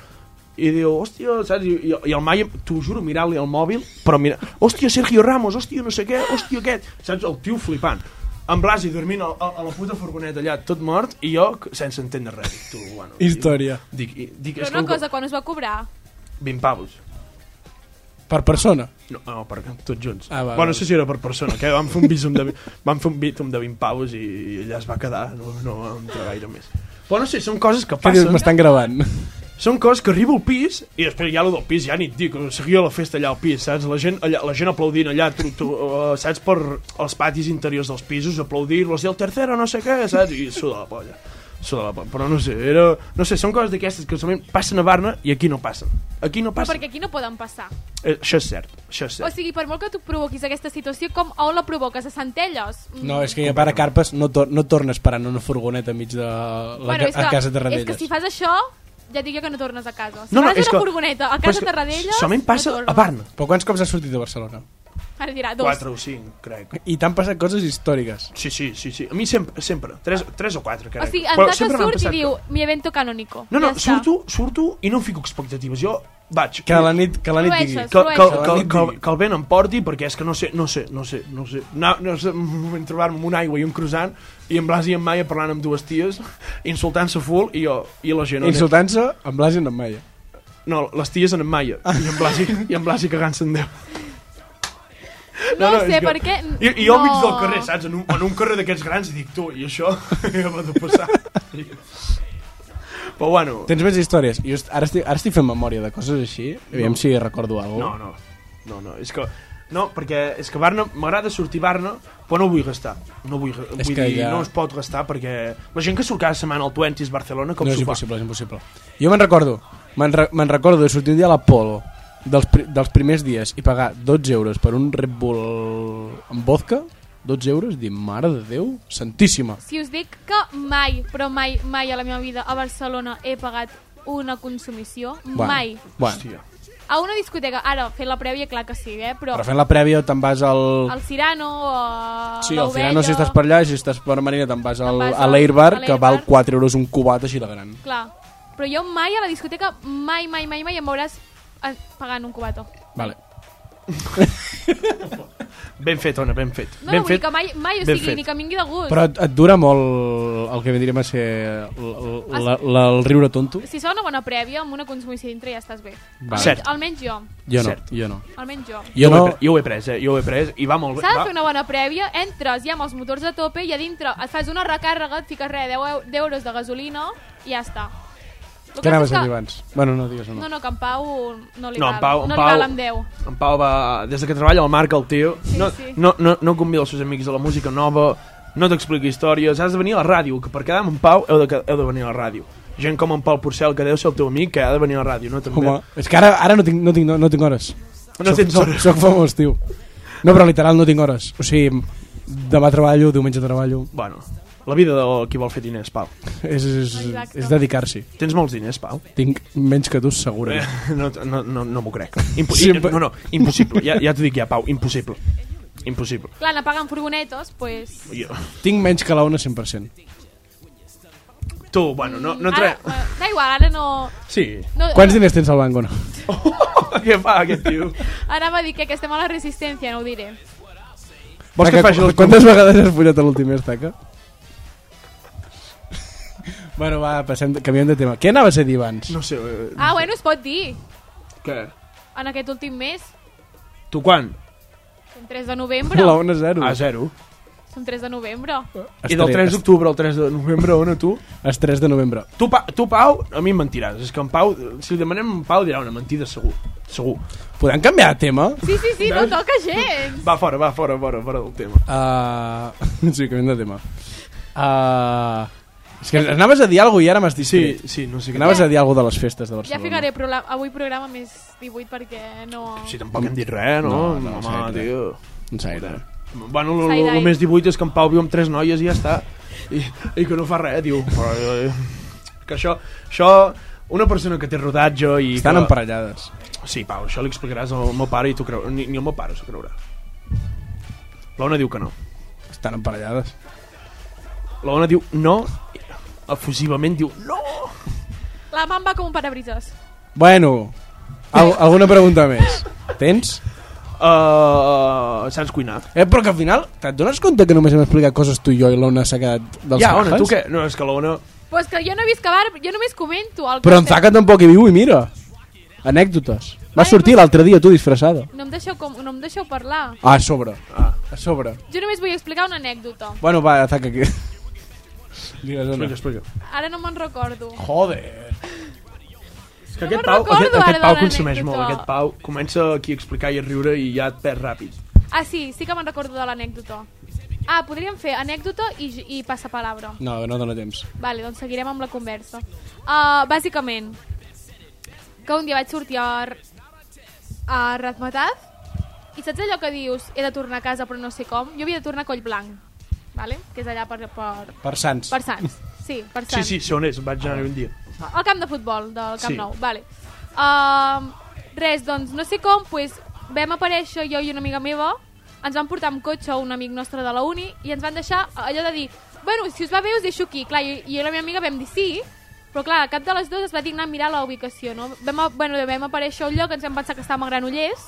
Speaker 4: i diu, hòstia, saps? I, i, i el Maia, t'ho juro, mirant-li el mòbil, però mira, hòstia, Sergio Ramos, hòstia, no sé què, hòstia, aquest, saps? El tio flipant. En Blasi dormint a, a, a la puta furgoneta allà, tot mort, i jo c- sense entendre res. Dic, tu, bueno,
Speaker 1: Història.
Speaker 4: Dic, dic, dic
Speaker 3: Però
Speaker 4: és
Speaker 3: una
Speaker 4: que-
Speaker 3: cosa, quan us va cobrar?
Speaker 4: 20 pavos.
Speaker 1: Per persona.
Speaker 4: No, no per tots junts.
Speaker 1: Ah, va,
Speaker 4: bueno, no
Speaker 1: va.
Speaker 4: sé si era per persona, que vam fer un bítum de, vi- vam fer un bítum de 20 paus i, i allà es va quedar, no, no va entrar gaire més. Però no sé, són coses que
Speaker 1: Què dius?
Speaker 4: passen.
Speaker 1: M'estan gravant.
Speaker 4: Són coses que arribo al pis i després ja lo del pis ja ni et dic, seguia la festa allà al pis, saps? La gent, allà, la gent aplaudint allà, tu, tu, uh, saps? Per els patis interiors dels pisos, aplaudir-los i el tercero no sé què, saps? I suda la polla. Suda la polla. Però no sé, era... No sé, són coses d'aquestes que solament passen a Barna i aquí no passen. Aquí no passen.
Speaker 3: Perquè aquí no poden passar.
Speaker 4: Eh, això és cert, això és cert.
Speaker 3: O sigui, per molt que tu provoquis aquesta situació, com on la provoques? A Centelles? Mm.
Speaker 1: No, és que ja para carpes no, tor no tornes parant una furgoneta enmig de la ca- a casa de
Speaker 3: és que si fas això, ja et dic jo que no tornes a casa. Si
Speaker 4: No, no,
Speaker 3: fas
Speaker 4: és
Speaker 3: una
Speaker 4: que-
Speaker 3: furgoneta a
Speaker 4: però és que
Speaker 3: casa de Tarradellas...
Speaker 4: Solament passa
Speaker 3: no
Speaker 4: a Barna.
Speaker 1: Però quants cops has sortit de Barcelona?
Speaker 3: Ara dirà, dos.
Speaker 4: 4 o 5, crec.
Speaker 1: I t'han passat coses històriques.
Speaker 4: Sí, sí, sí, sí. A mi sempre, sempre. 3, 3 o 4, crec.
Speaker 3: O sigui, en
Speaker 4: Però
Speaker 3: Taca
Speaker 4: sempre m'han
Speaker 3: surt i
Speaker 4: passat
Speaker 3: diu,
Speaker 4: coses.
Speaker 3: mi evento canónico.
Speaker 4: No, no,
Speaker 3: ja està.
Speaker 4: surto, surto i no em fico expectatives. Jo vaig...
Speaker 1: Que a la nit, que a la nit digui.
Speaker 3: Flueixes.
Speaker 4: que, que, que,
Speaker 1: Flueixes.
Speaker 4: que, que el vent em porti perquè és que no sé, no sé, no sé, no sé. No, no sé, vam trobar-me amb una aigua i un croissant i en Blas i en Maia parlant amb dues ties, insultant-se full i jo, i la gent...
Speaker 1: Insultant-se amb Blasi i amb Maia.
Speaker 4: No, les ties en en Maia i en Blasi, i en Blasi cagant-se en Déu.
Speaker 3: No,
Speaker 4: és
Speaker 3: sé
Speaker 4: que-
Speaker 3: per què...
Speaker 4: I, i jo al
Speaker 3: no.
Speaker 4: mig del carrer, saps? En un, en un carrer d'aquests grans i dic, tu, i això ja m'ha de passar. Però bueno,
Speaker 1: Tens més històries? Jo est- ara, estic, ara estic fent memòria de coses així. Aviam si recordo
Speaker 4: no,
Speaker 1: alguna
Speaker 4: no, no, no, és que... No, perquè és que Barna, m'agrada sortir a Barna, però no vull gastar. No vull,
Speaker 1: És
Speaker 4: vull
Speaker 1: que
Speaker 4: dir,
Speaker 1: ja-
Speaker 4: no es pot gastar perquè la gent que surt cada setmana al 20s Barcelona, com
Speaker 1: no és
Speaker 4: s'ho fa?
Speaker 1: impossible, és impossible. Jo me'n recordo, me'n re me'n recordo de sortir un dia a l'Apolo dels, pri dels primers dies i pagar 12 euros per un Red Bull amb vodka, 12 euros, dir, mare de Déu, santíssima.
Speaker 3: Si us dic que mai, però mai, mai a la meva vida a Barcelona he pagat una consumició, mai.
Speaker 1: Bueno,
Speaker 4: Hòstia.
Speaker 3: A una discoteca, ara, fent la prèvia, clar que sí, eh? Però,
Speaker 1: Però fent la prèvia te'n vas al...
Speaker 3: al Cirano o a
Speaker 1: Sí, al
Speaker 3: l'Ovella-
Speaker 1: final no si estàs per allà, si estàs per Marina te'n vas, al,
Speaker 3: vas
Speaker 1: a
Speaker 3: al-
Speaker 1: l'Airbar,
Speaker 3: a
Speaker 1: que val
Speaker 3: l'Airbar.
Speaker 1: 4 euros un cubat així de gran.
Speaker 3: Clar. Però jo mai a la discoteca, mai, mai, mai, mai em veuràs eh, pagant un cubato.
Speaker 1: Vale.
Speaker 4: Ben fet, Ona, ben fet.
Speaker 3: No,
Speaker 4: ben
Speaker 3: no, vull dir
Speaker 4: fet.
Speaker 3: que mai, mai o
Speaker 4: ben
Speaker 3: sigui,
Speaker 4: fet.
Speaker 3: ni que em vingui de gust.
Speaker 1: Però et, et dura molt el que vindríem a ser l- l- la- la- el riure tonto?
Speaker 3: Si fa una bona prèvia, amb una consumció dintre ja estàs bé.
Speaker 1: Vale.
Speaker 4: Cert.
Speaker 3: Almenys jo,
Speaker 1: Jo no,
Speaker 4: Cert.
Speaker 1: jo no.
Speaker 3: almenys jo.
Speaker 4: ho he
Speaker 1: Jo no,
Speaker 4: pre- jo ho he pres, eh? Jo ho he pres i va molt bé.
Speaker 3: S'ha
Speaker 4: Va.
Speaker 3: de fer una bona prèvia, entres ja amb els motors a tope i a dintre et fas una recàrrega, et fiques res, 10, eu- 10 euros de gasolina i ja està. El
Speaker 1: Què
Speaker 3: que
Speaker 1: anaves
Speaker 3: passa
Speaker 1: a dir
Speaker 3: és que-
Speaker 1: abans? Bueno, no digues no.
Speaker 3: No, no, que en Pau no li
Speaker 4: No,
Speaker 3: val.
Speaker 4: en Pau, en
Speaker 3: no li
Speaker 4: Pau,
Speaker 3: val amb 10.
Speaker 4: En Pau va... Des de que treballa al Marc, el tio,
Speaker 3: Sí,
Speaker 4: no,
Speaker 3: sí.
Speaker 4: No, no, no convida els seus amics de la música nova, no t'explica històries, has de venir a la ràdio, que per quedar amb en Pau heu de, que- heu de venir a la ràdio. Gent com en Pau Porcel, que deu ser el teu amic, que ha de venir a la ràdio, no? També.
Speaker 1: Home, és que ara, ara no, tinc, no, tinc, no, no tinc hores.
Speaker 4: No tens
Speaker 1: soc,
Speaker 4: hores.
Speaker 1: Soc, soc famós, tio. No, però literal no tinc hores. O sigui, demà treballo, diumenge treballo.
Speaker 4: Bueno, la vida de qui vol fer diners, Pau.
Speaker 1: És, és,
Speaker 3: Exacte.
Speaker 1: és dedicar-s'hi.
Speaker 4: Tens molts diners, Pau?
Speaker 1: Tinc menys que tu, segurament.
Speaker 4: No, no, no, no m'ho crec. Impo
Speaker 1: Sí,
Speaker 4: no,
Speaker 1: però-
Speaker 4: no, impossible. Ja, ja t'ho dic ja, Pau, impossible. Impossible.
Speaker 3: Clar, anar pagant furgonetos, pues...
Speaker 4: Jo.
Speaker 1: Tinc menys que la una 100%.
Speaker 3: Eh.
Speaker 4: Tu, bueno, no, no
Speaker 3: Ara,
Speaker 4: tre...
Speaker 3: bueno, da igual, ara no...
Speaker 4: Sí.
Speaker 3: no
Speaker 1: Quants diners tens al banc o no?
Speaker 4: Què fa aquest tio?
Speaker 3: Anava a dir que, que estem a la resistència, no ho diré.
Speaker 4: Vols que
Speaker 1: Taca,
Speaker 4: faci els
Speaker 1: Quantes vegades has pujat a l'últim estaca? bueno, va, passem, de- canviem de tema. Què anaves a dir abans?
Speaker 4: No sé, eh,
Speaker 3: Ah, bueno, es pot dir.
Speaker 4: què?
Speaker 3: En aquest últim mes,
Speaker 4: Tu quan?
Speaker 3: som 3 de novembre.
Speaker 1: La una zero.
Speaker 4: A zero.
Speaker 3: Som 3 de novembre.
Speaker 1: Es
Speaker 4: Ah, I del
Speaker 1: tre-
Speaker 4: 3 d'octubre al 3 de novembre, on a tu?
Speaker 1: es- Es 3 de novembre.
Speaker 4: Tu, pa, tu, Pau, a mi em mentiràs. És que en Pau, si li demanem a en Pau, dirà una mentida segur. Segur.
Speaker 1: Podem canviar de tema?
Speaker 3: Sí, sí, sí, no toca gens.
Speaker 4: Va fora, va fora, fora, fora del tema.
Speaker 1: Uh, sí, canviem de tema. Uh, és que anaves a dir alguna i ara m'has dit...
Speaker 4: Sí, sí, no sé
Speaker 1: Que
Speaker 4: què.
Speaker 1: anaves a dir alguna de les festes de Barcelona.
Speaker 3: Ja ficaré prola- avui programa més 18 perquè no...
Speaker 4: Sí, tampoc hem dit res, no?
Speaker 1: No, no,
Speaker 4: Home,
Speaker 1: sí,
Speaker 4: tio.
Speaker 1: No sé, no.
Speaker 4: Bueno, el, el,
Speaker 3: Side-eye.
Speaker 4: el més 18 és que en Pau viu amb tres noies i ja està. I, i que no fa res, diu. Però, eh, que això, això, una persona que té rodatge i...
Speaker 1: Estan
Speaker 4: que...
Speaker 1: emparellades.
Speaker 4: Sí, Pau, això li explicaràs al meu pare i tu creu... Ni, ni el meu pare s'ho creurà. L'Ona diu que no.
Speaker 1: Estan emparellades.
Speaker 4: L'Ona diu no, i efusivament diu no.
Speaker 3: La man va com un parabrises.
Speaker 1: Bueno, al alguna pregunta més. Tens?
Speaker 4: Uh, saps cuinar?
Speaker 1: Eh, però que al final, te't dones compte que només hem explicat coses tu i jo i l'Ona s'ha quedat dels
Speaker 4: ja,
Speaker 1: Ona,
Speaker 4: Ona, tu què? No, és que l'Ona...
Speaker 3: Pues que jo no he vist que bar, jo només comento el que...
Speaker 1: Però en
Speaker 3: estem-
Speaker 1: Zaca tampoc hi viu i mira. Anècdotes. Va sortir l'altre dia tu disfressada.
Speaker 3: No em, deixeu com, no em deixeu parlar.
Speaker 1: Ah, a sobre. Ah. A sobre.
Speaker 3: Jo només vull explicar una anècdota.
Speaker 1: Bueno, va, Zaca, que... Digues,
Speaker 4: Explica,
Speaker 1: Ona.
Speaker 4: explica.
Speaker 3: Ara no me'n recordo.
Speaker 1: Joder.
Speaker 4: És que
Speaker 3: No
Speaker 4: aquest
Speaker 3: me'n
Speaker 4: Pau,
Speaker 3: recordo
Speaker 4: aquest,
Speaker 3: ara
Speaker 4: aquest
Speaker 3: de
Speaker 4: Pau
Speaker 3: l'anècdota.
Speaker 4: consumeix molt. Aquest Pau comença aquí a explicar i a riure i ja et perd ràpid.
Speaker 3: Ah, sí, sí que me'n recordo de l'anècdota. Ah, podríem fer anècdota i, j- i passapalabra.
Speaker 1: No, no dóna temps.
Speaker 3: Vale, doncs seguirem amb la conversa. Uh, bàsicament, que un dia vaig sortir a, R- a Ratmataz i saps allò que dius, he de tornar a casa però no sé com? Jo havia de tornar a Collblanc, vale? que és allà per, per,
Speaker 1: Per Sants.
Speaker 3: per Sants. Sí, per
Speaker 4: Sí,
Speaker 3: Sants.
Speaker 4: sí, sé on és, vaig anar un dia.
Speaker 3: Al camp de futbol del Camp
Speaker 4: Sí.
Speaker 3: sí. Nou, vale. Um, res, doncs, no sé com, pues, vam aparèixer jo i una amiga meva, ens van portar amb cotxe un amic nostre de la uni i ens van deixar allò de dir, bueno, si us va bé us deixo aquí. Clar, jo, jo i la meva amiga vam dir sí, però clar, a cap de les dues es va dignar a mirar la ubicació, no? Vam, a- bueno, vam aparèixer a un lloc, ens vam pensar que estàvem a Granollers,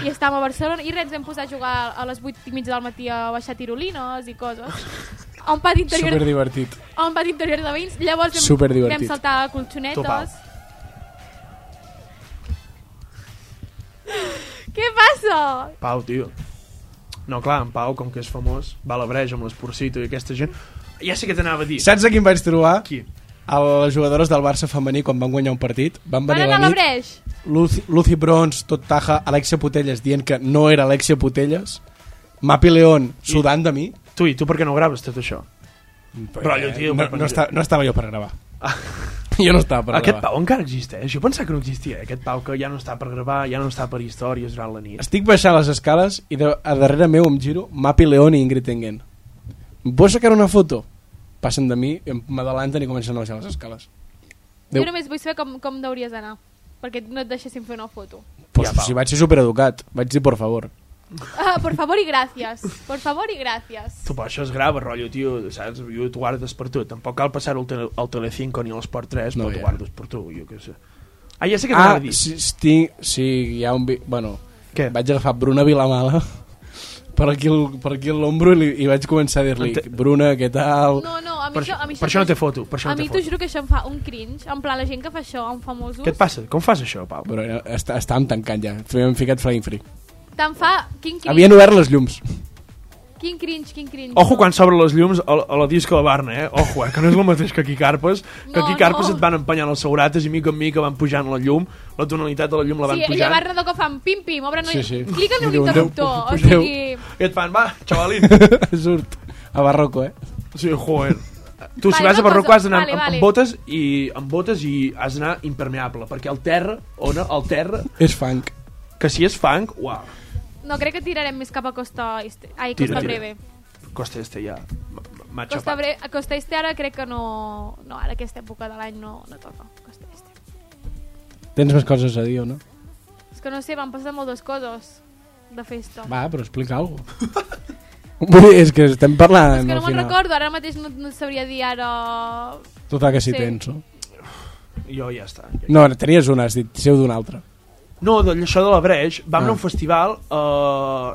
Speaker 3: i estàvem a Barcelona i res, ens vam posar a jugar a les 8 i mitja del matí a baixar tirolines i coses. A un pati interior
Speaker 1: Superdivertit.
Speaker 3: a un pati interior de veïns. Llavors vam,
Speaker 1: Superdivertit.
Speaker 3: vam saltar a
Speaker 4: Tu, Pau.
Speaker 3: colxonetes. Què passa?
Speaker 4: Pau, tio. No, clar, en Pau, com que és famós, va a la breja amb l'esporcito i aquesta gent... Ja sé què t'anava a dir.
Speaker 1: Saps a quin vaig trobar?
Speaker 4: Qui?
Speaker 1: A les jugadores del Barça femení quan van guanyar un partit. Van
Speaker 3: Van
Speaker 1: venir
Speaker 3: anar
Speaker 1: a
Speaker 3: a la
Speaker 1: la nit,
Speaker 3: Breix.
Speaker 1: Lucy, Lucy Brons, tot taja, Alexia Putelles dient que no era Alexia Putelles, Mapi León sudant de mi.
Speaker 4: Tu, i tu per què no graves tot això? Rotllo, tio,
Speaker 1: Eh, no,
Speaker 4: per-
Speaker 1: no, esta, no estava jo per gravar.
Speaker 4: Ah.
Speaker 1: Jo no estava per
Speaker 4: aquest
Speaker 1: gravar.
Speaker 4: Pau encara existeix? Jo pensava que no existia, eh? aquest Pau que ja no està per gravar, ja no està per històries durant la nit.
Speaker 1: Estic baixant les escales i de, a darrere meu em giro Mapi León i Ingrid Tengen. Vull sacar una foto? Passen de mi, em- m'adalanten i comencen a baixar les escales.
Speaker 3: Jo
Speaker 1: Déu.
Speaker 3: només vull saber com, com hauries d'anar. perquè no et deixessin fer una foto.
Speaker 1: Pues, si vaig ser supereducat, vaig dir por favor.
Speaker 3: Ah, por favor i gràcies. Por favor i gràcies.
Speaker 4: Tu, però això es grava, rotllo, tio, saps? Jo t'ho guardes per tu. Tampoc cal passar-ho al, tele, al Telecinco ni a l'Esport 3,
Speaker 1: No,
Speaker 4: no, però
Speaker 1: ja.
Speaker 4: t'ho guardes per tu, jo què sé. Ah, ja sé què t'anava
Speaker 1: Ah,
Speaker 4: a dir.
Speaker 1: si, si, si hi ha un... Vi... Bueno,
Speaker 4: Què?
Speaker 1: vaig agafar Bruna Vilamala per aquí, el- per aquí a l'ombro i, li, i vaig començar a dir-li
Speaker 4: Ente-
Speaker 1: Bruna, què tal?
Speaker 3: No, no, a mi
Speaker 4: Per,
Speaker 3: això... A mi
Speaker 4: per això no té foto, per això
Speaker 3: A
Speaker 4: no
Speaker 3: mi
Speaker 4: té
Speaker 3: t'ho
Speaker 4: foto.
Speaker 3: juro que això em fa un cringe. En plan, la gent que fa això amb famosos...
Speaker 4: Què et passa? Com fas això, Pau?
Speaker 1: Però no, està, estàvem tancant ja. M'hem ficat Flying Free.
Speaker 3: Te'n fa... Quin cringe,
Speaker 1: Havien obert les llums.
Speaker 3: quin cringe, quin cringe.
Speaker 4: Ojo quan s'obren les llums a, a la disco de Barna, eh? Ojo, eh? Que no és el mateix que aquí Carpes, que
Speaker 3: No,
Speaker 4: aquí Carpes
Speaker 3: no.
Speaker 4: et van empenyant els segurates i mica en mica van pujant la llum, la tonalitat de la llum la van
Speaker 3: Sí, i
Speaker 4: pujant.
Speaker 3: llavors de cop fan pim-pim, obren...
Speaker 1: Sí, sí.
Speaker 3: Clica en un
Speaker 1: Diuen, "Déu,
Speaker 3: interruptor. O
Speaker 1: Déu".
Speaker 3: sigui...
Speaker 4: I et fan, va, xavalín.
Speaker 1: Surt. A Barroco, eh?
Speaker 4: sí, joder. Tu, si
Speaker 3: Vale,
Speaker 4: vas a
Speaker 3: una
Speaker 4: Barroco,
Speaker 3: cosa.
Speaker 4: has d'anar
Speaker 3: Vale,
Speaker 4: amb,
Speaker 3: vale.
Speaker 4: amb, botes i amb botes i has d'anar impermeable, perquè el terra, ona, el terra,
Speaker 1: És funk.
Speaker 4: que si és fang, uau,
Speaker 3: No, crec que tirarem més cap a Costa... Este... Ai,
Speaker 4: Tira,
Speaker 3: Costa
Speaker 4: tira.
Speaker 3: Breve.
Speaker 4: costa este ja m- m- m'ha
Speaker 3: Costa,
Speaker 4: xapat.
Speaker 3: Bre a Costa Este ara crec que no... No, ara aquesta època de l'any no, no toca. Costa Este.
Speaker 1: Tens més coses a dir o no?
Speaker 3: És que no sé, van passar moltes coses de festa.
Speaker 1: Va, però explica alguna cosa. és que estem parlant
Speaker 3: És que no
Speaker 1: al
Speaker 3: me'n
Speaker 1: final.
Speaker 3: recordo, ara mateix no, no et sabria dir ara...
Speaker 1: Total que sí,
Speaker 3: Sí.
Speaker 1: tens, no?
Speaker 4: Jo ja està. Ja,
Speaker 1: No, tenies una, has dit, seu d'una altra.
Speaker 4: No, de, això de la Breix, vam
Speaker 1: Ah.
Speaker 4: anar a un festival a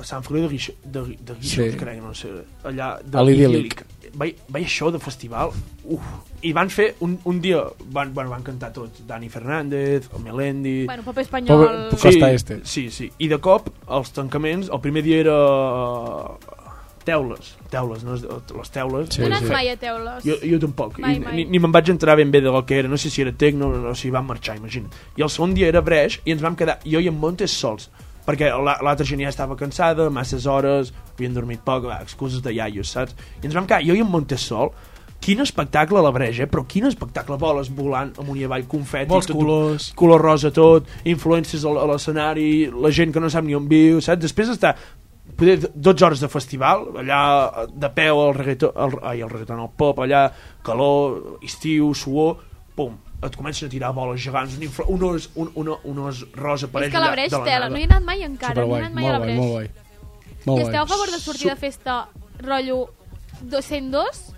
Speaker 4: Sant Feliu de Guixó, de, Gui- de Guixó
Speaker 1: Sí.
Speaker 4: sí. crec, no sé, allà, de
Speaker 1: A l'Idíl·lic.
Speaker 4: l'Idílic. Vaig, vaig això de festival, uf, i van fer un, un dia, van, bueno, van cantar tots, Dani Fernández, el Melendi...
Speaker 3: Bueno, pop espanyol...
Speaker 1: Pop- pop- Costa Este.
Speaker 4: Sí, sí, i de cop, els tancaments, el primer dia era eh, teules, teules, no? les teules.
Speaker 1: Sí,
Speaker 3: No he
Speaker 1: sí.
Speaker 3: anat mai a teules.
Speaker 4: Jo, jo tampoc,
Speaker 3: Mai,
Speaker 4: mai, I,
Speaker 3: mai.
Speaker 4: ni, ni me'n vaig entrar ben bé de lo que era, no sé si era tecno o si van marxar, imagina't. I el segon dia era breix i ens vam quedar, jo i en Montes sols, perquè la- l'altra gent ja estava cansada, masses hores, havien dormit poc, va, excuses de iaios, saps? I ens vam quedar, jo i en Montes sol, quin espectacle a la breja, eh? però quin espectacle boles volant amunt i avall, confeti,
Speaker 1: Molts
Speaker 4: tot-
Speaker 1: colors.
Speaker 4: color rosa tot, influències a l- a l'escenari, la gent que no sap ni on viu, saps? Després està poder 12 hores de festival, allà eh, de peu al reggaeton, el, ai, el reggaeton, el pop, allà calor, estiu, suor, pum, et comencen a tirar boles gegants, un, infla, un, os, un, un, un os rosa
Speaker 3: És
Speaker 4: apareix
Speaker 3: que la
Speaker 4: allà
Speaker 3: Breix
Speaker 4: de la
Speaker 3: tela,
Speaker 4: nada.
Speaker 3: no hi he anat mai encara, no he
Speaker 1: Superguai,
Speaker 3: anat mai a
Speaker 1: molt
Speaker 3: la
Speaker 1: guai,
Speaker 3: Breix.
Speaker 1: molt guai. Molt
Speaker 3: I esteu a
Speaker 1: guai.
Speaker 3: favor de sortir de festa rotllo 202?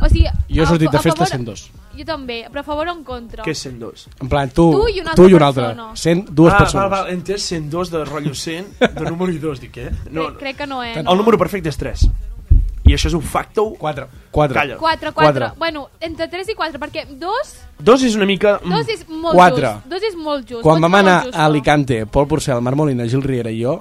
Speaker 3: O sigui,
Speaker 1: Jo he
Speaker 3: a-
Speaker 1: sortit de
Speaker 3: a
Speaker 1: festa
Speaker 3: favor-
Speaker 1: 102.
Speaker 3: Jo també, però a favor o en contra?
Speaker 4: Què és 102?
Speaker 1: En plan, tu,
Speaker 3: Tu i una
Speaker 1: tu i
Speaker 3: altra
Speaker 1: una altra.
Speaker 3: persona.
Speaker 1: 100, dues
Speaker 4: ah, val,
Speaker 1: persones.
Speaker 4: val, he entès 102 de rotllo 100, de número 2, dic, eh? No,
Speaker 3: crec, crec que no, eh?
Speaker 4: el número perfecte és 3. I això és un facto...
Speaker 1: 4. 4.
Speaker 4: Calla.
Speaker 3: 4, 4.
Speaker 1: Quatre.
Speaker 3: Bueno, entre 3 i 4, perquè 2,
Speaker 4: 2 és una mica... mm,
Speaker 3: 2 és molt
Speaker 1: Quatre.
Speaker 3: just. 2 és molt just.
Speaker 1: Quan
Speaker 3: Pots
Speaker 1: vam
Speaker 3: ser molt
Speaker 1: anar
Speaker 3: just,
Speaker 1: a Alicante, Pol Porcel, Marc Molina, Gil Riera i jo,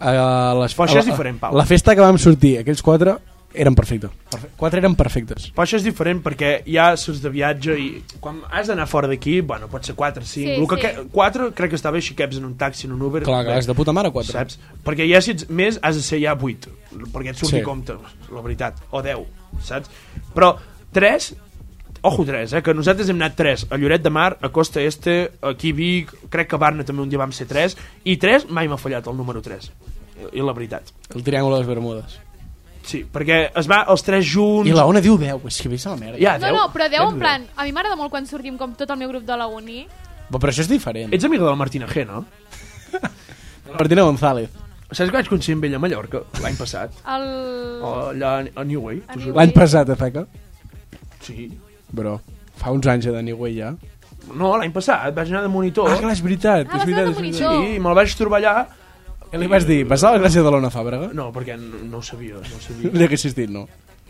Speaker 1: a les,
Speaker 4: Però això és
Speaker 1: a la-
Speaker 4: diferent, Pau.
Speaker 1: La festa que vam sortir, aquells quatre, eren perfectes. Perfe quatre eren perfectes.
Speaker 4: Però això és diferent perquè ja surts de viatge i quan has d'anar fora d'aquí, bueno, pot ser 4, 5,
Speaker 3: Sí,
Speaker 4: sí, que,
Speaker 3: sí.
Speaker 4: que 4 crec que està bé si caps en un taxi, en un Uber.
Speaker 1: Clar,
Speaker 4: bé,
Speaker 1: clar, és de puta mare, quatre.
Speaker 4: Saps? Perquè ja si ets més has de ser ja 8, perquè et surti
Speaker 1: Sí.
Speaker 4: sí. compte, la veritat, o 10, saps? Però 3, ojo 3, eh, que nosaltres hem anat 3, a Lloret de Mar, a Costa Este, aquí a Vic, crec que a Barna també un dia vam ser 3, i 3 mai m'ha fallat el número 3, i la veritat.
Speaker 1: El Triangle de les Bermudes.
Speaker 4: Sí, perquè es va els 3 junts...
Speaker 1: I la Ona diu 10, és que vés a la merda.
Speaker 4: Ja,
Speaker 3: No,
Speaker 4: deu.
Speaker 3: no, però
Speaker 4: Ja
Speaker 3: deu
Speaker 4: deu.
Speaker 3: en plan... A mi m'agrada molt quan sortim com tot el meu grup de la uni.
Speaker 1: Però, però això és diferent.
Speaker 4: Ets amiga de la Martina G, no?
Speaker 1: Martina González.
Speaker 4: Saps que vaig coincidir amb ella a Mallorca l'any passat?
Speaker 3: El...
Speaker 4: O allà a New Way.
Speaker 3: A
Speaker 4: t'ho
Speaker 3: New
Speaker 4: juro.
Speaker 1: L'any passat, Efeca.
Speaker 4: Sí.
Speaker 1: Bro, fa uns anys ja de Niue ja.
Speaker 4: No, l'any passat vaig anar de monitor.
Speaker 1: Ah, clar, és veritat.
Speaker 3: Ah, vas
Speaker 1: és
Speaker 3: anar
Speaker 1: veritat,
Speaker 3: de
Speaker 1: és veritat.
Speaker 4: Sí, i me'l vaig trobar allà.
Speaker 1: Què li vas dir? Vas a la gràcia de l'Ona Fàbrega?
Speaker 4: No, perquè no, no ho sabia, no ho sabia.
Speaker 1: Li haguessis dit no.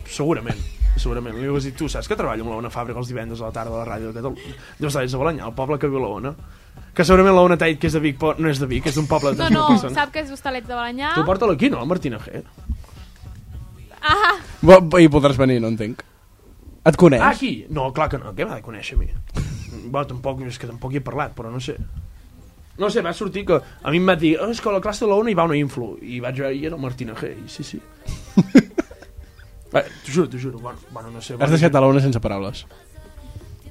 Speaker 4: Segurament, segurament. Li vas dir, tu saps que treballo amb la Ona Fàbrica els divendres a la tarda a la ràdio de Catalunya? Deus estar des de Balanyà, el poble que viu la Ona. Que segurament la Ona t'ha dit que és de Vic, però no és de Vic, és d'un poble de
Speaker 3: No,
Speaker 4: 3.000
Speaker 3: no,
Speaker 4: persones.
Speaker 3: sap que és Hostalets de Balanyà.
Speaker 4: Tu porta-la aquí, no, Martina G?
Speaker 3: Ah,
Speaker 1: Bo, bo- I podràs venir, no entenc. Et coneix?
Speaker 4: Ah, aquí? No, clar que no, què m'ha de conèixer a mi? Bé, tampoc, és que tampoc hi he parlat, però no sé. No sé, va sortir que a mi em va dir "Ah, és que a la classe de la una hi va una influ, i vaig veure, i era el Martina G, i sí, sí. Va, T'ho juro, t'ho juro, bueno, bueno, no sé.
Speaker 1: Has
Speaker 4: Bueno,
Speaker 1: deixat a l'Ona sense paraules.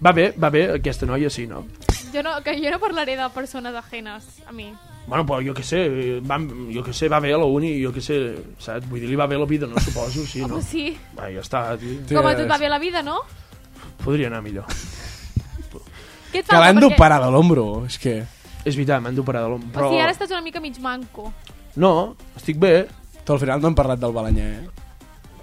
Speaker 4: Va bé, va bé, aquesta noia sí, no?
Speaker 3: jo no, que jo no parlaré de persones ajenes a mi.
Speaker 4: Bueno, però jo què sé, va, jo què sé, va bé a la uni, jo què sé, saps? Vull dir, li va bé la vida, no suposo, sí,
Speaker 3: No.
Speaker 4: no?
Speaker 3: Home, sí.
Speaker 4: Va, ja està, tio.
Speaker 3: Com a tot va bé la vida, no?
Speaker 4: Podria anar millor.
Speaker 3: Què Què et
Speaker 1: Que
Speaker 3: falta?
Speaker 1: l'han
Speaker 3: Perquè-
Speaker 1: d'operar de l'ombro, és que...
Speaker 4: És veritat, m'han d'operar de l'om. Però...
Speaker 3: O sigui, ara estàs una mica mig manco.
Speaker 4: No, estic bé.
Speaker 1: Tu al final no hem parlat del Balanyà, eh?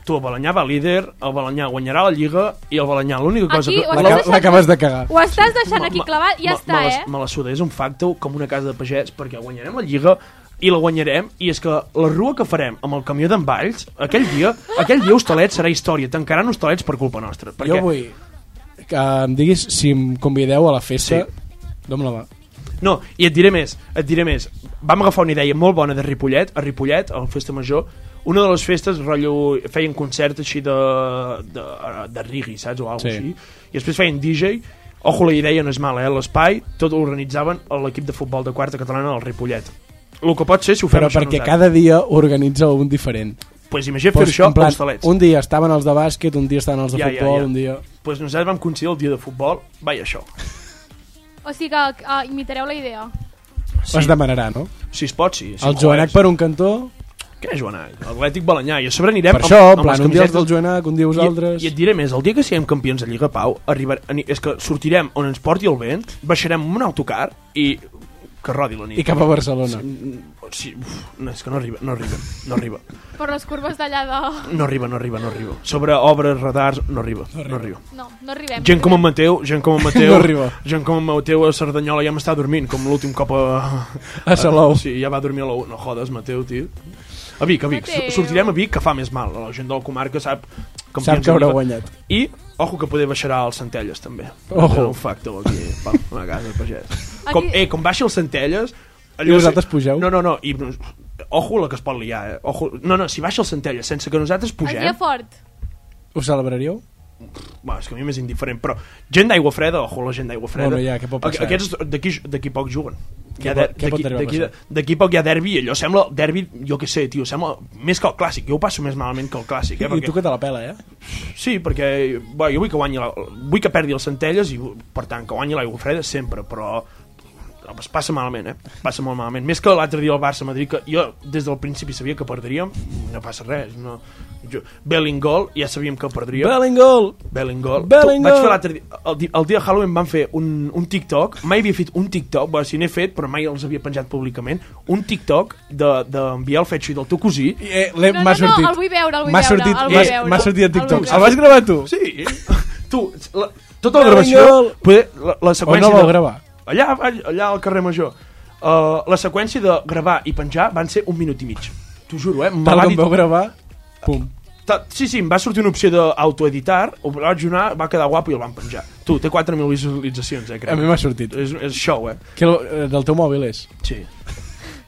Speaker 4: Tu, el Balanyà va líder, el Balanyà guanyarà la Lliga i el Balanyà l'única cosa
Speaker 3: Aquí,
Speaker 4: que... la-
Speaker 3: ho estàs
Speaker 1: L'aca-
Speaker 3: deixant-
Speaker 1: L'acabes de cagar.
Speaker 3: Ho estàs deixant
Speaker 4: Ma-
Speaker 3: aquí
Speaker 4: ma-
Speaker 3: clavat i ja
Speaker 4: ma-
Speaker 3: està,
Speaker 4: me la,
Speaker 3: eh?
Speaker 4: Me la suda, és un facte com una casa de pagès, perquè guanyarem la Lliga i la guanyarem, i és que la rua que farem amb el camió d'en Valls, aquell dia, aquell dia Hostalet serà història, tancaran Hostalets per culpa nostra. Perquè
Speaker 1: Jo vull que em diguis si em convideu a la festa. Sí. Dó'm la mà.
Speaker 4: No, i et diré més, et diré més. Vam agafar una idea molt bona de Ripollet, a Ripollet, a la Festa Major, una de les festes, rotllo, feien concert així de, de, de rigui, saps, o alguna
Speaker 1: Sí.
Speaker 4: sí. així, i després feien DJ, ojo, la idea no és mala, eh? l'espai, tot ho organitzaven a l'equip de futbol de quarta catalana del Ripollet. El que pot ser si ho fem
Speaker 1: Però
Speaker 4: això
Speaker 1: perquè
Speaker 4: nosaltres.
Speaker 1: cada dia organitza un diferent.
Speaker 4: Pues imagina fer
Speaker 1: Doncs,
Speaker 4: això
Speaker 1: en plan,
Speaker 4: a Hostalets.
Speaker 1: un dia estaven els de bàsquet, un dia estaven els de
Speaker 4: Ja, ja,
Speaker 1: futbol,
Speaker 4: ja.
Speaker 1: un dia...
Speaker 4: Pues nosaltres vam coincidir el dia de futbol, vai això.
Speaker 3: O sigui que uh, imitareu la idea.
Speaker 1: Sí. Es demanarà, no?
Speaker 4: Si es pot, sí. Si
Speaker 1: el
Speaker 4: em
Speaker 1: Joanac
Speaker 4: joves.
Speaker 1: per un cantó,
Speaker 4: Què és Joanac? L'Atlètic Balanyà. I a sobre anirem
Speaker 1: per això, en
Speaker 4: amb, amb
Speaker 1: plan,
Speaker 4: les
Speaker 1: un dia els
Speaker 4: camisetes
Speaker 1: del Joanac, un dia vosaltres...
Speaker 4: I, I et diré més, el dia que siguem campions de Lliga Pau, arribar, ani- és que sortirem on ens porti el vent, baixarem amb un autocar i que rodi la nit.
Speaker 1: I cap a Barcelona.
Speaker 4: Sí, uf, no, és que no arriba, no arriba, no arriba,
Speaker 3: Per les curves d'allà de...
Speaker 4: no arriba, no arriba, no arriba. Sobre obres, radars, no arriba, no arriba. No arriba.
Speaker 3: No, no arribem.
Speaker 4: Gent com en Mateu, gent com en Mateu,
Speaker 1: No arriba.
Speaker 4: gent com en Mateu a Cerdanyola ja m'està dormint, com l'últim cop a...
Speaker 1: A Salou.
Speaker 4: Sí, ja va dormir a la 1. No jodes, Mateu, tio. A Vic, a Vic.
Speaker 3: Mateu.
Speaker 4: Sortirem a Vic, que fa més mal. La gent de la comarca sap... campions
Speaker 1: Sap que
Speaker 4: de
Speaker 1: haurà
Speaker 4: Lliga.
Speaker 1: guanyat.
Speaker 4: I, ojo, que poder baixarà el Centelles, també.
Speaker 1: Ojo.
Speaker 4: Era Un factor aquí, pam, una casa de pagès.
Speaker 3: Aquí-
Speaker 4: Com, eh, com baixa el Centelles... allò
Speaker 1: I vosaltres
Speaker 4: se-
Speaker 1: pugeu?
Speaker 4: No, no, no. I, nos- ojo la que es pot liar, eh? Ojo, no, no, si baixa el Centelles sense que nosaltres
Speaker 3: Es dia
Speaker 4: pugem...
Speaker 3: fort.
Speaker 1: Ho celebraríeu?
Speaker 4: Bueno, és que a mi m'és indiferent, però gent d'aigua freda, ojo, la gent d'aigua freda.
Speaker 1: Bueno, ja, què pot
Speaker 4: Aqu-
Speaker 1: passar?
Speaker 4: Aquests d'aquí d'aquí poc juguen.
Speaker 1: Què
Speaker 4: Hi ha
Speaker 1: pot-
Speaker 4: de-
Speaker 1: què
Speaker 4: d'aquí-
Speaker 1: pot arribar a
Speaker 4: d'aquí-
Speaker 1: passar?
Speaker 4: D'aquí poc hi ha derbi i allò sembla derbi, jo què sé, tio, sembla més que el clàssic. Jo ho passo més malament que el clàssic, eh?
Speaker 1: I
Speaker 4: Perquè,
Speaker 1: tu que te la pela, eh?
Speaker 4: Sí, perquè bueno, jo vull que guanyi la, vull que perdi els Centelles i per tant que guanyi l'aigua freda sempre, però es passa malament, eh? Passa molt malament. Més que l'altre dia el Barça-Madrid, que jo des del principi sabia que perdríem, no passa res. No. Jo, Bellingol, ja sabíem que perdríem.
Speaker 1: Bellingol!
Speaker 4: Bellingol.
Speaker 1: Bellingol.
Speaker 4: Bellingol. Vaig fer l'altre dia, el, di- el dia de Halloween van fer un, un TikTok, mai havia fet un TikTok, bueno, si n'he fet, però mai els havia penjat públicament, un TikTok d'enviar de, de el fetxo i del teu cosí.
Speaker 1: Eh, l'he-
Speaker 3: No, no,
Speaker 1: m'ha
Speaker 3: no,
Speaker 1: sortit.
Speaker 3: el vull veure, el vull
Speaker 1: M'ha
Speaker 3: veure,
Speaker 1: sortit,
Speaker 3: el
Speaker 1: m'ha-
Speaker 3: vull veure.
Speaker 1: m'ha sortit a
Speaker 3: El
Speaker 1: TikTok.
Speaker 3: vull
Speaker 1: El, vas gravar tu?
Speaker 4: Sí, tu, la, tota la
Speaker 1: Bellingol.
Speaker 4: gravació, poder, la, la
Speaker 1: O
Speaker 4: seqüència...
Speaker 1: no el vau
Speaker 4: de-
Speaker 1: gravar?
Speaker 4: Allà, all- allà al carrer Major. Uh, la seqüència de gravar i penjar van ser un minut i mig. T'ho juro, eh? Me
Speaker 1: Tal
Speaker 4: l'ha
Speaker 1: com
Speaker 4: dit-
Speaker 1: vau gravar, pum.
Speaker 4: Ta- Sí, sí, em va sortir una opció d'autoeditar, ho vaig donar, va quedar guapo i el van penjar. Tu, té 4.000 visualitzacions, eh, crec.
Speaker 1: A mi m'ha sortit.
Speaker 4: És, és show, eh?
Speaker 1: Que el, eh, del teu mòbil és.
Speaker 4: Sí.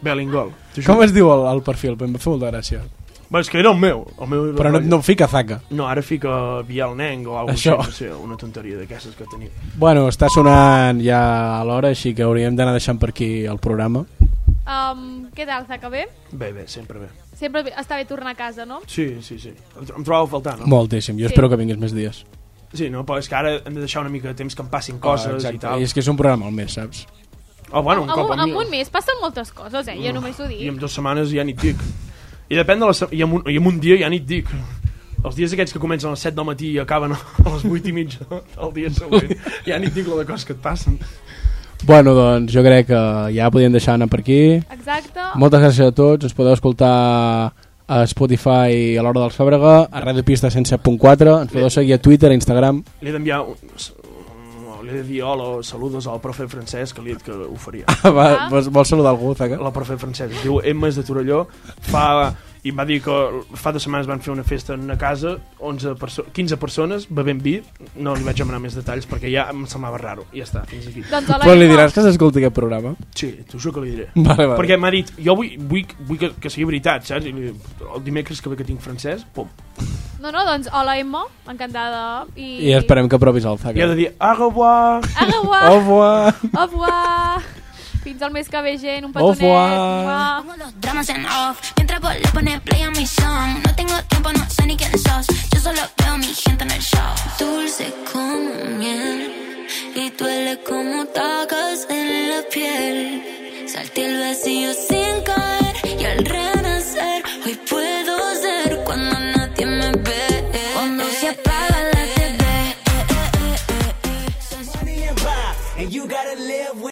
Speaker 4: Bellingol. t'ho juro.
Speaker 1: Com es diu el, el perfil? Em va fer molta gràcia.
Speaker 4: Bé, és que era el meu. El meu
Speaker 1: Però no, no fica zaca.
Speaker 4: no, ara fica Biel Neng o alguna
Speaker 1: Això.
Speaker 4: cosa, no sé, una tonteria d'aquestes que tenia.
Speaker 1: Bueno, està sonant ja a l'hora, així que hauríem d'anar deixant per aquí el programa.
Speaker 3: Um, què tal, Zaca? Bé?
Speaker 4: Bé, bé, sempre bé.
Speaker 3: Sempre bé- està bé tornar a casa, no?
Speaker 4: Sí, sí, sí. Em, tro- em trobava eh? a faltar, no?
Speaker 1: Moltíssim, jo
Speaker 3: Sí.
Speaker 1: espero que vinguis més dies.
Speaker 4: Sí, no, però és que ara hem de deixar una mica de temps que em passin coses
Speaker 1: Ah,
Speaker 4: i
Speaker 1: exacte.
Speaker 4: tal.
Speaker 1: I és que és un programa al mes, saps?
Speaker 4: Oh, bueno, un
Speaker 3: Amb,
Speaker 4: cop al
Speaker 3: un- amb
Speaker 4: mi-
Speaker 3: un mes passen moltes coses, eh? Jo només ho
Speaker 4: I en
Speaker 3: dic.
Speaker 4: dues setmanes ja ni et dic. I depèn de la se... I en, un, I en un dia ja ni et dic. Els dies aquests que comencen a les 7 del matí i acaben a les 8 i mitja del dia següent, ja ni et dic la de coses que et passen.
Speaker 1: Bueno, doncs jo crec que ja podíem deixar anar per aquí.
Speaker 3: Exacte.
Speaker 1: Moltes gràcies a tots, ens podeu escoltar a Spotify a l'hora del Fàbrega, a Radio Pista 107.4, ens podeu seguir a Twitter, a Instagram.
Speaker 4: Li he d'enviar... Un... Li he de dir hola, saludos al profe Francesc, que li he dit que ho faria.
Speaker 1: Ah, va, vols, vols saludar algú, Zaca?
Speaker 4: la profe francesa, es diu Emma, és de Torelló, fa, i em va dir que fa dues setmanes van fer una festa en una casa, 11 perso 15 persones, bevent vi, no li vaig demanar més detalls perquè ja em semblava raro, i ja està, fins aquí.
Speaker 3: Doncs hola,
Speaker 1: Però li
Speaker 3: Emma.
Speaker 1: diràs que s'escolti aquest programa?
Speaker 4: Sí, t'ho juro que li diré.
Speaker 1: Vale, vale.
Speaker 4: Perquè m'ha dit, jo vull, vull, vull que, que sigui veritat, saps? I li, el dimecres que ve que tinc francès, pum.
Speaker 3: No, no, doncs hola, Emma. Encantada. I,
Speaker 1: I esperem que provis
Speaker 4: I
Speaker 1: el
Speaker 4: ha
Speaker 1: Zaca.
Speaker 4: de dir, au revoir!
Speaker 3: Au revoir.
Speaker 1: Au revoir!
Speaker 3: Au revoir. Fins al mes que ve, gent. Un
Speaker 1: Au
Speaker 3: petonet.
Speaker 1: revoir.
Speaker 3: Mua.
Speaker 8: Pongo los dramas en off Mientras vos le pones play a mi song No tengo tiempo, no sé ni quién sos Yo solo veo a mi gente en el show Dulce como miel Y duele como tacas en la piel Salté el vacío sin caer Y al renacer Hoy puedo